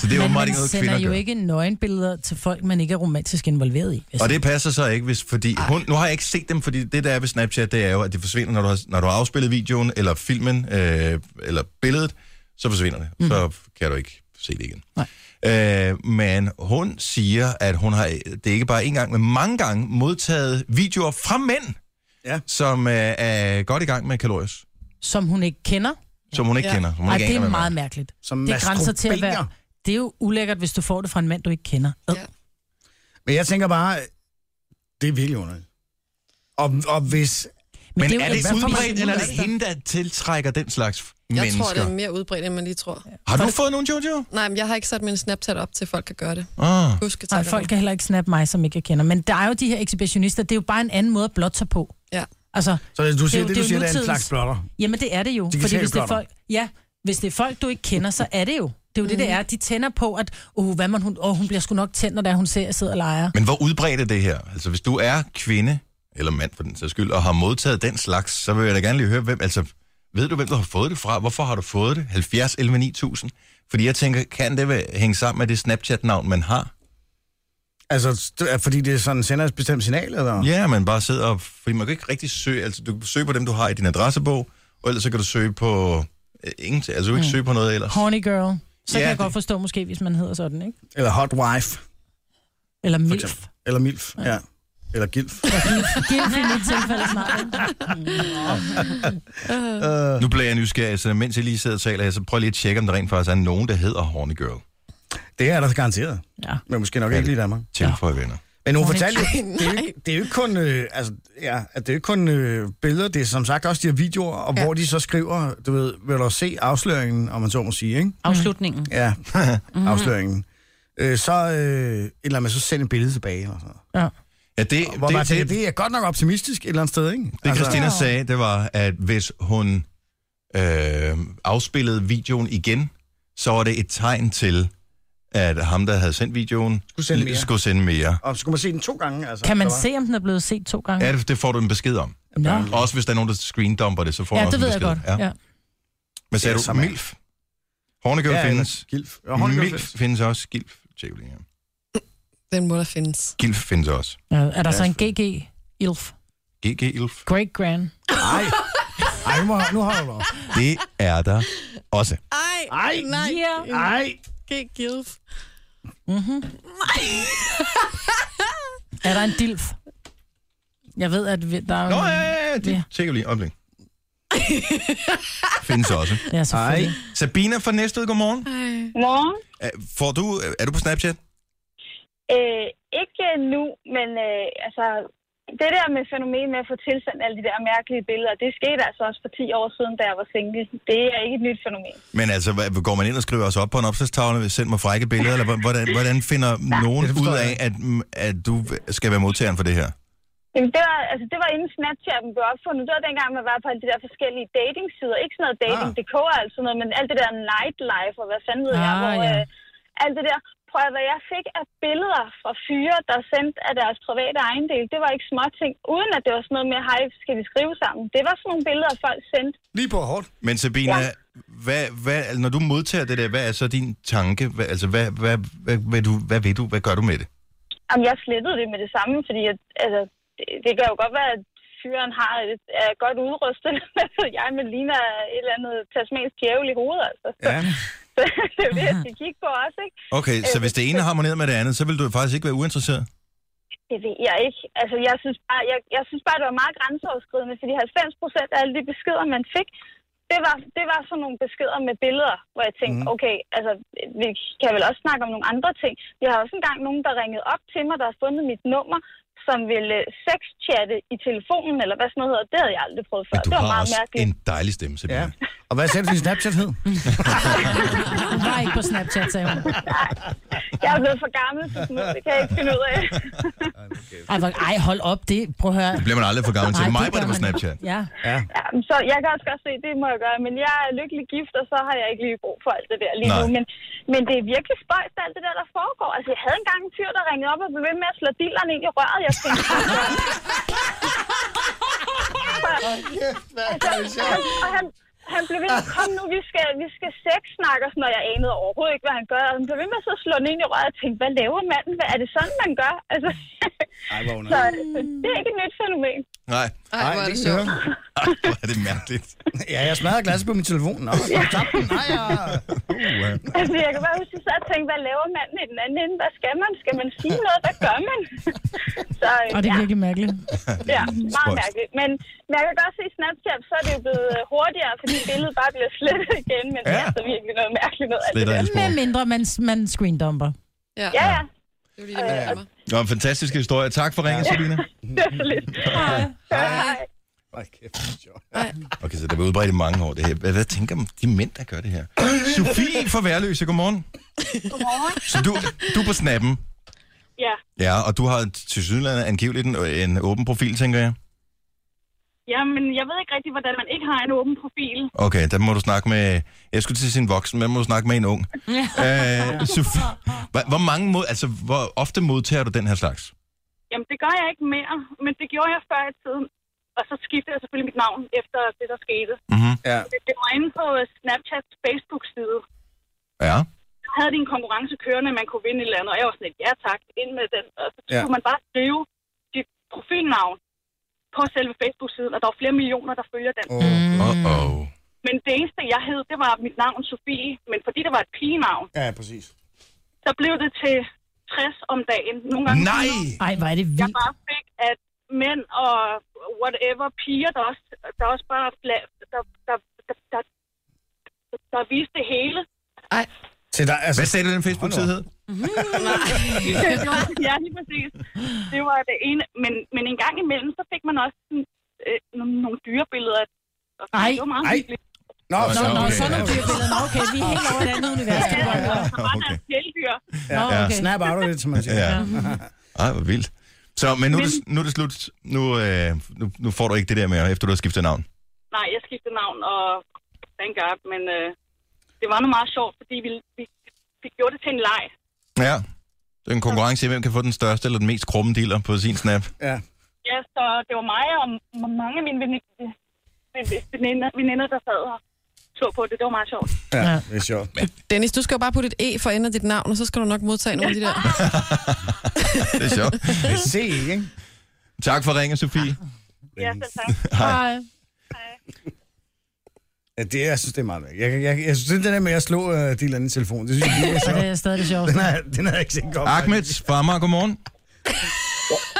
Speaker 1: Så det var meget
Speaker 3: Men man
Speaker 1: ikke noget,
Speaker 3: sender
Speaker 1: kvinder
Speaker 3: jo
Speaker 1: gør.
Speaker 3: ikke nøgenbilleder til folk, man ikke er romantisk involveret i.
Speaker 4: Altså-
Speaker 1: Og det passer så ikke, hvis, fordi hun, nu har jeg ikke set dem, fordi det der er ved Snapchat, det er jo, at det forsvinder, når du har, når du har afspillet videoen, eller filmen, øh, eller billedet, så forsvinder det. Mm.
Speaker 4: Mhm.
Speaker 1: Så kan du ikke se det igen. Øh, men hun siger, at hun har, det er ikke bare en gang, men mange gange modtaget videoer fra mænd,
Speaker 2: Ja.
Speaker 1: som øh, er godt i gang med kalorier,
Speaker 3: Som hun ikke kender.
Speaker 1: som hun ikke
Speaker 4: Ja.
Speaker 1: kender. Som hun
Speaker 3: Ej,
Speaker 1: ikke
Speaker 3: det
Speaker 1: aner,
Speaker 3: er
Speaker 1: hvem
Speaker 3: meget mærkeligt.
Speaker 2: Som
Speaker 3: Det grænser til at være...
Speaker 2: masturberer.
Speaker 3: Det er jo ulækkert, hvis du får det fra en mand, du ikke kender. Ja.
Speaker 4: Ja.
Speaker 2: Men jeg tænker bare, det er virkelig underligt. Og, og hvis...
Speaker 1: Men,
Speaker 3: det
Speaker 1: men er
Speaker 3: jo-
Speaker 1: det
Speaker 3: hvad for
Speaker 1: udbredt,
Speaker 3: mange
Speaker 1: eller er det
Speaker 3: muligheder?
Speaker 1: hende, der tiltrækker den slags?
Speaker 4: Jeg
Speaker 1: mennesker.
Speaker 4: tror, det er mere udbredt, end man lige tror.
Speaker 1: Har du fået nogen, Jojo?
Speaker 4: Nej, men jeg har ikke sat min Snapchat op til, at folk kan gøre det.
Speaker 1: Ah.
Speaker 4: Husk at
Speaker 3: Nej,
Speaker 4: tage
Speaker 3: folk
Speaker 4: det.
Speaker 3: kan heller ikke snappe mig, som ikke jeg kender. Men der er jo de her ekshibitionister, det er jo bare en anden måde at blotte sig på.
Speaker 4: Ja.
Speaker 3: Altså,
Speaker 2: Så det, du siger,
Speaker 3: jo-
Speaker 2: det, det,
Speaker 3: jo
Speaker 2: du siger, det er en
Speaker 3: nutidens-
Speaker 2: slags blotter.
Speaker 3: Jamen, det er det jo. Fordi
Speaker 2: Digitale
Speaker 3: hvis det er
Speaker 2: blotter.
Speaker 3: folk, ja, hvis det er folk, du ikke kender, så er det jo. Det er jo det,
Speaker 4: Mm.
Speaker 3: det er. De tænder på, at oh, hvad man, hun, oh, hun bliver sgu nok tændt, når der hun ser, at jeg sidder og leger.
Speaker 1: Men hvor udbredt er det her? Altså, hvis du er kvinde, eller mand for den sags skyld, og har modtaget den slags, så vil jeg da gerne lige høre, hvem, altså, ved du, hvem der har fået det fra? Hvorfor har du fået det? 70 11 9000? Fordi jeg tænker, kan det være- hænge sammen med det Snapchat-navn, man har?
Speaker 2: Altså, det er, fordi det sådan sender et bestemt signal, eller?
Speaker 1: Ja, man bare sidder og... Fordi man kan ikke rigtig søge... Altså, du kan søge på dem, du har i din adressebog, og ellers så kan du søge på... Øh, ingenting. Altså, du kan ikke
Speaker 3: Mm.
Speaker 1: søge på noget ellers.
Speaker 3: Horny girl.
Speaker 1: Ja,
Speaker 3: Så ja, kan jeg
Speaker 1: det-
Speaker 3: godt forstå måske, hvis man hedder sådan, ikke?
Speaker 2: Eller hot wife,
Speaker 3: Eller
Speaker 2: for
Speaker 3: milf.
Speaker 2: eksempel. Eller milf, ja. ja. Eller gilf.
Speaker 3: Gilf i mit tilfælde snart. ikke?
Speaker 2: Øh.
Speaker 1: Nu bliver jeg nysgerrig, så mens jeg lige sidder og taler her, så prøv lige at tjekke, om der rent faktisk er nogen, der hedder Horny Girl.
Speaker 2: Det er der garanteret.
Speaker 3: Ja.
Speaker 2: Men måske nok ikke lige i Danmark.
Speaker 1: Tilføj venner.
Speaker 2: Men hun
Speaker 3: Nå,
Speaker 2: fortalte jo,
Speaker 4: nej,
Speaker 2: det er jo, ikke- det er jo ikke kun, øh, altså, ja, at det er jo ikke kun øh, billeder, det er som sagt også de her videoer, og ja.
Speaker 4: Ja.
Speaker 2: hvor de så skriver, du ved, vil du se afsløringen, om man så må sige, ikke?
Speaker 5: Afslutningen.
Speaker 2: Ja,
Speaker 3: Mhm.
Speaker 2: afsløringen. Øh, så, øh, et eller andet, så send et billede tilbage, eller sådan noget.
Speaker 3: Ja.
Speaker 1: Ja, det,
Speaker 2: Hvor man
Speaker 1: det,
Speaker 2: tænker,
Speaker 1: det, det,
Speaker 2: det er godt nok optimistisk et eller andet sted, ikke? Altså,
Speaker 1: det Christina sagde, det var, at hvis hun øh, afspillede videoen igen, så var det et tegn til, at ham, der havde sendt videoen,
Speaker 2: Skulle sende mere.
Speaker 1: skulle sende mere.
Speaker 2: Og skulle man se den to gange, altså?
Speaker 3: Kan man
Speaker 2: der var-
Speaker 3: se, om den er blevet set to gange?
Speaker 1: Ja, det, det får du en besked om.
Speaker 3: Nå.
Speaker 1: Også hvis der er nogen, der screendumper det, så får
Speaker 3: Ja,
Speaker 1: du også
Speaker 3: det ved
Speaker 1: en
Speaker 3: jeg
Speaker 1: besked.
Speaker 3: godt. Ja.
Speaker 1: Hvad sagde
Speaker 2: Ja,
Speaker 1: du?
Speaker 2: samme her.
Speaker 1: Milf? Hornegirl
Speaker 2: Ja,
Speaker 1: ja,
Speaker 2: eller
Speaker 1: findes.
Speaker 2: Gilf. Ja,
Speaker 1: Ja,
Speaker 2: håndgilf.
Speaker 1: Milf findes også. Gilf. Tjek lige her.
Speaker 4: Den må der findes.
Speaker 1: Gilf findes også.
Speaker 3: Ja, Er der så en GG? Ilf.
Speaker 1: GG Ilf.
Speaker 3: Great Grand.
Speaker 2: Ej, Ej nu, må, nu holder du op.
Speaker 1: Det er der også.
Speaker 4: Ej,
Speaker 2: Ej,
Speaker 4: nej.
Speaker 3: yeah.
Speaker 2: Ej,
Speaker 4: Ikke gilf.
Speaker 3: Mm-hmm. Er der en dilf? Jeg ved, at vi- der er...
Speaker 1: Nå, ja, ja, ja.
Speaker 3: Ja.
Speaker 1: Det tjekker vi lige. Øjeblik. findes også.
Speaker 3: Ja, selvfølgelig.
Speaker 1: Sabina fra Næstved, godmorgen.
Speaker 10: Morgen.
Speaker 1: Er- Får du, er du på Snapchat?
Speaker 10: Øh, ikke nu, men øh, altså, det der med fænomenet med at få tilsendt alle de der mærkelige billeder, det skete altså også for 10 år siden, da jeg var single. Det er ikke et nyt fænomen.
Speaker 1: Men altså, hvad- går man ind og skriver os op på en opslagstavle, hvis send mig frække billeder, eller hv- hvordan, hvordan finder nogen ud af, at, mm, at du skal være modtageren for det her?
Speaker 10: Jamen, det var, altså, det var inden Snapchat'en blev opfundet. Det var dengang, man var på alle de der forskellige datingsider. Ikke sådan
Speaker 3: Ah.
Speaker 10: noget dating.dk og alt sådan noget, men alt det der nightlife og hvad fanden ved jeg,
Speaker 3: Ah,
Speaker 10: hvor
Speaker 3: ja.
Speaker 10: øh, alt det der. Prøv at hvad jeg fik af billeder fra fyre, der sendte af deres private ejendel. Det var ikke småting, uden at det var sådan noget med, hej, skal vi skrive sammen? Det var sådan nogle billeder, folk sendte.
Speaker 2: lige på hårdt.
Speaker 1: Men Sabina, ja.
Speaker 10: Ja.
Speaker 1: hvad, hvad, altså, når du modtager det der, hvad er så din tanke? Hvad, altså, hvad, hvad, hvad, hvad, du, hvad ved du? Hvad gør du med det?
Speaker 10: Jamen, jeg slettede det med det samme, fordi at, altså, det, det kan jo godt være, at fyren har et, er godt udrustet, hvad ved jeg, men ligner et eller andet tasmansk djævel i hovedet, altså.
Speaker 2: Ja.
Speaker 10: Så det er jo det, jeg skal kigge på også, ikke?
Speaker 1: Okay,
Speaker 3: Øh,
Speaker 1: så hvis det ene harmonerer med det andet, så vil du faktisk ikke være uinteresseret?
Speaker 10: Det ved jeg ikke. Altså, jeg synes bare, jeg, jeg synes bare det var meget grænseoverskridende, fordi 90 procent af alle de beskeder, man fik, det var, det var sådan nogle beskeder med billeder, hvor jeg tænkte,
Speaker 1: Mhm.
Speaker 10: mm. okay, altså, vi kan vel også snakke om nogle andre ting. Jeg har også engang nogen, der ringede op til mig, der har fundet mit nummer, som ville øh, sexchatte i telefonen, eller hvad sådan noget hedder. Det havde jeg aldrig prøvet før.
Speaker 1: Men du
Speaker 10: det var
Speaker 1: har
Speaker 10: meget
Speaker 1: også
Speaker 10: mærkeligt.
Speaker 1: en dejlig stemme, Sabina.
Speaker 2: ja. Og hvad sagde du, din Snapchat hed?
Speaker 3: Hun var ikke på Snapchat, sagde hun.
Speaker 10: Jeg er blevet for gammel til sådan noget. Det kan jeg ikke finde ud af.
Speaker 3: Ej, hvor, ej hold op. Det, prøv at høre.
Speaker 1: Det bliver man aldrig for gammel til.
Speaker 3: Nej,
Speaker 1: Mig
Speaker 3: det
Speaker 1: var det på
Speaker 3: gør man ikke.
Speaker 1: Snapchat.
Speaker 3: Ja.
Speaker 10: Ja, men så jeg kan også godt se, det må jeg gøre, men jeg er lykkelig gift, og så har jeg ikke lige brug for alt det der lige
Speaker 1: Nej.
Speaker 10: nu. Men, men det er virkelig spøjst, alt det der, der foregår. Altså, jeg havde engang en fyr, der ringede op og blev ved med at slå dilleren ind i røret. Jeg tænkte, altså, han, og han, han blev ved med at komme nu, vi skal, vi skal sex snakke, og sådan, og jeg anede overhovedet ikke, hvad han gør. Og han blev ved med at så slå den ind i røret og tænkte, hvad laver manden? Hvad er det sådan, man gør? Altså,
Speaker 2: Ej, hvor
Speaker 10: så, så det er ikke et nyt fænomen.
Speaker 1: Nej,
Speaker 4: Ej, hvor er det
Speaker 2: kan
Speaker 4: sjovt.
Speaker 2: jeg høre.
Speaker 1: Ej, hvor er det mærkeligt.
Speaker 2: Ja, jeg smadrer glasset på min telefon. Nå, så tabte den. Nej, ja.
Speaker 1: Uh,
Speaker 10: Altså, jeg kan bare huske, at jeg sad og tænkte, hvad laver manden i den anden ende? Hvad skal man? Skal man sige noget? Hvad gør man? så øh,
Speaker 3: Og det er virkelig mærkeligt.
Speaker 10: ja, ja, meget
Speaker 1: spøjst.
Speaker 10: mærkeligt. Men, men jeg kan godt se Snapchat, så er det jo blevet øh, hurtigere, fordi billedet bare bliver slettet igen. Men ja. det
Speaker 1: Ja.
Speaker 10: er altså virkelig noget mærkeligt noget af det
Speaker 1: Sletter
Speaker 10: der.
Speaker 1: alle
Speaker 3: Med
Speaker 1: spor.
Speaker 3: mindre man, man screendumper.
Speaker 4: Ja,
Speaker 10: Ja, ja.
Speaker 4: det er jo lige det, man glemmer.
Speaker 1: Nå, en fantastisk historie. Tak for ringen, Sabina.
Speaker 10: Det er så lidt.
Speaker 1: Hej.
Speaker 10: Hej.
Speaker 2: Ej, kæft, det er sjovt.
Speaker 1: Okay, så det var udbredt i mange år, det her. Hvad, hvad tænker man, de mænd, der gør det her? Sofie fra Værløse, godmorgen.
Speaker 10: Godmorgen.
Speaker 1: Så du, du er på snappen,
Speaker 10: Ja,
Speaker 1: ja, og du har til sydlandet angiveligt en, en åben profil, tænker jeg.
Speaker 10: Jamen, jeg ved ikke rigtig, hvordan man ikke har en åben profil.
Speaker 1: Okay, der må du snakke med... Jeg skulle til at sige en voksen, men der må du snakke med en ung. Øh, Sofie, hvor, hvor mange mod, altså, hvor ofte modtager du den her slags?
Speaker 10: Jamen, det gør jeg ikke mere, men det gjorde jeg før i tiden. Og så skiftede jeg selvfølgelig mit navn efter det, der skete.
Speaker 7: Mm.
Speaker 1: Mm-hmm.
Speaker 2: Ja.
Speaker 10: Det- Det var inde på øh, Snapchats Facebook-side.
Speaker 1: Ja.
Speaker 10: Så havde de en konkurrence kørende, man kunne vinde et eller andet. Og jeg var sådan lidt, ja tak, ind med den. Og så
Speaker 1: Ja.
Speaker 10: ja. kunne man bare skrive dit profilnavn på selve Facebook-siden, og der var flere millioner, der følger den.
Speaker 1: Mm. Uh-oh.
Speaker 10: Men det eneste, jeg hed, det var mit navn Sofie, men fordi det var et pigenavn,
Speaker 2: Ja, præcis.
Speaker 10: så blev det til 60 om dagen. Nogle gange
Speaker 1: Nej!
Speaker 3: Ej, hvor er det
Speaker 10: Jeg bare fik, at mænd og whatever, piger, der også, der også bare fla, der, der, der, der, der, der viste det hele.
Speaker 2: Til dig, altså...
Speaker 1: Hvad sagde du, den Facebook-side hed?
Speaker 3: Mhm.
Speaker 10: ja, lige præcis. Det var det ene. Men, men en gang imellem, så fik man også sådan, øh, nogle, nogle dyrebilleder. Og
Speaker 3: Ej.
Speaker 10: det var meget
Speaker 2: Ej.
Speaker 10: hyggeligt.
Speaker 2: Nå,
Speaker 1: Nå,
Speaker 2: så,
Speaker 1: nå,
Speaker 2: okay.
Speaker 3: så er nogle dyrbilleder. Nå, okay, vi er helt over et andet univers. Det er godt.
Speaker 10: Så var der
Speaker 1: Okay.
Speaker 10: kæledyr.
Speaker 3: Nå, okay. Mhm.
Speaker 2: Snap out of it, som man siger.
Speaker 1: Ja. Ej, hvor vildt. Så, men nu, er det, nu er det slut. Nu, øh, nu, nu får du ikke det der mere, efter du har skiftet navn.
Speaker 10: Nej, jeg skiftede navn, og thank God, men øh, det var noget meget sjovt, fordi vi, vi, vi gjorde det til en leg.
Speaker 1: Ja. Det er en konkurrence i, hvem kan få den største eller den mest krumme dealer på sin snap.
Speaker 2: Ja.
Speaker 10: Ja, så det var mig og m- mange af mine veni- ve- veninder, veninder der sad og så på det. Det var meget sjovt.
Speaker 2: ja, det er sjovt.
Speaker 4: Dennis, du skal jo bare putte et E for enden af dit navn, og så skal du nok modtage nogle af de der.
Speaker 1: Det er sjovt.
Speaker 2: Se, ikke?
Speaker 1: Tak for ringen, Sofie.
Speaker 10: Ja, selv tak.
Speaker 1: Hej.
Speaker 2: Ja, det, jeg synes, det er meget væk. Jeg, jeg, jeg synes, den der med at slå uh, de eller anden telefon, det synes jeg, det er
Speaker 3: Ja,
Speaker 2: sjovt.
Speaker 3: det er stadig det sjoveste.
Speaker 2: Den er, den er ikke sikkert godt.
Speaker 1: Ahmed fra Amager, godmorgen.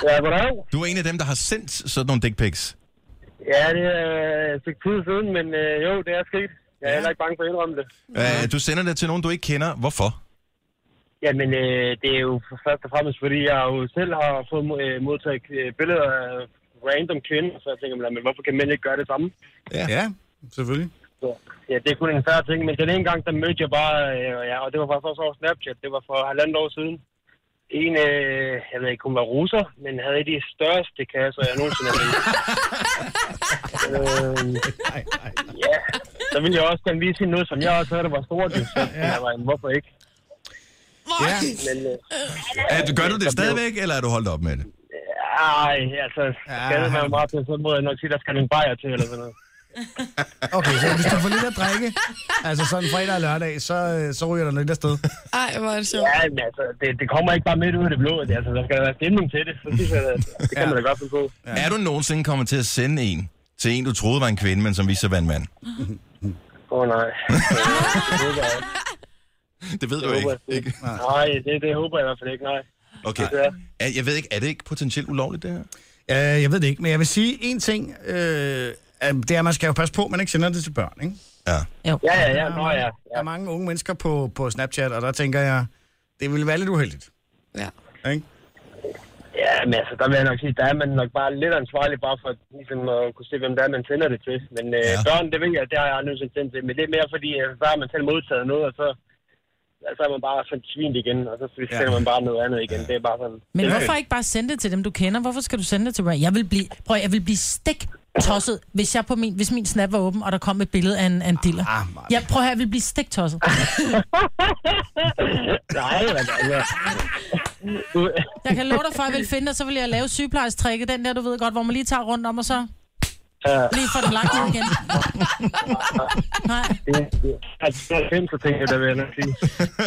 Speaker 11: Ja, goddag.
Speaker 1: Du er en af dem, der har sendt sådan nogle dick pics.
Speaker 11: Ja, det er øh, et stykke tid siden, men øh, jo, det er sket. Jeg er heller ikke bange for at indrømme det.
Speaker 1: Øh, du sender det til nogen, du ikke kender. Hvorfor?
Speaker 11: Jamen, øh, det er jo først og fremmest, fordi jeg jo selv har fået øh, modtaget øh, billeder af random kvinder, så jeg tænker, men hvorfor kan mænd ikke gøre det samme?
Speaker 2: Ja, selvfølgelig.
Speaker 11: Så, ja, det er kun en færre ting, men den ene gang, der mødte jeg bare, øh, ja, og det var faktisk også over Snapchat, det var for halvandet år siden. En, øh, jeg ved ikke, hun var russer, men havde de største kasser, jeg nogensinde har set. øh, ja, så ville jeg også gerne vise hende noget, som jeg også havde, der var stort. Så jeg var, hvorfor ikke?
Speaker 2: Ja.
Speaker 11: Men, øh,
Speaker 1: Er, gør du det stadigvæk, eller er du holdt op med det?
Speaker 11: Ej, altså, skal det være meget til, så må jeg nok sige, der skal nogle bajer til, eller sådan noget.
Speaker 2: Okay, så hvis du får lidt at drikke, altså sådan fredag og lørdag, så, øh, så ryger der lidt afsted.
Speaker 4: Ej, hvor er det sjovt.
Speaker 11: Ja, men altså, det, det kommer ikke bare midt ud af det blå. Det, altså, der skal være stemning til det, så synes jeg, at det kan man da godt finde på.
Speaker 1: Ja. Er du nogensinde kommet til at sende en til en, du troede var en kvinde, men som viste sig at være en mand?
Speaker 11: Åh, oh, nej. Det
Speaker 1: Det
Speaker 11: håber jeg ikke.
Speaker 1: ved
Speaker 11: Det
Speaker 1: du
Speaker 11: håber
Speaker 1: ikke.
Speaker 11: jeg ikke.
Speaker 1: ikke?
Speaker 11: Nej, det, det håber jeg i hvert fald ikke, nej.
Speaker 1: Okay. Er, jeg ved ikke, er det ikke potentielt ulovligt, det her?
Speaker 2: Uh, jeg ved det ikke, men jeg vil sige en ting. Uh, det er, at man skal jo passe på, at man ikke sender det til børn, ikke?
Speaker 1: Ja.
Speaker 3: Jo.
Speaker 11: Ja, ja, ja, nå ja.
Speaker 2: Der
Speaker 11: ja.
Speaker 2: er mange unge mennesker på, på Snapchat, og der tænker jeg, det ville være lidt uheldigt.
Speaker 4: Ja.
Speaker 2: Ikke?
Speaker 11: Ja, men altså, der vil jeg nok sige, der er man nok bare lidt ansvarlig, bare for ligesom, at kunne se, hvem det er, man sender det til. Men øh,
Speaker 1: Ja.
Speaker 11: børn, det ved jeg, det har jeg aldrig nogensinde sendt til. Men det er mere fordi, altså, så har man selv modtaget noget, og så, så er man bare sådan svint igen, og så sender man bare noget andet igen. Det er bare sådan...
Speaker 3: Men
Speaker 11: det,
Speaker 3: hvorfor ikke bare sende det til dem, du kender? Hvorfor skal du sende det til mig? Jeg vil blive, prøv, at- jeg vil blive stik tosset, hvis, jeg på min, hvis min snap var åben, og der kom et billede af en, af en diller.
Speaker 2: Ah, Maja.
Speaker 3: Jeg prøver at høre, jeg vil blive stik tosset.
Speaker 11: Nej, men altså... Du,
Speaker 3: Jeg kan love dig for, at jeg vil finde dig, så vil jeg lave sygeplejerstrækket, den der, du ved godt, hvor man lige tager rundt om, og så
Speaker 11: Ja.
Speaker 3: lige får den lagt ned igen. Nej,
Speaker 11: Det- det- Altså, det er fem, så tænker jeg, der vil jeg nok sige.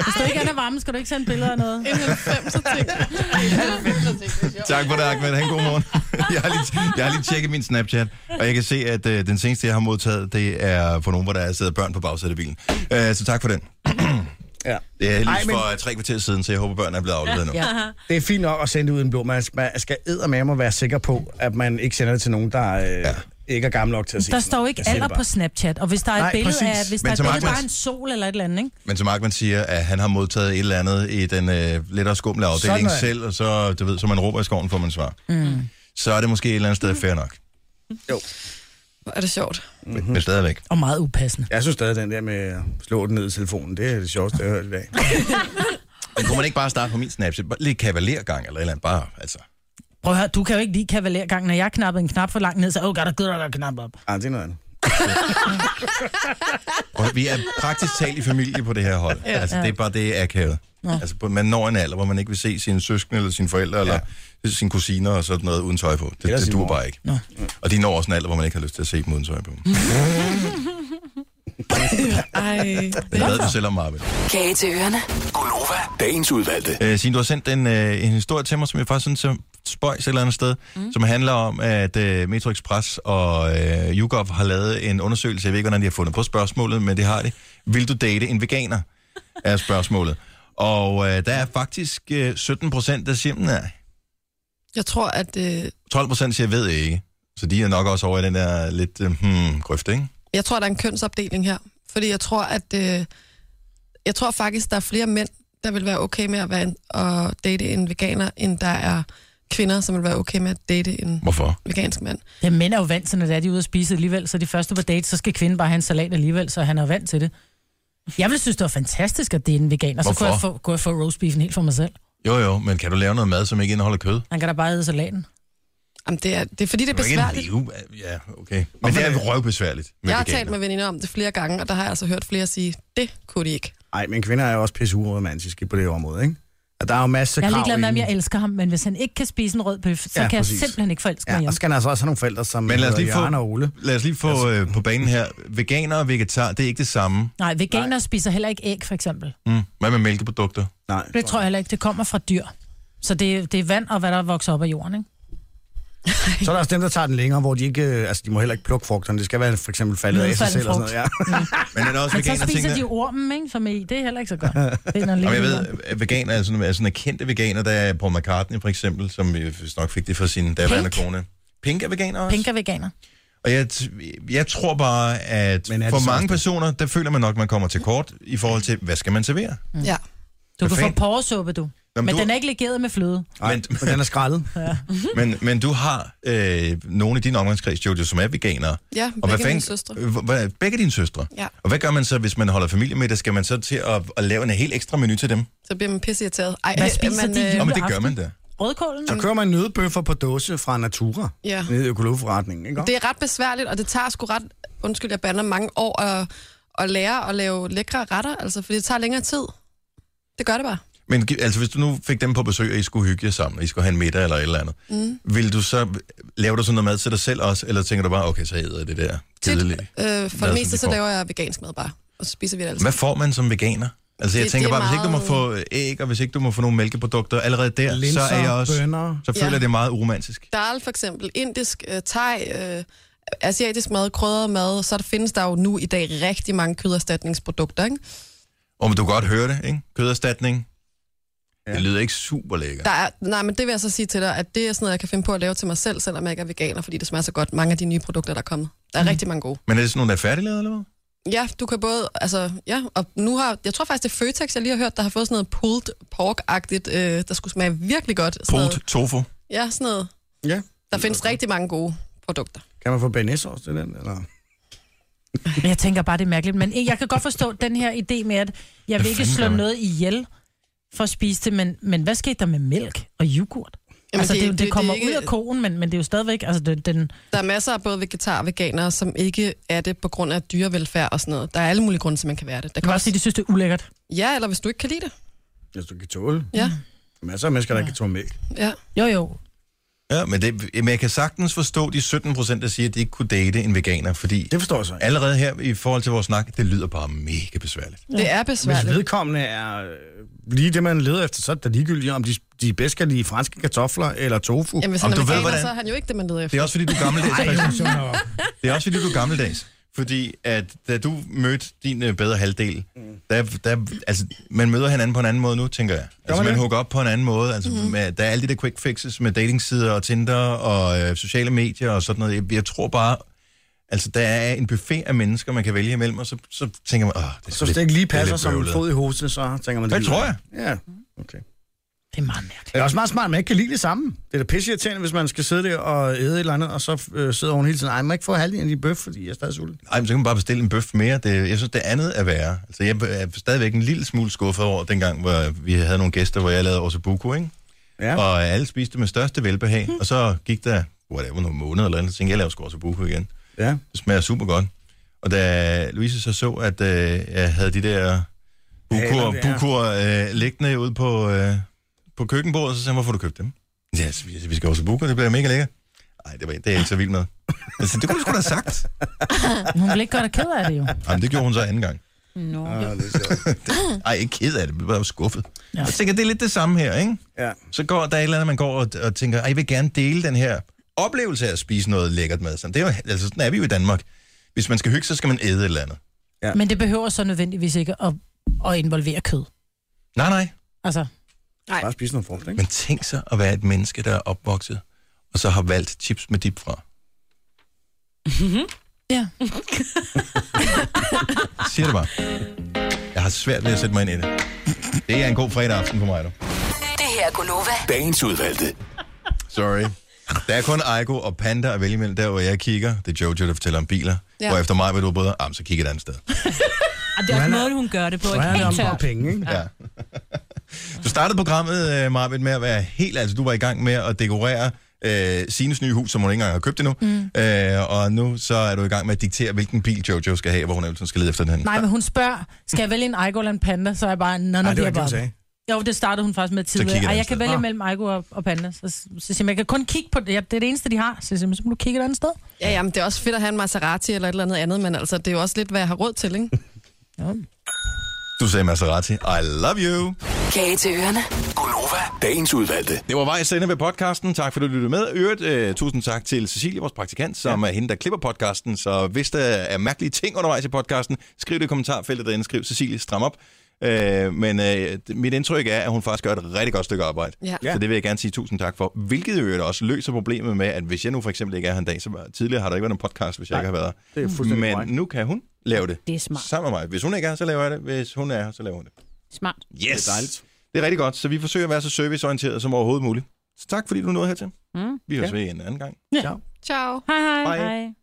Speaker 3: hvis du ikke er varme, skal du ikke sende billeder af noget.
Speaker 4: En 90'er ting.
Speaker 1: Tak for det, Ahmed. Han god morgen. jeg, har lige, jeg har lige tjekket min Snapchat, og jeg kan se, at øh, den seneste, jeg har modtaget, det er for nogen, hvor der sidder børn på bagsædet af bilen. Øh, så tak for den.
Speaker 2: Ja.
Speaker 1: Det er lige
Speaker 2: Ej, men-
Speaker 1: for øh, tre kvarter siden, så jeg håber, børnene er blevet afleveret nu.
Speaker 3: Ja.
Speaker 2: Det er fint nok at sende det ud i en blå. Man skal, man skal eddermame være sikker på, at man ikke sender det til nogen, der øh, ja. ikke er gammel nok til at se
Speaker 3: Der
Speaker 2: det.
Speaker 3: står ikke
Speaker 2: Jeg siger det
Speaker 3: alder
Speaker 2: bare.
Speaker 3: på Snapchat, og hvis der er
Speaker 2: Nej,
Speaker 3: et billede
Speaker 2: præcis.
Speaker 3: af, hvis
Speaker 1: Men
Speaker 3: der er et
Speaker 1: som
Speaker 3: billede
Speaker 1: Ahmed-
Speaker 3: bare en sol eller et eller andet, ikke?
Speaker 1: Men som Markman siger, at han har modtaget et eller andet i den øh, lettere skumle afdeling
Speaker 2: Sådan er det.
Speaker 1: selv, og
Speaker 2: Mm.
Speaker 1: så, du ved, så man råber i skoven, får man svar. Mm. Så er det måske et eller andet sted fair nok.
Speaker 4: Hvor er det sjovt.
Speaker 1: Mm-hmm. Men, men stadigvæk.
Speaker 3: Og meget upassende.
Speaker 2: Jeg synes stadig, den der med at slå den ned i telefonen, det er det sjoveste, jeg har hørt i dag.
Speaker 1: Men kunne man ikke bare starte på min Snapchat? Bare Lidt kavalergang eller et eller andet. Bare, altså.
Speaker 3: Prøv at høre, du kan jo ikke lide kavalergangen, når jeg knappede en knap for langt ned, så åh, oh, der gider der knap op.
Speaker 2: Ah, det er noget andet.
Speaker 1: Og vi er praktisk talt i familie på det her hold. Ja. Altså, det er bare det, jeg akavet.
Speaker 3: Nå.
Speaker 1: Altså, på- man når en alder, hvor man ikke vil se sine søskende eller sine forældre ja. eller sine kusiner og sådan noget uden tøj på. Det,
Speaker 2: Eller
Speaker 1: det
Speaker 2: sin
Speaker 1: dur
Speaker 2: mor.
Speaker 1: bare ikke.
Speaker 3: Nå.
Speaker 1: Og de når også en alder, hvor man ikke har lyst til at se dem uden tøj på.
Speaker 4: Ej.
Speaker 1: Det havde du selv om, Marvin.
Speaker 7: Kage til ørerne.
Speaker 8: Gunova, dagens udvalgte.
Speaker 1: Øh, Signe, du har sendt en, øh, en historie til mig, som jeg faktisk synes er spøjs et eller andet sted, mm. som handler om, at øh, Metro Express og øh, YouGov har lavet en undersøgelse. Jeg ved ikke, hvordan de har fundet på spørgsmålet, men det har de. Vil du date en veganer? er spørgsmålet. Og øh, der er faktisk øh, 17 procent, der siger nej.
Speaker 4: Jeg tror, at... Øh,
Speaker 1: 12 procent siger ved ikke. Så de er nok også over i den der lidt øh, hmm, grøft, ikke?
Speaker 4: jeg tror, der er en kønsopdeling her. Fordi jeg tror, at... Øh, jeg tror faktisk, der er flere mænd, der vil være okay med at, være en, at date en veganer, end der er kvinder, som vil være okay med at date en
Speaker 1: Hvorfor?
Speaker 4: vegansk mand.
Speaker 3: Ja, mænd er jo vant til, når det er, de er ude at spise alligevel, så de første på date, så skal kvinden bare have en salat alligevel, så han er jo vant til det. Jeg ville synes, det var fantastisk, at det er en veganer, så
Speaker 1: Hvorfor?
Speaker 3: kunne jeg, få, kunne jeg få roastbeefen helt for mig selv.
Speaker 1: Jo, jo, men kan du lave noget mad, som ikke indeholder kød?
Speaker 3: Han kan da bare æde salaten.
Speaker 4: Jamen, det er, det er fordi, det er
Speaker 1: Det er jo
Speaker 4: besværligt.
Speaker 1: ikke en liv. Ja, okay. Men det er røvbesværligt med
Speaker 4: Jeg har
Speaker 1: veganer.
Speaker 4: talt med veninder om det flere gange, og der har jeg altså hørt flere sige, det kunne de ikke.
Speaker 2: Nej, men kvinder er jo også pisseromantiske på det område, ikke? Og der er jo masser
Speaker 3: Jeg
Speaker 2: af
Speaker 3: er
Speaker 2: krav
Speaker 3: ligeglad med, om
Speaker 2: i
Speaker 3: jeg
Speaker 2: den.
Speaker 3: elsker ham, men hvis han ikke kan spise en rød bøf, så
Speaker 2: Ja,
Speaker 3: ja, kan
Speaker 2: præcis.
Speaker 3: jeg simpelthen ikke forelske mig
Speaker 2: Ja,
Speaker 3: ja,
Speaker 2: og skal han altså også have nogle forældre, som
Speaker 1: Men lad os lige få,
Speaker 2: Jørgen og Ole. Altså-
Speaker 1: lad os lige få øh, på banen her. Veganer og vegetar, det er ikke det samme.
Speaker 3: Nej, veganer Nej. spiser heller ikke æg, for eksempel.
Speaker 1: Mm. Hvad med mælkeprodukter?
Speaker 2: Nej.
Speaker 3: Det tror jeg heller ikke, det kommer fra dyr. Så det, det er vand og hvad der vokser op af jorden, ikke?
Speaker 2: Så er der også dem, der tager den længere, hvor de ikke... øh, Altså, de må heller ikke plukke frugterne. Det skal være for eksempel faldet af sig
Speaker 3: Nedfalden
Speaker 2: selv og sådan noget. Ja.
Speaker 1: Men er der også
Speaker 3: Men så
Speaker 1: veganer ting,
Speaker 3: spiser de
Speaker 1: der...
Speaker 3: jo ormen, ikke, som er i. Det er heller ikke så godt. Det er noget
Speaker 1: Jamen, jeg
Speaker 3: lidt-
Speaker 1: ved, at veganer er sådan, er sådan kendte veganer, der er Paul McCartney for eksempel, som øh, vist nok fik det fra sin daværende
Speaker 3: Pink.
Speaker 1: kone. Pink er veganer også.
Speaker 3: Pink er veganer.
Speaker 1: Og jeg, t- jeg tror bare, at
Speaker 2: Men er det
Speaker 1: for
Speaker 2: så
Speaker 1: mange
Speaker 2: også det?
Speaker 1: personer, der føler man nok, man kommer til kort i forhold til, hvad skal man servere?
Speaker 4: Mm. Ja.
Speaker 3: Du
Speaker 1: Hvad
Speaker 3: kan få
Speaker 1: fanden?
Speaker 3: porresuppe, du.
Speaker 1: Jamen,
Speaker 3: Jamen, men
Speaker 1: du-
Speaker 3: du... den er ikke legeret med fløde.
Speaker 2: Nej,
Speaker 1: Men-
Speaker 2: men, men den er skrællet.
Speaker 1: Men, men du har øh, nogle i din omgangskreds, Jojo, som er veganere.
Speaker 4: Ja, begge
Speaker 1: hvad
Speaker 4: mine
Speaker 1: fanden-
Speaker 4: søstre.
Speaker 1: Øh, hvor- Hvad, begge dine søstre?
Speaker 4: Ja.
Speaker 1: Og hvad gør man så, hvis man holder familie med det? Skal man så til at, at lave en helt ekstra menu til dem?
Speaker 4: Så bliver man pisseirriteret. Ej,
Speaker 3: Hvad
Speaker 4: øh,
Speaker 3: spiser
Speaker 4: man,
Speaker 3: de
Speaker 1: Nå,
Speaker 3: hjemme?
Speaker 1: men det gør
Speaker 3: aften.
Speaker 1: man da.
Speaker 3: Rødkålen?
Speaker 2: Så kører man nødbøffer på dåse fra Natura.
Speaker 4: Ja.
Speaker 2: Nede i økologiforretningen, ikke?
Speaker 4: Det er ret besværligt, og det tager sgu ret, undskyld, jeg bander mange år at, at lære at lave lækre retter, altså, fordi det tager længere tid. Det gør det bare.
Speaker 1: Men gi- altså, hvis du nu fik dem på besøg, og I skulle hygge jer sammen, og I skulle have en middag eller et eller andet, mm. vil du så lave du sådan noget mad til dig selv også, eller tænker du bare, okay, så æder jeg det der kedelige?
Speaker 4: øh, for
Speaker 1: Mad,
Speaker 4: det
Speaker 1: som de
Speaker 4: meste, så
Speaker 1: får.
Speaker 4: laver jeg vegansk mad bare, og så spiser vi det altså.
Speaker 1: Hvad får man som veganer? Altså, jeg
Speaker 4: Det-
Speaker 1: tænker
Speaker 4: det er
Speaker 1: bare, hvis ikke du må få æg, og hvis ikke du må få nogle mælkeprodukter, allerede der,
Speaker 2: Linser,
Speaker 1: så er jeg også...
Speaker 2: bønner.
Speaker 1: Så føler
Speaker 4: Ja.
Speaker 1: jeg, det er meget uromantisk.
Speaker 4: Dal for eksempel, indisk, øh, thai, øh, asiatisk mad, krydret mad, så der findes der jo nu i dag rigtig mange køderstatningsprodukter, ikke?
Speaker 1: Og du kan godt høre det, ikke? Køderstatning. Ja. Det lyder ikke super lækkert.
Speaker 4: Der er, nej, men det vil jeg så sige til dig, at det er sådan noget, jeg kan finde på at lave til mig selv, selvom jeg ikke er veganer, fordi det smager så godt, mange af de nye produkter, der er kommet. Der er mm. rigtig mange gode.
Speaker 1: Men er det sådan nogle, der er færdiglavet, eller hvad?
Speaker 4: Ja, du kan både, altså, ja, og nu har, jeg tror faktisk, det er Føtex, jeg lige har hørt, der har fået sådan noget pulled pork-agtigt, øh, der skulle smage virkelig godt. Sådan noget,
Speaker 1: Polt tofu.
Speaker 4: ja, sådan noget.
Speaker 2: Ja.
Speaker 4: Der findes rigtig mange gode produkter.
Speaker 2: Kan man få Ben også til den? Eller?
Speaker 3: Men Jeg tænker bare, det er mærkeligt. Men jeg kan godt forstå den her idé med, at jeg vil ikke
Speaker 1: fanden
Speaker 3: slå
Speaker 1: gør man?
Speaker 3: noget ihjel for at spise det, men, men hvad skete der med mælk og yoghurt? Jamen, altså, det, er jo- det, det kommer
Speaker 4: er
Speaker 3: ikke... ud
Speaker 4: ikke-
Speaker 3: af koen, men, men det er jo stadigvæk... Altså, det, den,
Speaker 4: Der er masser af både vegetar og veganere, som ikke er det på grund af dyrevelfærd og sådan noget. Der er alle mulige grunde til, man kan være det. Der
Speaker 3: jeg kan
Speaker 4: kan
Speaker 3: også sige, at de synes, det er ulækkert.
Speaker 4: Ja, eller hvis du ikke kan lide det.
Speaker 2: Hvis du kan tåle.
Speaker 4: Ja,
Speaker 2: Masser af mennesker, der ikke kan tåle mælk.
Speaker 4: ja.
Speaker 3: Mm. Jo, jo.
Speaker 1: Ja, men, det, men jeg kan sagtens forstå de 17 procent, der siger, at de ikke kunne date en veganer, fordi
Speaker 2: Det forstår jeg så ikke.
Speaker 1: allerede her i forhold til vores snak, det lyder bare mega besværligt.
Speaker 4: Det er
Speaker 2: Hvis
Speaker 4: besværligt.
Speaker 2: vedkommende er øh, lige det, man leder efter, så er det da ligegyldigt, om de, de bedst kan lide franske kartofler eller tofu.
Speaker 4: Jamen, hvis
Speaker 1: Om
Speaker 4: han er
Speaker 1: du ved,
Speaker 4: veganer,
Speaker 1: hvordan-
Speaker 4: så er han jo ikke det, man leder efter.
Speaker 1: Det er også fordi, du er gammeldags, Christian. Det er også fordi, du er gammeldags. Fordi at da du mødte din øh, bedre halvdel,
Speaker 2: Mm.
Speaker 1: der, der, altså, man møder hinanden på en anden måde nu, tænker jeg. Altså,
Speaker 2: man
Speaker 1: man
Speaker 2: det?
Speaker 1: hooker op på en anden måde. Altså, mm-hmm. med, der er alle de der quick fixes med datingsider og Tinder og øh, sociale medier og sådan noget. Jeg, jeg tror bare, altså, der er en buffet af mennesker, man kan vælge imellem, og så, så tænker man, åh, det er sgu
Speaker 2: Så hvis
Speaker 1: lidt-
Speaker 2: det ikke
Speaker 1: er
Speaker 2: lige
Speaker 1: lidt
Speaker 2: passer som en
Speaker 1: bøvlet."
Speaker 2: fod i hosen, så tænker man...
Speaker 1: Det tror jeg.
Speaker 2: Ja, okay.
Speaker 3: Det Det er meget mærkeligt.
Speaker 2: Det er også meget smart, at man ikke kan lide det samme. Det er da pisseirriterende, hvis man skal sidde der og æde et eller andet, og så øh, sidder hun hele tiden, ej, man må ikke få halvdelen af din bøf, fordi jeg er stadig sulten.
Speaker 1: Ej, men så kan man bare bestille en bøf mere. Det, jeg synes, det andet er værre. Altså, jeg er stadigvæk en lille smule skuffet over dengang, hvor vi havde nogle gæster, hvor jeg lavede Osebuku, ikke? Ja. Og alle spiste med største velbehag. Mm. Og så gik der, whatever, nogle måneder eller andet, så tænkte jeg, jeg laver sgu Osebuku igen.
Speaker 2: Ja.
Speaker 1: Det smager super godt. Og da Louise så så, at øh, jeg havde de der bukur,
Speaker 2: Haler der.
Speaker 1: bukur øh, liggende ude på, øh, på køkkenbordet, så sagde hun, hvorfor har du købt dem? Ja, så vi, vi skal også bukur, det bliver mega lækkert. Nej, det, var, det er jeg ikke så vild med. Altså, det kunne du sgu da have sagt.
Speaker 3: Hun vil ikke gøre dig ked af det jo.
Speaker 1: Jamen, det gjorde hun så anden gang.
Speaker 5: Nå.
Speaker 1: Ah. Ej, ikke ked af det, men bare skuffet.
Speaker 3: Ja.
Speaker 1: Ja. Jeg tænker, det er lidt det samme her, ikke?
Speaker 2: Ja.
Speaker 1: Så går der et eller andet, man går og, og tænker, "Ej, jeg vil gerne dele den her oplevelse af at spise noget lækkert mad. Sådan, det er jo, altså, sådan er vi jo i Danmark. Hvis man skal hygge, så skal man æde et eller andet.
Speaker 3: Men det behøver så nødvendigvis ikke at, at involvere kød.
Speaker 1: Nej, nej.
Speaker 3: Altså,
Speaker 2: Bare spise noget frugt, ikke?
Speaker 1: Men tænk sig at være et menneske, der er opvokset, og så har valgt chips med dip fra.
Speaker 3: ja.
Speaker 1: Siger det bare. Jeg har svært ved at sætte mig ind i det. Det er en god fredag aften for mig, du.
Speaker 7: Det her er Gunova.
Speaker 8: Dagens udvalgte.
Speaker 1: Sorry. Der er kun Aiko og Panda at vælge imellem, der hvor jeg kigger. Det er Jojo, der fortæller om biler. Ja.
Speaker 4: Ja.
Speaker 1: Hvor efter mig vil du bryde, ah, men så kigger et andet sted.
Speaker 5: Og det er også måden, hun gør det på.
Speaker 2: Så
Speaker 5: Ikke
Speaker 2: er det om
Speaker 5: helt
Speaker 2: bare
Speaker 5: tørt.
Speaker 2: penge, ikke?
Speaker 1: Ja. Du startede programmet, øh, Marvind, med at være helt... Altså, du var i gang med at dekorere øh, Sines nye hus, som hun ikke engang har købt endnu. Mm. Øh, og nu så er du i gang med at diktere, hvilken bil Jojo skal have, hvor hun eventuelt skal lede efter den. henne.
Speaker 3: Nej, men hun spørger, skal jeg vælge en Aigo eller en panda? Så er jeg bare, nej, nej,
Speaker 2: Nej, det
Speaker 3: det
Speaker 2: var
Speaker 3: er
Speaker 2: ikke det, du
Speaker 3: bare...
Speaker 2: sagde.
Speaker 3: Jo, det startede hun faktisk med
Speaker 1: kigger
Speaker 3: tidligere.
Speaker 1: et
Speaker 3: Og
Speaker 1: andet
Speaker 3: jeg kan
Speaker 1: sted.
Speaker 3: vælge
Speaker 1: Nå.
Speaker 3: mellem Aigo og, og Panda. Så, så, så siger jeg, jeg kan kun kigge på det. Ja, Det er det eneste, de har. Så siger jeg, så må du kigge et andet sted.
Speaker 4: Ja, jamen, det er også fedt at have en Maserati eller et eller andet andet, men altså, det er jo også lidt, hvad jeg har råd til, ikke?
Speaker 1: Du sagde Maserati. I love you.
Speaker 7: Kage til ørerne.
Speaker 8: Gunova, dagens udvalgte.
Speaker 1: Det var vejs ende ved podcasten. Tak fordi du lyttede med. Øvrigt, øh, tusind tak til Cecilie, vores praktikant, som ja. er hende, der klipper podcasten. Så hvis der er mærkelige ting undervejs i podcasten, skriv det i kommentarfeltet derinde. Skriv Cecilie, stram op. Øh, men øh, det- mit indtryk er, at hun faktisk gør et rigtig godt stykke arbejde.
Speaker 4: Ja.
Speaker 1: Så det vil jeg gerne sige tusind tak for. Hvilket i øvrigt også løser problemet med, at hvis jeg nu for eksempel ikke er her en dag, så tidligere har der ikke været nogen podcast, hvis jeg ikke har været
Speaker 2: Det er
Speaker 1: her.
Speaker 2: fuldstændig
Speaker 1: Men
Speaker 2: korrekt.
Speaker 1: nu kan hun lave det.
Speaker 5: Det er smart.
Speaker 1: Sammen med mig. Hvis hun ikke er her, så laver jeg det. Hvis hun er her, så laver hun det.
Speaker 5: Smart.
Speaker 1: Yes. Det er dejligt. Det er rigtig godt, så vi forsøger at være så serviceorienteret som overhovedet muligt. Så tak fordi du nåede hertil.
Speaker 5: Mm.
Speaker 1: Vi høres ved en anden gang.
Speaker 4: Ciao.
Speaker 5: Hej,
Speaker 1: Hej.
Speaker 5: hej. hej.